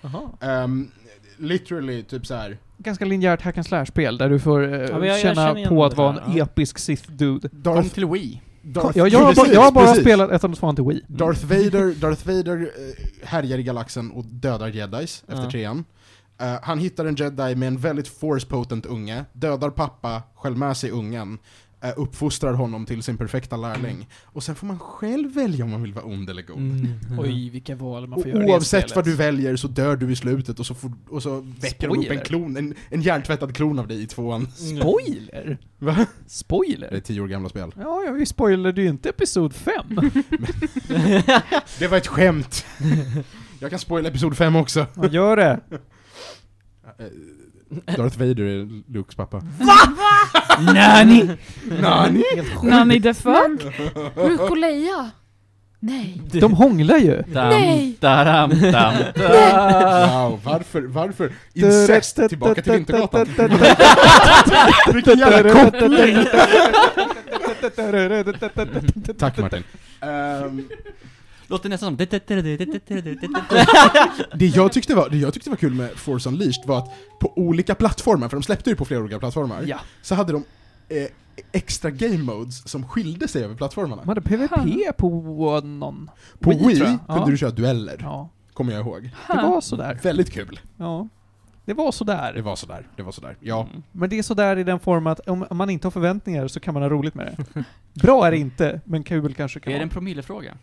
Jaha.
Ehm, literally, typ så här.
Ganska linjärt hack and slash-spel där du får eh,
men jag- jag
känna
känner igen
på att
det
vara
där,
en
ja.
episk Sith-dude.
Darth,
till Wii.
Darth,
Jag, jag, har bara-
Precis,
jag har bara
precis.
spelat ett av de två till Wii.
Darth Vader, Darth Vader eh, härjar i galaxen och dödar jedis efter
Ja.
trean. Eh, han hittar en jedi med en väldigt force-potent unge, dödar pappa, skäl med sig ungen, eh, uppfostrar honom till sin perfekta lärling. Och sen får man själv välja om man vill vara ond eller god.
Mm.
Oj, vilka val Mm, man
Och
får göra i det
oavsett
spelet.
vad du väljer så dör du i slutet och så, får, och så väcker de upp en
Spoiler.
klon, en, en hjärntvättad klon av dig i tvåan.
Mm.
Spoiler?
Va? Det är
Spoiler?
tio år gamla spel.
Ja, ja, vi spoilade ju inte Episod 5.
Det var ett skämt! Jag kan spoila episod 5 också. Eh,
Ja, gör det.
Darth Vader är Lukes pappa.
Nani!
Nani!
Nanny the fuck?
Luke och Leia! Nej.
De hånglar ju.
Dam,
Nej.
Daram, dam.
Wow, varför, varför? Incest tillbaka till Vintergatan. Vilken jävla koppling! Tack Martin. Ehm,
Låter nästan som...
det, jag tyckte var, det jag tyckte var kul med Force Unleashed var att på olika plattformar, för de släppte ju på flera olika plattformar,
Ja.
så hade de eh, extra game modes som skilde sig över plattformarna.
De hade PVP på någon.
På Wii
tror jag.
kunde
Ja.
du köra dueller,
Ja,
kommer jag ihåg.
det var sådär.
Väldigt kul.
Ja. Det var sådär. Mm.
Det var sådär, det var sådär. Ja.
Mm.
Men det är sådär i den form att om om man inte har förväntningar så kan man ha roligt med det. Bra är det inte, men kul kanske kan
Är det
vara.
en promillefråga?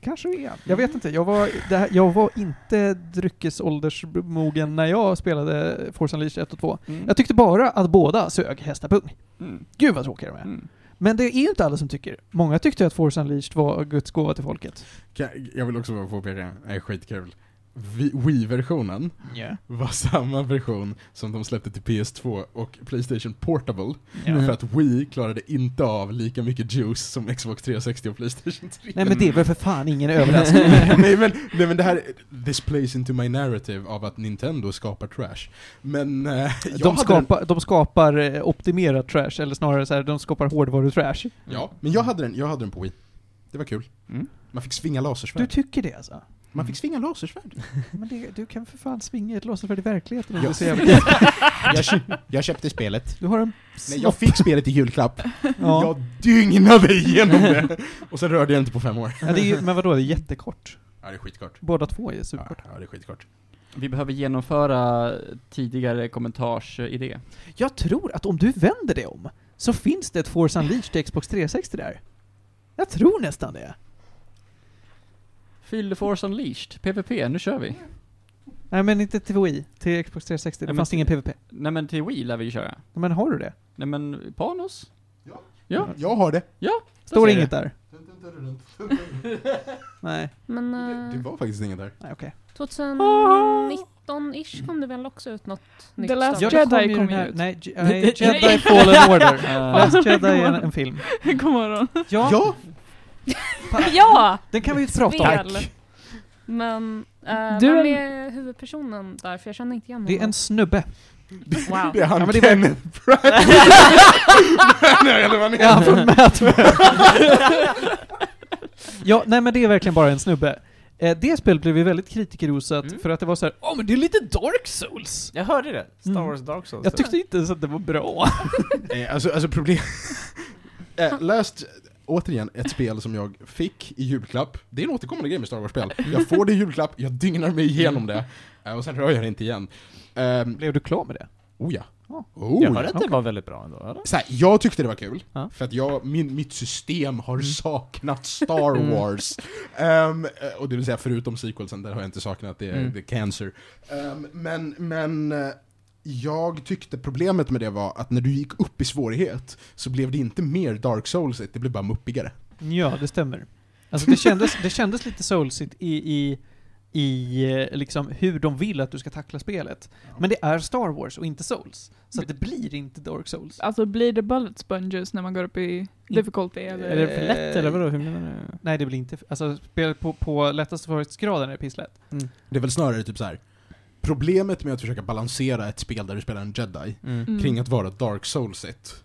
Kanske det är. Jag vet inte. Jag var, det här, jag var inte dryckesåldersmogen när jag spelade Force Unleashed 1 och 2. Jag tyckte bara att båda sög hästapung.
Mm.
Gud vad tråkiga de är.
Mm.
Men det är ju inte alla som tycker. Många tyckte att Force Unleashed var Guds gåva till folket.
Kan- Jag vill också bara påpeka, det är skitkul. Vi- Wii-versionen
Yeah.
var samma version som de släppte till PS2 och Playstation Portable,
Ja.
för att Wii klarade inte av lika mycket juice som Xbox 360 och Playstation 3.
Nej men det är väl för fan ingen överraskning.
nej, men, nej men det här, this plays into my narrative av att Nintendo skapar trash. Men eh, jag
De
hade den,
skapar, de skapar eh, optimerat trash, eller snarare så här, de skapar hårdvarutrash.
ja, men jag hade den, jag hade den på Wii. Det var kul.
Mm.
Man fick svinga
Du
lasersvärd.
tycker det alltså?
Man fick svinga lasersvärd.
Men det, du kan för fan svinga ett lasersvärd i verkligheten om
Ja.
du ser jävligt-
jag, köp, jag köpte spelet.
Du har en...
Nej, jag fick spelet i julklapp.
Ja.
Jag dygnade igenom det. Och sen rörde jag inte på fem år.
Ja, det är ju, men vadå, det är jättekort.
Ja, det är skitkort.
Båda två är
Ja,
superkort.
ja, det är skitkort.
Vi behöver genomföra tidigare eh, kommentarsidé.
Jag tror att om du vänder det om, så finns det ett Force Unleashed till Xbox 360 där. Jag tror nästan det.
Feel the Force Unleashed, PVP, nu kör vi.
Nej men inte till Wii, till Xbox 360. Det
Nej, men
fanns
till-
ingen PVP.
Nej men till Wii lär vi ju köra.
Men har du det?
Nej men, Panos?
Jag har det.
Står
ser
inget där? Nej,
Men
Det
eh,
var faktiskt inget där.
nej okej.
2019-ish kom det väl också ut något nytt?
Last
Star Wars?
Jedi
ju
kom
den här-
ju ut.
Nej, Je- nej, Jedi Fallen Order.
Eh,
Last Jedi är en, en film.
God morgon.
Ja,
Ja!
ja!
den kan vi ju prata om.
Spel. Men eh,
Du är-
vem är huvudpersonen där? För jag känner inte igen
Det är en snubbe.
Wow.
Det är han
Ja, men det var-
Kenneth Branagh. Nej, eller vad han
Ja, han
heter.
från Mad Men. Ja, nej men det är verkligen bara en snubbe. Eh, Det spelet blev ju väldigt kritikerrosat
Mm.
för att det var så här.
Åh, men det är lite Dark Souls!
Jag hörde det. Star
Mm.
Wars Dark Souls.
jag tyckte inte ens att det var bra.
Eh, Alltså, alltså problem... Eh, Last, återigen, ett spel som jag fick i julklapp. Det är en återkommande grej med Star Wars-spel. Jag får det i julklapp, jag dygnar mig igenom det. eh, Och sen rör jag det inte igen. Um,
Blev du klar med det?
oh ja.
Ja.
Oh,
jag
ja.
hörde att det var väldigt bra ändå, eller?
Så här, jag tyckte det var kul,
Ja.
för att jag, min, mitt system har
Mm.
saknat Star
Mm.
Wars. Ehm, eh, och det vill säga förutom sequelsen, där har jag inte saknat, det är,
Mm.
det är cancer. Ehm, men, men eh, jag tyckte problemet med det var att när du gick upp i svårighet så blev det inte mer Dark Souls, det blev bara muppigare.
Ja, det stämmer. Alltså det kändes, det kändes lite soulsigt i, i, i eh, liksom hur de vill att du ska tackla spelet. Men det är Star Wars och inte Souls. Så att det blir inte Dark Souls.
Alltså blir det bullet sponges när man går upp i difficulty
Är
eller?
det för
Eh,
lätt eller vadå? Hur menar du?
Nej, det blir inte... Alltså, spelet på, på lättaste svårighetsgraden är pisslätt.
Det är väl snarare typ så här. problemet med att försöka balansera ett spel där du spelar en jedi,
Mm.
kring att vara Dark Souls-igt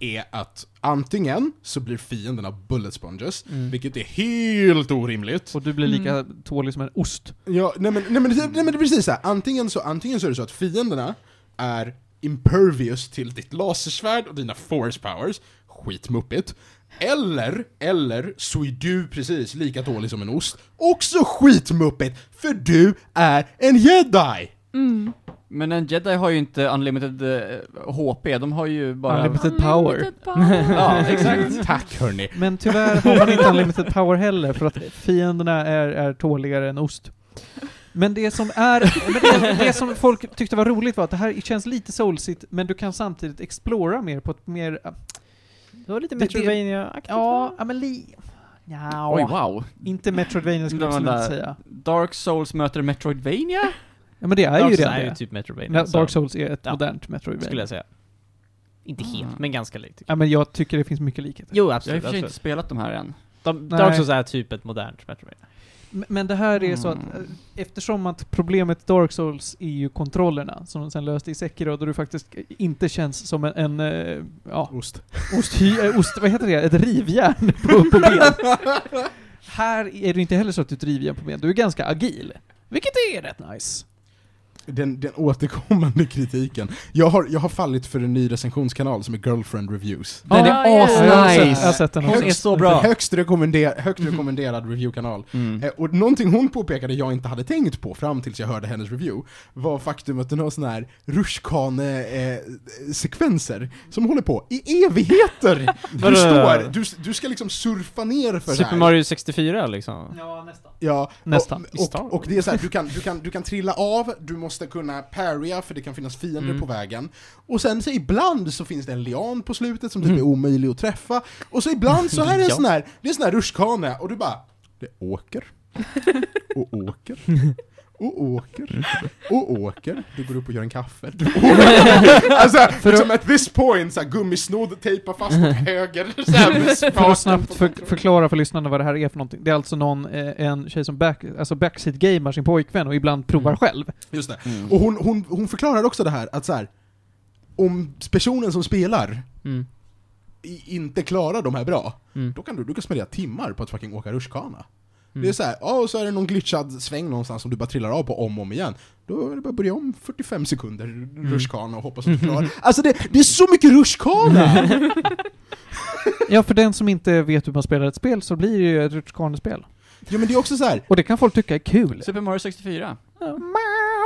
är att antingen så blir fienderna bullet sponges,
Mm.
vilket är helt orimligt.
Och du blir lika tålig som en ost.
Ja, nej men, nej men, nej men det är precis så här. Antingen så, antingen så är det så att fienderna är impervious till ditt lasersvärd och dina force powers, skitmuppigt. Eller, eller så är du precis lika dålig som en ost, också skitmuppigt, för du är en jedi!
Mm.
Men en jedi har ju inte unlimited eh, HP, de har ju bara...
Unlimited power.
Unlimited power.
Ja, exakt.
Tack hörni!
Men tyvärr har man inte unlimited power heller, för att fienderna är, är tåligare än ost. Men det som är... Men det, det som folk tyckte var roligt var att det här känns lite soulsigt, men du kan samtidigt explora mer på ett mer...
Det var lite
Det- det-
Metroidvania-aktigt
Ja, ja men li... Nja,
Oj, wow.
inte Metroidvania skulle jag
Det var
absolut inte
där-
säga.
Dark Souls möter Metroidvania?
Ja men det är
Dark
ju
Souls
redan
är ju
det.
typ Metroidvania.
Ja,
så
Dark Souls är ett
Ja.
modernt Metroidvania.
Skulle jag säga. Inte
Mm.
helt, men ganska likt. tycker jag.
Ja men jag tycker det finns mycket likheter.
Jo,
Jag har i och
absolut.
för sig inte
absolut.
spelat de här än.
De,
Nej.
Dark Souls är typ ett modernt Metroidvania.
M- Men det här är så att,
Mm.
eh, eftersom att problemet Dark Souls är ju kontrollerna, som de sen löste i Sekiro, då du faktiskt eh, inte känns som en, en eh, ja,
Ost.
osthy, eh, ost, vad heter det? Ett rivjärn på, på ben. här är det inte heller så att du är ett rivjärn på ben, du är ganska agil. Vilket är rätt nice.
den, den återkommande kritiken. Jag har, jag har fallit för en ny recensionskanal som är Girlfriend Reviews.
Den
är asnice.
Jag har sett- jag har sett den
Hon
också.
är
så bra. Mm-hmm.
Högst, rekommender, högst rekommenderad reviewkanal.
Mm.
Mm.
Eh, Och någonting hon påpekade jag inte hade tänkt på fram tills jag hörde hennes review var faktum att den har sån här rutschkane-sekvenser som håller på i evigheter! Du
Vadå?
står, du, du ska liksom surfa ner för det
Super
här.
Mario 64 liksom?
Ja,
Nästan.
Och, och, och det är så här, du kan, du, kan, du kan trilla av, du måste kunna parrya för det kan finnas fiender på vägen. Och sen så ibland så finns det en lian på slutet som typ är omöjlig att träffa. Och så ibland så här är det en sån här, det är en sån här rutschkana och du bara, det åker. Och åker. Och åker. Och åker. Du går upp och gör en kaffe. Du åker. Alltså, liksom at this point, så här, gummisnodd tejpar fast åt höger. Så här, med
För
spaken
att snabbt
på
för,
kontrollen.
förklara för lyssnarna vad det här är för någonting. Det är alltså någon, eh, en tjej som back, alltså backseat-gamer sin pojkvän och
Mm.
ibland provar själv. Oh.
Just det.
Mm.
Och hon, hon, hon förklarar också det här att så här, om personen som spelar
Mm.
i, inte klarar de här bra,
Mm.
då kan du, du kan spendera timmar på att fucking åka rutschkana.
Mm.
Det är så här, ja och så är det någon glitchad sväng någonstans som du bara trillar av på om och om igen. Då är det bara att börja om 45 sekunder
Mm.
rutschkana och hoppas att du klarar. Alltså det, det är så mycket rutschkana!
Ja, för den som inte vet hur man spelar ett spel så blir det ju ett rutschkanespel.
ja men det är också så här,
Och det kan folk tycka är kul.
Super Mario 64.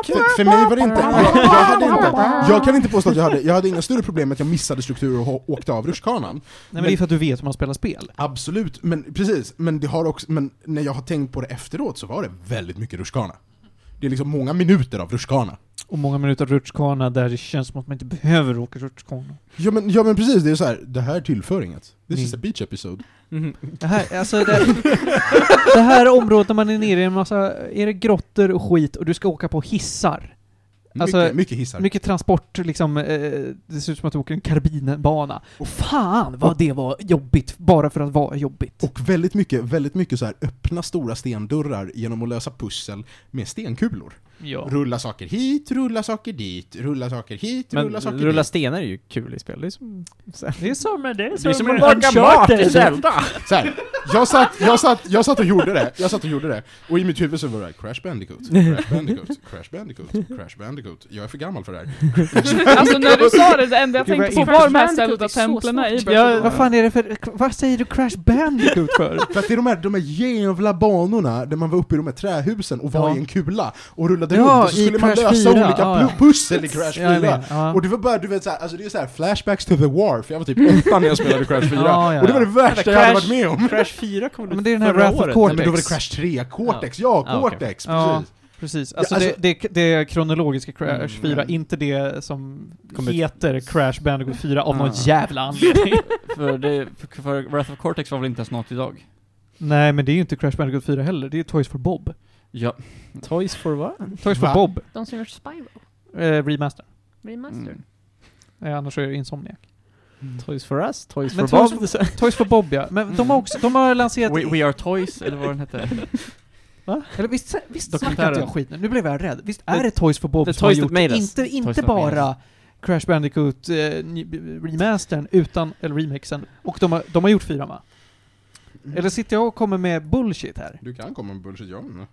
För, för mig var det inte, jag, jag hade inte, jag kan inte påstå att jag hade, jag hade inga större problem med att jag missade strukturer och ho- åkte av rutschkanan.
Nej men det är för att du vet hur man spelar spel.
Absolut, men precis. Men, det har också, men när jag har tänkt på det efteråt så var det väldigt mycket rutschkana. Det är liksom många minuter av rutschkana.
Och många minuter rutschkana där det känns som att man inte behöver åka rutschkana.
Ja men, ja men precis, det är så här. det här tillför inget. This is a
Mm.
beach episode.
Det här, alltså det, det här området när man är nere i en massa, är det grottor och skit och du ska åka på hissar. Alltså,
mycket, mycket hissar.
Mycket transport liksom, eh, det ser ut som att du åker en karbinbana. Fan vad det var jobbigt, bara för att vara jobbigt.
och väldigt mycket, väldigt mycket så här öppna stora stendörrar genom att lösa pussel med stenkulor.
Ja.
Rulla saker hit, rulla saker dit, rulla saker hit,
Men
rulla
rulla,
saker dit.
stenar är ju kul i spel. Det är som...
Det är som, det är
som en
Så här, jag, satt, jag, satt, jag satt och gjorde det, jag satt och gjorde det, och i mitt huvud så var det här, Crash Bandicoot, Crash Bandicoot, Crash Bandicoot, Crash Bandicoot. Jag är för gammal för det här.
Alltså när du sa det, det enda jag
Det
tänkte
var
på var de här
inte-
Zelda-templen i
Ja, vad
Breath
fan är det för, vad säger du Crash Bandicoot för?
För att det är de här, de här jävla banorna där man var uppe i de här trähusen och var
Ja.
i en kula och rullade
Ja,
runt och så
i
skulle man
Crash
lösa
4,
olika
ja,
pl- pussel i Crash 4.
Ja, jag menar, ja.
Och det var bara, du vet såhär, alltså det är såhär flashbacks to the war, för jag var typ åtta när jag spelade Crash 4.
Ja, ja,
Och det var det
ja.
värsta jag hade varit med om.
Crash 4 kommer
Men det är den här
förra
Wrath of
året.
Cortex.
Nej, men då var det Crash 3, Cortex, ja,
Ja, okej.
Cortex,
Ja.
precis.
Precis, alltså,
Ja, alltså-
det, det, det är kronologiska Crash
Mm.
4, inte det som
Kommer-
heter Crash Bandicoot 4 av någon
Ah.
jävla anledning.
för, det, för, för Wrath of Cortex var väl inte ens något idag?
Nej men det är ju inte Crash Bandicoot 4 heller, det är ju Toys for Bob.
Ja.
Toys for what?
Toys
Va?
for Bob,
De som gör Spyro.
eh, remaster.
Remaster.
Mm.
Eh, annars är det Insomniac.
Toys for us? Toys
Men
for
Toys
Bob?
Toys for Bob ja, men de har också, de har lanserat...
We, we are toys, eller vad den hette.
Eller visst, visst snackar
Dokumentären.
inte jag skit nu, nu blev jag rädd. Visst är det Toys for Bob
The
som har
Toys That
gjort,
Made Us.
inte,
Toys
inte
That Made
bara Crash Bandicoot eh, ny- remastern, utan, eller remixen, och de har, de har gjort fyra va? Eller sitter jag och kommer med bullshit här?
Du kan komma med bullshit, jag vet inte.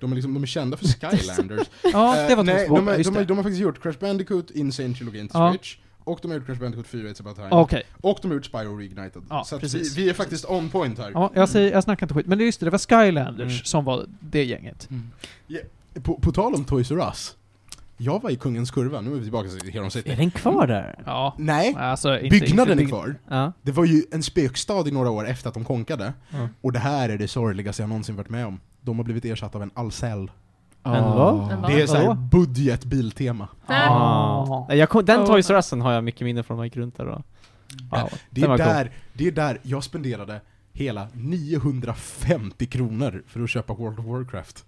de är, liksom, de är kända för Skylanders.
Ja, det var
Eh,
Toys
nej,
for Bob,
de, är,
just
de, är,
det.
de har faktiskt gjort Crash Bandicoot, Insane Trilogin till
Ja.
Switch, och de har gjort Crash Bandicoot 4, It's about time.
Ja, Okej.
Och de har gjort Spyro Reignited.
Ja,
så att vi,
precis.
vi är faktiskt on point här.
Ja, jag, säger, jag snackar inte skit. Men det är just det, det var Skylanders som var det gänget.
Mm.
På, på tal om Toys R Us. Jag var i Kungens Kurva, nu är vi tillbaka till Heron City.
Är den kvar där?
Ja.
Nej,
Alltså, inte,
byggnaden
inte
är kvar.
Ja.
Det var ju en spökstad i några år efter att de konkade.
Mm.
Och det här är det sorgligaste jag någonsin varit med om. De har blivit ersatta av en Ahlsell.
Men
Ah.
vad?
Den var-
Det är såhär
Vadå?
budgetbiltiltema.
Nej.
Ah.
Nej, jag kom, den
Oh.
Toys R Usen har jag mycket minne från när jag gick runt där då.
Ja, Det
Den
är,
var
där, det är där jag spenderade hela 950 kronor för att köpa World of Warcraft.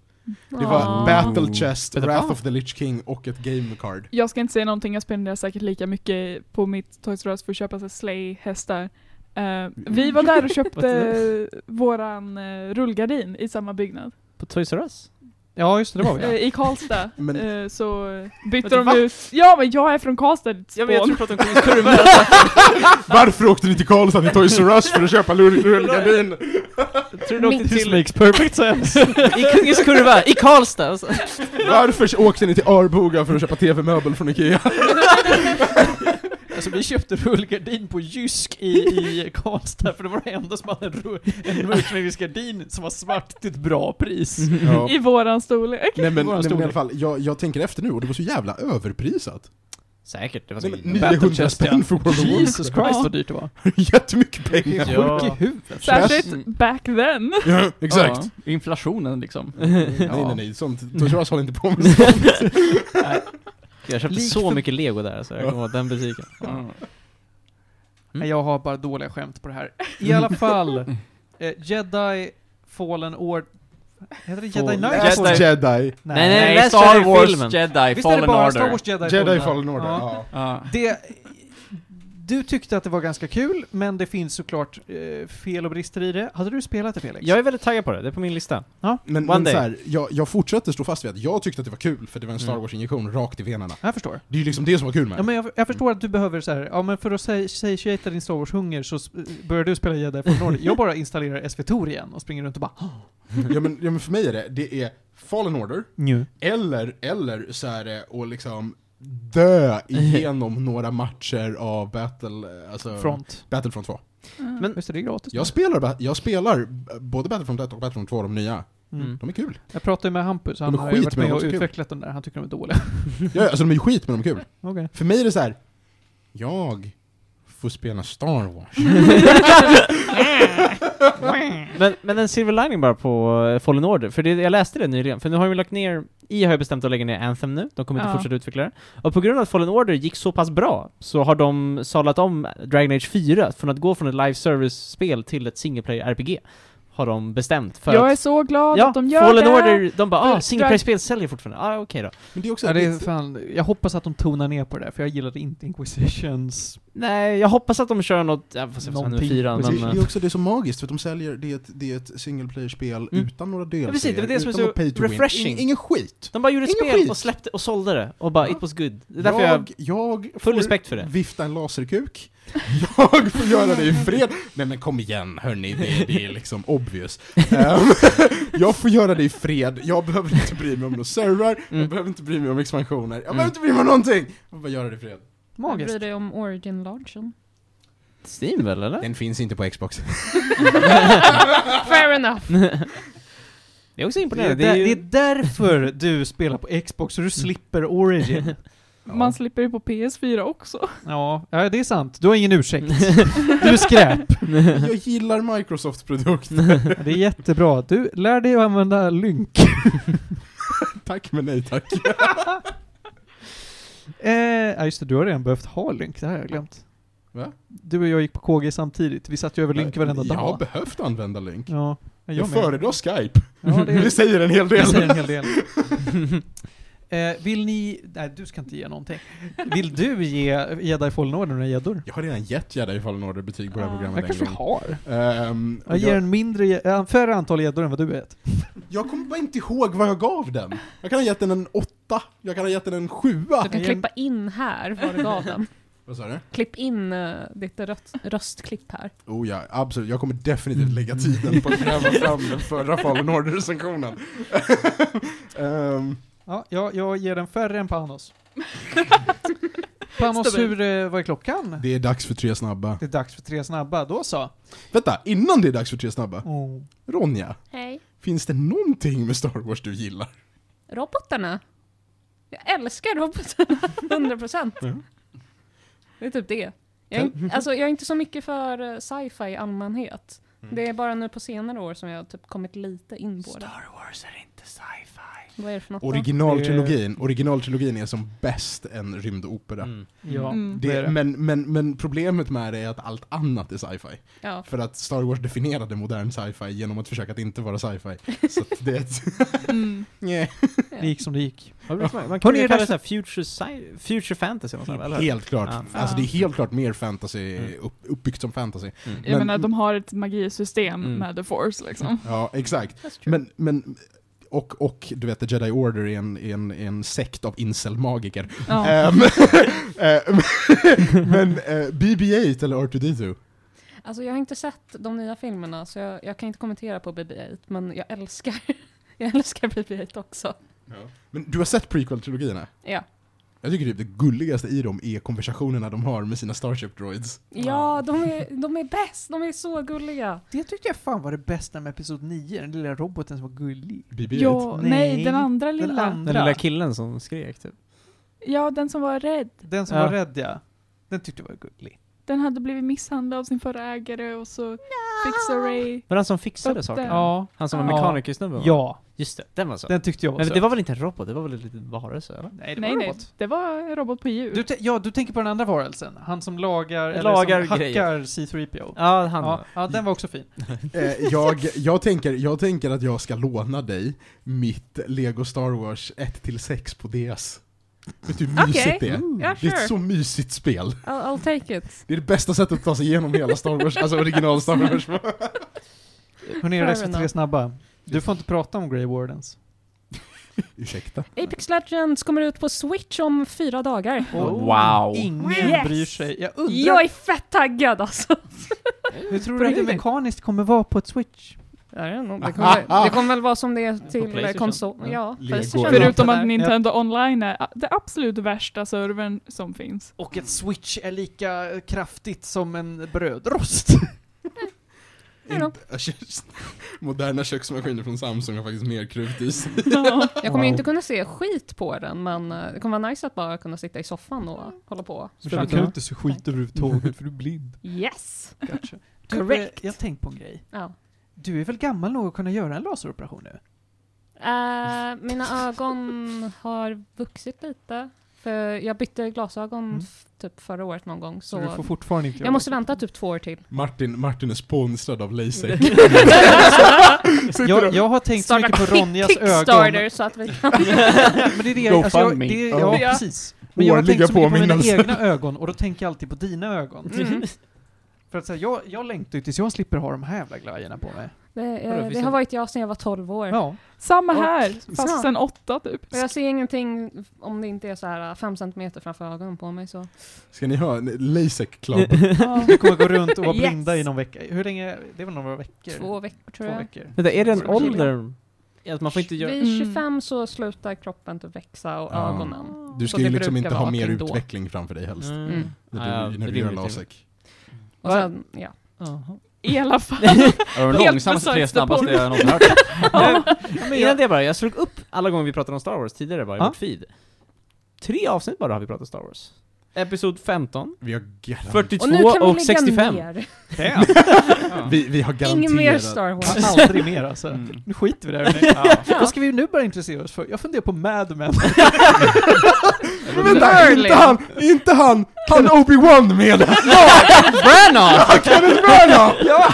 Det var
Åh.
Battle Chest,
Vet du
Wrath
vad?
of the Lich King och ett game card.
Jag ska inte säga någonting, jag spenderar säkert lika mycket på mitt Toys R Us för att köpa så här sleigh-hästar. Eh, vi var där och köpte
Vad är
våran eh, rullgardin i samma byggnad.
På Toys R Us?
Ja, just det, det var
eh,
vi.
i Karlstad.
Men-
eh, så bytte
Men
de ut... Ja men jag är från Karlstad, ditt
Ja, men jag
spån.
tror på att de kommer i kurvor.
Varför åkte ni till Karlstad i Toys R Us för att köpa lull- rullgardin?
Tror du de åkte
This
till
makes perfect sense.
i Kungens kurva, i Karlstad? Alltså.
Varför åkte ni till Arboga för att köpa TV-möbel från Ikea?
Alltså vi köpte rullgardin på Jysk i, i Karlstad för det var det enda som hade en, ru- en mörkläggningsgardin som var svart till ett bra pris.
Ja.
I våran storlek.
Nej men,
Våran
nej, men i
storlek.
alla fall, jag, jag tänker efter nu och det var så jävla överprisat.
Säkert, det var
Nej, men
en battle
900
chest, ja.
spänn för World of
Jesus
Warcraft.
Christ vad dyrt det var.
Jättemycket pengar.
Ja.
Särskilt back then.
Ja, exakt.
Ja, inflationen liksom.
Nej nej nej, sånt. Toys R Us håller inte på med sånt.
Jag köpte
Lik
så
för-
mycket lego där alltså, jag kommer ihåg den butiken.
Ja.
Nej, Jag har bara dåliga skämt på det här. I alla fall, eh, Jedi Fallen Or... Heter det Jedi Knight?
Jedi-
Fallen-
Jedi.
Nej, nej, läs den
Star
här
Wars
filmen.
Jedi
Visst är det
Fallen
bara
Order.
Star Wars Jedi,
Jedi Fallen Order,
Ja.
ja.
Ja.
Det, du tyckte att det var ganska kul, men det finns såklart eh, fel och brister i det. Hade du spelat det Felix?
Jag är väldigt taggad på det, det är på min lista.
Men,
One
men
day.
så här, jag, jag fortsätter stå fast vid att jag tyckte att det var kul för det var en Star Wars-injektion rakt i venerna.
Mm. jag förstår.
Det är ju liksom det som var kul med
Ja,
det.
men jag, jag förstår att du behöver så här, ja men för att sä- satiata din Star Wars-hunger så sp- börjar du spela Jedi Fallen Order. Jag bara installerar SVTOR igen och springer runt och bara
Ja men, ja men för mig är det, det är Fallen Order,
nu.
eller, eller så är det att liksom dö igenom några matcher av Battle, eh, alltså
Front.
Battlefront 2.
Men, Just det, det är gratis.
Jag spelar, ba- jag spelar eh, både Battlefront 1 och Battlefront 2, de nya.
Mm.
De är kul.
Jag pratade ju med Hampus, han
De är
har ju
skit,
varit
men
med
de
och
är så kul.
utvecklat de där, han tycker de är dåliga.
Ja, alltså de är ju skit men de är kul.
Okej.
För mig är det så här. jag får spela Star Wars.
Men, men en silver lining bara på eh, Fallen Order, för det, jag läste det nyligen, för nu har de ju lagt ner, EA har ju bestämt att lägga ner Anthem nu, de kommer inte
Ja.
fortsätta utveckla det. Och på grund av att Fallen Order gick så pass bra, så har de sadlat om Dragon Age 4, från att gå från ett live service-spel till ett single player RPG. Har de bestämt för
Jag är
att...
så glad
ja,
att de gör
Fallen
det.
Order, de bara
För
ah, single player spel säljer fortfarande, ah okej då.
Men det är också
Ja, det är
lite-
fan, jag hoppas att de tonar ner på det där, för jag gillade inte Inquisitions.
Nej, jag hoppas att de kör något, ja, fast jag får se nu
Någonting.
fyran,
Precis,
men...
Det,
eh,
det är också det som är magiskt, för att de säljer, det är ett, det är ett single player-spel
Mm.
utan några DLC,
precis, det är det som är
utan
så
något pay to win.
refreshing.
In, ingen skit.
De bara gjorde
Ingen
spel
skit.
och släppte och sålde det, och bara it was good. Det är därför jag...
Jag, jag
Full
får
respekt för det.
vifta en laserkuk, jag får göra det i fred. Nej men kom igen hörni, det, det är liksom obvious. Ehm, jag får göra det i fred, jag behöver inte bry mig om några servrar, jag
Mm.
behöver inte bry mig om expansioner, jag behöver
Mm.
inte bry mig om någonting! Jag bara göra det i fred.
Vad bryr
Magiskt.
dig om origin launchen?
Steam väl, eller?
Den finns inte på Xbox.
Fair enough!
Det är också
Det är,
imponerande.
där,
ju-
det är därför du spelar på Xbox, så du slipper Origin.
Man slipper ju på PS4 också.
Ja, ja, det är sant. Du har ingen ursäkt. Du är skräp.
Jag gillar Microsofts produkt.
Det är jättebra. Du, lär dig att använda Lynk.
Tack men nej tack.
Eh, ja, just det, du har redan behövt ha Lynk. Det här har jag glömt.
Va?
Du och jag gick på KG samtidigt. Vi satt ju över Lynk varenda
jag har
dag.
behövt använda Link.
Ja, jag,
Jag
med.
föredrar Skype.
Ja,
det... säger en hel
Det
del.
säger en hel del. eh, vill ni... Nej, du ska inte ge någonting. Vill du ge Jedi Fallen Order några gäddor?
Jag har redan gett Jedi Fallen Order betyg på det här
Ah.
Jag
programmet
kanske
en gång.
har.
Ehm,
Jag ger
jag,
en mindre, ge- en färre antal gäddor än vad du vet.
jag kommer bara inte ihåg vad jag gav den. Jag kan ha gett den en åtta, jag kan ha gett den en sjua.
Du kan
Igen.
klippa in här vad du gav den.
Vad sa du?
Klipp in eh, ditt röst, röstklipp här.
Oh ja, absolut. Jag kommer
Mm.
definitivt lägga tiden på att gräva fram den förra Fallen Order-recensionen. Ehm,
Ja, jag, jag ger den färre än Panos. Panos,
Stabil.
hur, eh, vad är klockan?
det är dags för tre snabba.
Det är dags för tre snabba, då så.
Vänta, innan det är dags för tre snabba.
Oh.
Ronja,
Hej.
finns det någonting med Star Wars du gillar?
Robotarna. Jag älskar robotarna, 100 procent. Det är typ det. Jag är, alltså, jag är inte så mycket för eh, sci-fi i allmänhet. Det är bara nu på senare år som jag har typ kommit lite in på det. Star Wars är inte sci-fi. Vad är det för något? då?
Originaltrilogin, originaltrilogin är som bäst en rymdopera.
Mm.
Ja,
Mm.
det är det.
Men, men, men problemet med det är att allt annat är sci-fi.
Ja.
För att Star Wars definierade modern sci-fi genom att försöka att inte vara sci-fi. Så att det är ett...
Mm.
Nej.
Det gick som det gick.
Vad brukar Man, man
Hörni,
kan ju
är det
kalla det
dags-
såhär future, sci- future fantasy eller nåt sånt, eller hur?
Helt klart.
Ja.
Alltså det är helt klart mer fantasy, upp, uppbyggt som fantasy.
Jag
Men-
menar, de har ett magisystem
Mm.
med The Force liksom.
Ja, exakt.
That's true.
Men, men och, och du vet, The Jedi Order är en, är en, är en sekt av incel-magiker.
Ja.
Ehm, ehm, men eh, BB-8 eller R2D2?
Alltså jag har inte sett de nya filmerna så jag, jag kan inte kommentera på BB-8 men jag älskar, jag älskar BB-8 också.
Men du har sett prequel-trilogierna?
Ja.
Jag tycker typ det gulligaste i dem är konversationerna de har med sina Starship Droids.
Ja, de är, de är bäst! De är så gulliga!
Det tyckte jag fan var det bästa med Episod 9, den lilla roboten som var gullig.
BB-8.
Ja, nej,
Nej,
den andra lilla.
Den andra.
Den lilla killen som skrek typ.
Ja, den som var rädd.
Den som
Ja.
var rädd ja. Den tyckte jag var gullig.
Den hade blivit misshandlad av sin förra ägare och så fixade Ray.
Var det han som fixade
Upp
saker?
där.
Ja.
Han som var
Ja.
mekanikersnubben va?
Ja.
Just det, den var så.
Den tyckte jag var
Men
söt.
det var väl inte en robot, det var väl en liten varelse eller?
Nej, det var
Nej,
en
nej.
robot.
Det var en robot på djur.
Du, tän- ja, du tänker på den andra varelsen? Han som lagar, eller
Lagar
som
grejer.
hackar C3PO?
Ja, han
Ja, ja, den var också fin.
Eh, jag, jag, tänker, jag tänker att jag ska låna dig mitt Lego Star Wars 1-6 på DS. Vet du hur mysigt
Okej. Mm,
det är?
Mm.
Ja,
Det är ett
sure.
så mysigt spel.
I'll, I'll take it.
Det är det bästa sättet att ta sig igenom hela Star Wars, alltså original Star Wars.
Hon är
Fair
res
enough.
tre snabba. Du får inte prata om Grey Wardens.
Ursäkta.
Apex Legends kommer ut på Switch om fyra dagar.
Wow.
Ingen
Yes.
bryr sig. Jag undrar,
Jag är fett taggad alltså!
hur tror du att det
Bryr mig.
mekaniskt kommer vara på ett Switch?
I don't know. Det kommer, det kommer väl vara som det är till eh,
PlayStation.
konsol. Ja,
Lego.
Playstation.
Förutom att
Tyvärr.
Nintendo online är a- den absolut värsta servern som finns.
Och ett Switch är lika kraftigt som en brödrost.
Hej då.
Moderna köksmaskiner från Samsung har faktiskt mer krut i sig.
Jag kommer ju inte kunna se skit på den, men eh, det kommer vara nice att bara kunna sitta i soffan och hålla på.
Spela kan inte
så
skit
överhuvudtaget för du är blind.
Yes!
Gotcha. Du, eh,
Correct.
jag har tänkt på en grej.
Ja.
Du är väl gammal nog att kunna göra en laseroperation nu?
Eh, mina ögon har vuxit lite. För jag bytte glasögon
Mm.
f- typ förra året någon gång,
Så du får
så
fortfarande inte göra
jag måste vänta typ två år till.
Martin, Martin är sponsrad av Lasik.
det. jag, jag har tänkt så mycket på Ronjas ögon.
Kickstarter så att vi kan...
Men det är det,
Go
alltså jag,
fund me.
det är,
Ja.
ja, precis. Men jag har
Årliga
tänkt så mycket på mina
påminnelser.
egna ögon och då tänker jag alltid på dina ögon.
Mm.
För att säga, jag, jag längtar ju tills jag slipper ha de här jävla glajjorna på mig.
Det, eh,
Vadå,
det
finns det-
har varit jag sedan jag var 12 år.
Ja.
Samma
Och-
här, fast
Ja.
sen åtta typ.
Och jag ser ingenting om det inte är så här 5 centimeter framför ögonen på mig så.
Ska ni ha en Lasik Club?
Ja.
Vi kommer gå runt och vara
Yes.
blinda i någon vecka. Hur länge? Det var några veckor.
Två veckor
Två
tror jag.
veckor.
Vänta, är det en
Som killen.
ålder? Att man får inte göra...
Vid
Mm.
25 så slutar kroppen att växa och
Ja.
ögonen.
Du
Så
ska ju
det
liksom
brukar
inte
vara
ha mer
kring då.
utveckling framför dig helst.
Mm.
Mm.
När du, när du gör Lasik.
Och sen, ja.
I alla fall.
Är de
Helt
långsammaste tre
besökte
snabbaste
porr.
jag någonsin hört?
Men innan det bara, jag slog upp alla gånger vi pratade om Star Wars tidigare bara i
Ja.
vårt feed. Tre avsnitt bara har vi pratat Star Wars. Episod 15,
Vi har garanterat,
42
Och nu kan vi
och
lägga
65.
ner.
vi, vi har garanterat
Ingen mer Star Wars.
Aldrig mer alltså.
Mm.
Nu skiter vi i det här hörni. Vad ska vi nu börja intressera oss för? Jag funderar på Mad Men.
Vänta, inte han! Inte han! Han Obi-Wan med!
Branagh!
Kenneth Branagh! ja!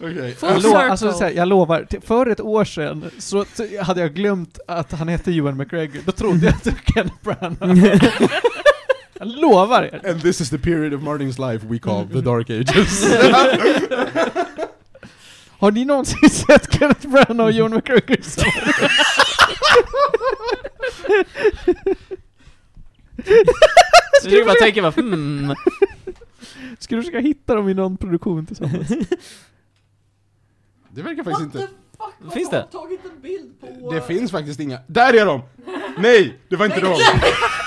Okej.
Jag,
Full
lo-
circle.
alltså, så här, jag lovar, till- för ett år sedan så t- hade jag glömt att han hette Ewan McGregor. Då trodde jag att det var Kenneth Branagh. jag lovar er.
And this is the period of Martins life we call the dark ages.
Har ni någonsin sett Kenneth Branagh och Ewan McGregor
Du bara tänker bara, hmm.
Skulle du försöka hitta dem i någon produktion tillsammans?
Det verkar faktiskt inte...
Finns det?
Det finns faktiskt inga... Där är de! Nej! Det var inte de!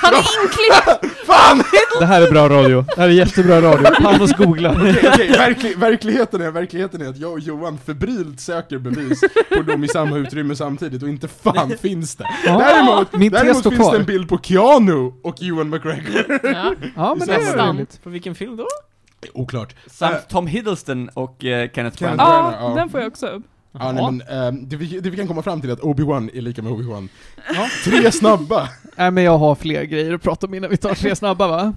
Han är inklippt!
Fan!
Det här är bra radio. Det här är jättebra radio. Panos googla.
Okej, okej, verkli- verkligheten, är, verkligheten är att jag och Johan febrilt söker bevis på dem i samma utrymme samtidigt och inte fan finns det. Däremot,
min te
däremot
står
finns det en
kvar.
bild på Keanu och Ewan McGregor.
Ja.
Ja, men det är
Nästan.
rimligt.
På vilken film då?
Oklart.
Samt Tom Hiddleston och eh, Kenneth
Kenneth
Branagh.
Branagh,
ja,
ja.
den får jag också upp.
Ja, nej, men, ehm, det, vi, det vi kan komma fram till är att Obi-Wan är lika med Obi-Wan. Tre snabba!
Nej men jag har fler grejer att prata om innan vi tar tre snabba va?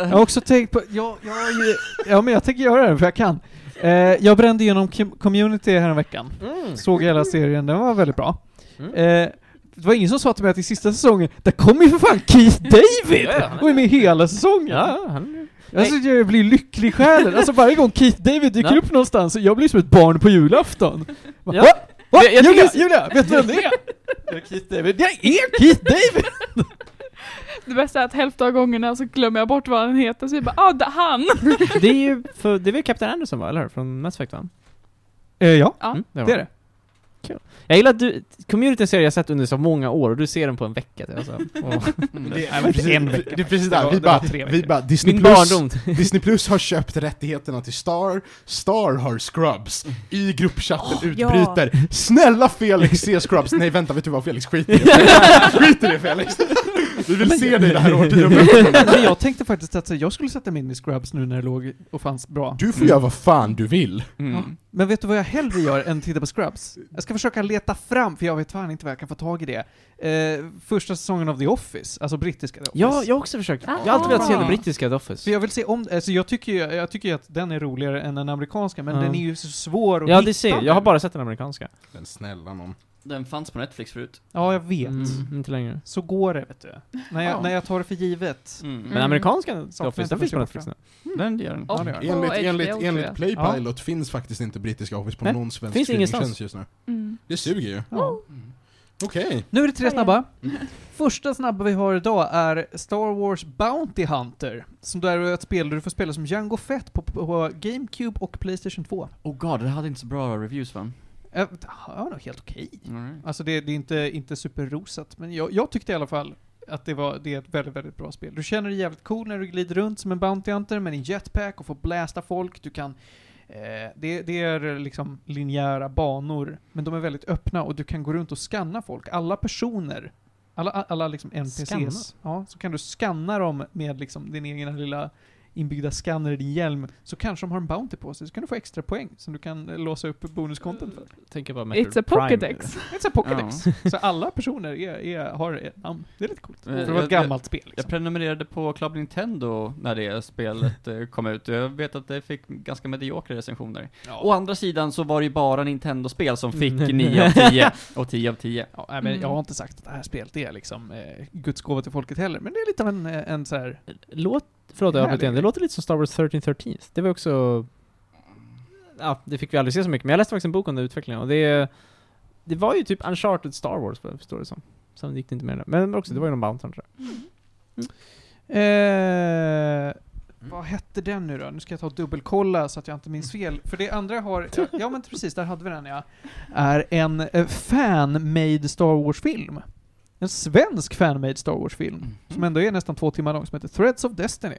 jag har också tänkt på, jag, jag har ju, ja men jag tänker göra det för jag kan. Eh, jag brände
Mm.
igenom Kim- Community här en veckan. Såg hela serien, den var väldigt bra. Eh, det var ingen som sa till mig att i sista säsongen, där kommer ju för fan Keith David! Och är med hela säsongen! Alltså jag blir lycklig i själen. Alltså varje gång Keith David dyker
Ja.
upp någonstans, så jag blir som ett barn på julafton. Bara,
Ja.
Va? Va?
Jag- jag
Julia,
tycker-
Julia, vet du vem det är?
Jag är Keith David.
Jag är Keith David!
Det bästa är att hälften av gångerna så glömmer jag bort vad han heter, så jag bara ah, det- han!
Det är ju, för, det är väl Captain Anderson va, eller hur? Från Mass Effect va?
Eh, ja,
Ja.
Mm, var
det är det.
Jag gillar att du, Community är en serie jag sett under så många år och du ser den på en vecka. Alltså. Och
Det
Mm. Nej,
är
men
precis,
en vecka
det är precis
Det
där,
var-
vi
det var
bara,
tre
vi
veckor.
bara Disney
min
Plus,
barndom.
Disney Plus har köpt rättigheterna till Star, Star har Scrubs.
Mm.
I gruppchatten utbryter Snälla Felix, se Scrubs! Nej vänta, vet du vad Felix, skit i det! skit i det Felix! Vi vill se dig det här årtiondet!
Men jag tänkte faktiskt att så, jag skulle sätta mig in i Scrubs nu när det låg och fanns bra.
Du får göra vad fan du vill.
Mm.
Men vet du vad jag hellre gör än titta på Scrubs? Jag ska försöka leta fram, för jag vet fan inte var jag kan få tag i det. Eh, första säsongen av The Office, alltså brittiska The Office.
Ja, jag har också försökt. Jag har alltid velat se den brittiska The
Så
Office.
jag vill se om, alltså jag tycker ju, jag tycker ju att den är roligare än den amerikanska, men
Ja.
den är ju så svår att
Ja,
hitta.
det ser jag. Jag har bara sett den amerikanska.
Men snälla nån.
Den fanns på Netflix förut.
Ja, jag vet.
Mm, inte längre.
Så går det, vet du. När jag, när jag tar det för givet.
Mm.
Men amerikanska The
Saknar
Office,
inte
den finns på
första
Netflix nu.
Den gör den.
Ja, det gör jag.
Enligt,
HBO,
enligt,
tror
enligt
jag.
Playpilot finns faktiskt inte brittiska Office på
Nej,
någon svensk
finns ingenstans.
streamingtjänst just nu.
Mm.
Det suger ju.
Ja.
Mm.
Okej.
Nu är det tre
Ja, ja.
snabba. Första snabba vi har idag är Star Wars Bounty Hunter, som där är ett spel där du får spela som Jango Fett på, på GameCube och Playstation 2.
Oh god, det hade inte så bra reviews va?
Eh, Det var nog helt okej. Alltså det, det är inte, inte superrosat, men jag, jag tyckte i alla fall att det, var, det är ett väldigt, väldigt bra spel. Du känner dig jävligt cool när du glider runt som en Bounty Hunter med din jetpack och får blästa folk. Du kan... Eh, det, det är liksom linjära banor, men de är väldigt öppna och du kan gå runt och scanna folk. Alla personer, alla, alla liksom NPCs,
Scanna?
ja, så kan du scanna dem med liksom din egna lilla inbyggda scanner i din hjälm, så kanske de har en Bounty på sig, så kan du få extra poäng som du kan eh, låsa upp bonuskonton för.
Tänker bara Metroid
It's a
Prime.
Pokédex.
It's a Pokédex. Så alla personer är, är, har ett namn. Det är lite coolt.
Eh,
För det var
jag-
ett gammalt spel
Jag
liksom.
prenumererade på Club Nintendo när det spelet eh, kom ut, och jag vet att det fick ganska mediokra recensioner. Å andra sidan så var det ju bara Nintendo-spel som fick
Mm.
9 av 10, och 10 av 10.
Ja, nej, men
Mm.
jag har inte sagt att det här spelet är liksom eh, Guds gåva till folket heller, men det är lite av en, eh, en så här.
Låt, förlåt jag avbröt
Härligt.
igen, det låter lite som Star Wars 13 13 Det var också... Ja, det fick vi aldrig se så mycket, men jag läste faktiskt en bok om den utvecklingen och det... Det var ju typ Uncharted Star Wars, vad jag förstår det som. Sen gick det inte mer än det. Men också, det var ju någon Bounty Hunter.
Eh,
Mm.
Vad hette den nu då? Nu ska jag ta och dubbelkolla så att jag inte minns fel. För det andra jag har, ja, ja men precis, där hade vi den ja. Är en eh, fan-made Star Wars-film. En svensk fan-made Star Wars-film. Som ändå är nästan två timmar lång, som heter Threads of Destiny.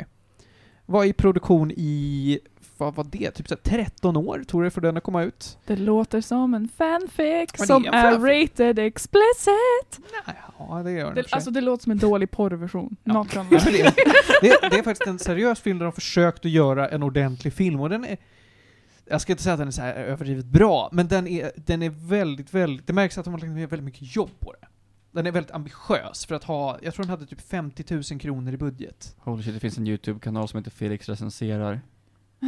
Var i produktion i, vad var det? Typ så här 13 år tog det för den att komma ut.
Det låter som en fanfic
det är
som
en
är
fanfic.
rated explicit.
Nej, ja det gör den i och
Det,
för sig.
alltså det låter som en dålig porrversion.
Ja.
Not gonna
Ja,
lie.
men det, det, det är faktiskt en seriös film där de försökt att göra en ordentlig film och den är jag ska inte säga att den är så här överdrivet bra, men den är, den är väldigt, väldigt, det märks att de har lagt ner väldigt mycket jobb på det. Den är väldigt ambitiös för att ha, jag tror den hade typ 50 000 kronor i budget.
Holy shit, det finns en YouTube-kanal som heter Felix recenserar.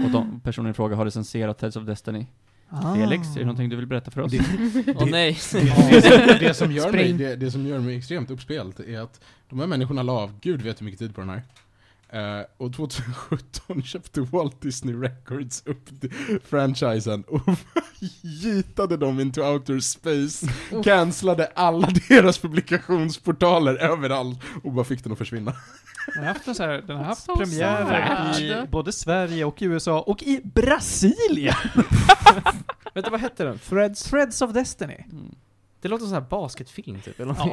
Och de, personen i fråga har recenserat Tales of Destiny.
Ah.
Felix, är det någonting du vill berätta för oss?
Det-
Åh nej!
Det, det, det, som gör mig,
Spring.
det, det som gör mig extremt uppspelt är att de här människorna la av, gud vet hur mycket tid på den här. Eh, och 2017 köpte Walt Disney Records upp d- franchisen och gitade dem into outer space, cancellade alla deras publikationsportaler överallt och bara fick den att försvinna.
Den har haft, en så här, den har haft
So
premiärer i
sad.
både Sverige och USA och i Brasilien!
Vänta, vad hette den? Threads?
Threads of Destiny.
Mm.
Det låter som en basketfilm typ, eller
Ja.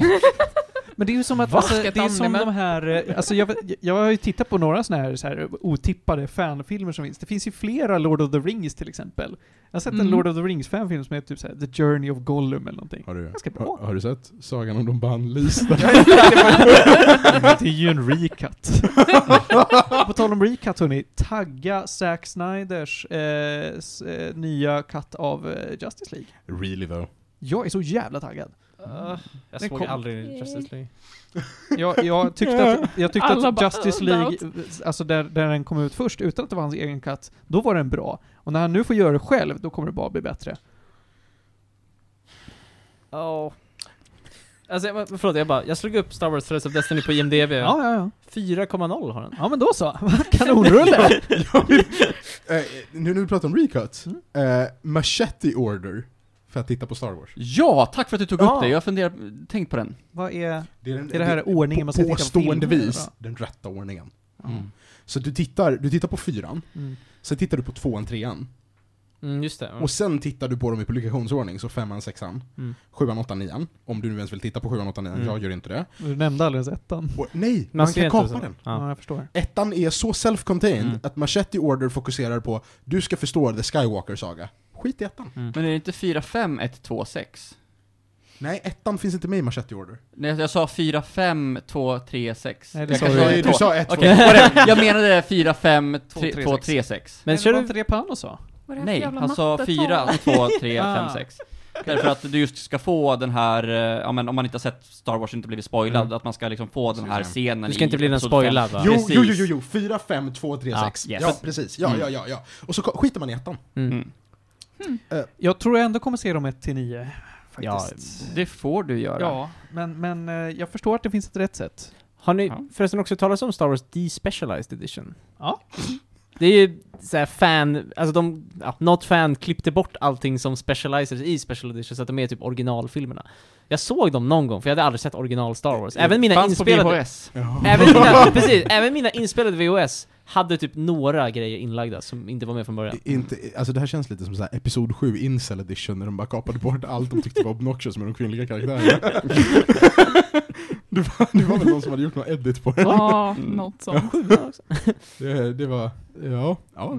Men det är ju som att,
Va?
alltså, det är
Basket-anime.
som de här, eh, alltså jag, vet- jag har ju tittat på några såna här, så här otippade fanfilmer som finns. Det finns ju flera Lord of the Rings till exempel. Jag har sett en
Mm.
Lord of the Rings fanfilm som heter typ så här, The Journey of Gollum eller någonting.
Har du,
Ganska bra.
har, har du sett Sagan om de bannlysta?
det är ju en recut. på tal om recut hörni, tagga Zack Snyders eh, s, eh, nya cut av eh, Justice League.
really though.
Jag är så jävla taggad.
jag
Den
såg
kom.
aldrig Justice League.
Jag, jag tyckte att, jag tyckte
Alla
att
bara,
Justice
"Äh,
League, alltså där, där den kom ut först, utan att det var hans egen katt, då var den bra. Och när han nu får göra det själv, då kommer det bara bli bättre.
Alltså, jag, var- förlåt, jag bara, jag slog upp Star Wars Threads of Destiny på IMDB.
Ja, ja, ja.
4,0 har den.
Ja, men då så. Kanonrulle!
Eh, nu när vi pratar om recuts,
Mm.
eh, Machete Order, för att titta på Star Wars.
Ja, tack för att du tog
Ja.
upp det. Jag funderar, tänkt på den.
Vad är...
Det är, den,
Är det här ordningen man ska titta på
Påstående
filmer,
vis,
eller
den rätta ordningen.
Mm.
Så du tittar, du tittar på fyran,
Mm.
sen tittar du på tvåan, trean.
Mm, just det. Mm.
Och sen tittar du på dem i publikationsordning, så femman, sexan,
Mm.
sjuan, åttan, nian. Om du nu ens vill titta på sjuan, åttan, nian,
Mm.
jag gör inte det.
Du nämnde alldeles ettan.
Och, nej, man,
Man ser
kan
inte
kapa
så.
den.
Ja.
Ja.
jag förstår.
Ettan är så self-contained
Mm.
att Machete Order fokuserar på du ska förstå The Skywalker Saga. Skit i ettan.
Men är det inte 4, 5, 1, 2, 6?
Nej, ettan finns inte med i Machete Order.
Nej, jag sa 4, 5, 2, 3, 6.
Nej, det
Jag
sa
kanske
du.
har
Nej,
ett
du
två.
sa ett,
Okej, whatever. jag menade 4, 5, 2, 3, 6.
Men kör du...
det Pano sa?
Vad är det här för
Nej,
jävla
han sa
mattetal?
4, 2, 3,
Ah.
5, 6. Därför att du just ska få den här, eh, ja men om man inte har sett Star Wars och inte blivit spoilad, att man ska liksom få den här scenen
Du ska inte
i
bli den
episod
spoilad
fem.
va?
Jo,
Precis.
jo, jo, jo, jo, 4, 5, 2, 3,
Ja,
6.
yes.
Ja, precis. Ja,
Mm.
ja, ja, ja. Och så ko- skiter man i ettan.
Mm.
Jag tror jag ändå kommer se dem 1 till 9. Faktiskt.
Det får du göra.
Ja, men, men eh, jag förstår att det finns ett rätt sätt.
Har ni
Ja.
förresten också talat om Star Wars Despecialized Edition?
Ja.
Det är ju såhär fan, alltså de, ja, Not Fan klippte bort allting som specializers i Special Edition så att de är typ originalfilmerna. Jag såg dem någon gång, för jag hade aldrig sett original Star Wars. Även mina
Fanns på
inspelade...
VHS.
Även mina, precis, även mina inspelade VHS hade typ några grejer inlagda som inte var med från början.
I- Inte, alltså det här känns lite som så här Episod 7 Incel Edition, när de bara kapade bort allt de tyckte var obnoxious med de kvinnliga karaktärerna. det, var, det var väl någon som hade gjort någon edit på
Mm.
det.
Ja, något sånt.
Det, det var, ja. ja.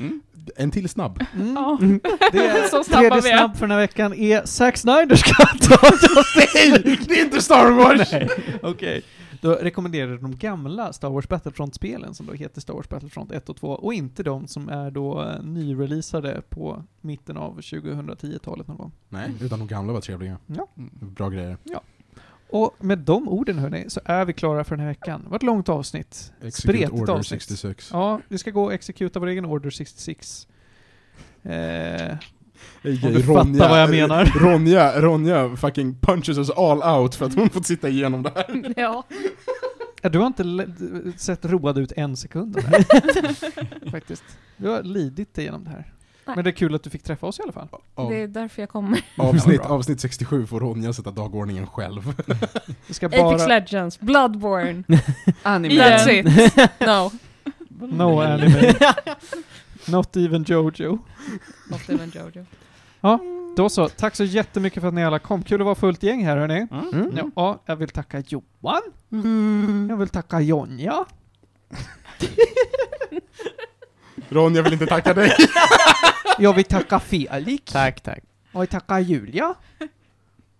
Mm.
En till snabb.
Ja.
Mm. Det är,
Så snabba
tredje
vi är.
snabb för den här veckan är Zack Snyders katt av Justice
Det är inte Star Wars!
Okej. Då rekommenderar du de gamla Star Wars Battlefront-spelen som då heter Star Wars Battlefront 1 och 2 och inte de som är då eh, nyreleasade på mitten av 2010-talet någon gång.
Nej, utan de gamla var trevliga.
Ja.
Bra grejer.
Och med de orden hörni, så är vi klara för den här veckan. Det var ett långt avsnitt.
Execute
Spretigt
Order
avsnitt.
66.
Ja, vi ska gå och exekuta vår egen Order 66. Eh,
Om
du fattar vad jag menar.
Ronja, Ronja fucking punches us all out för att hon fått sitta igenom det här.
Ja.
ja, du har inte le- sett road ut en sekund av det här. Faktiskt. Du har lidit dig igenom det här.
Nej.
Men det är kul att du fick träffa oss i alla fall.
Det
Av,
är därför jag kommer.
avsnitt, avsnitt 67 får Ronja sätta dagordningen själv.
Vi ska
Apex
bara...
Legends, Bloodborne.
Anime.
That's it. No.
No anime. Not even Jojo.
Not even Jojo.
Då så, tack så jättemycket för att ni alla kom. Kul att vara fullt gäng här hörni.
Mm.
Ja, jag vill tacka Johan. Jag vill tacka Jonja.
Ronja vill inte tacka dig.
Jag vill tacka Felix.
Tack, tack.
Jag vill tacka Julia.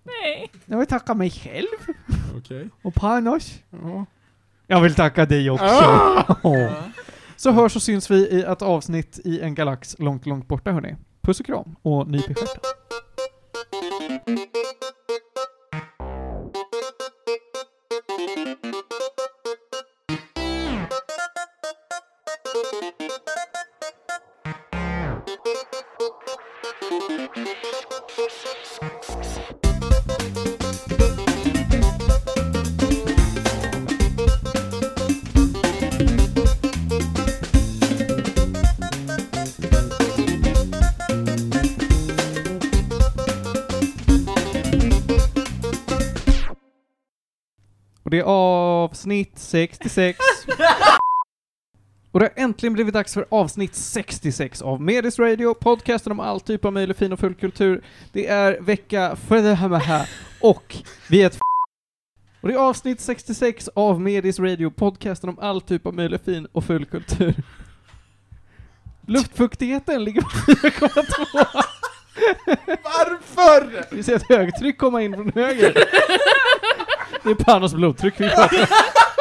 Nej.
Jag vill tacka mig själv.
Okej.
Och Panos. Jag vill tacka dig också. Åh. Så hörs och syns vi i ett avsnitt i en galax långt, långt borta hörni. Puss och kram och nyp i stjärten. Och det är avsnitt 66. Och det har äntligen blivit dags för avsnitt 66 av Medis Radio, podcasten om all typ av möjlig fin och full kultur. Det är vecka för det här med här och vi är ett f- Och det är avsnitt 66 av Medis Radio, podcasten om all typ av möjlig fin och full kultur. Luftfuktigheten ligger på 4,2.
Varför?
Vi ser ett högtryck komma in från höger. Det är Panos blodtryck vi pratar om.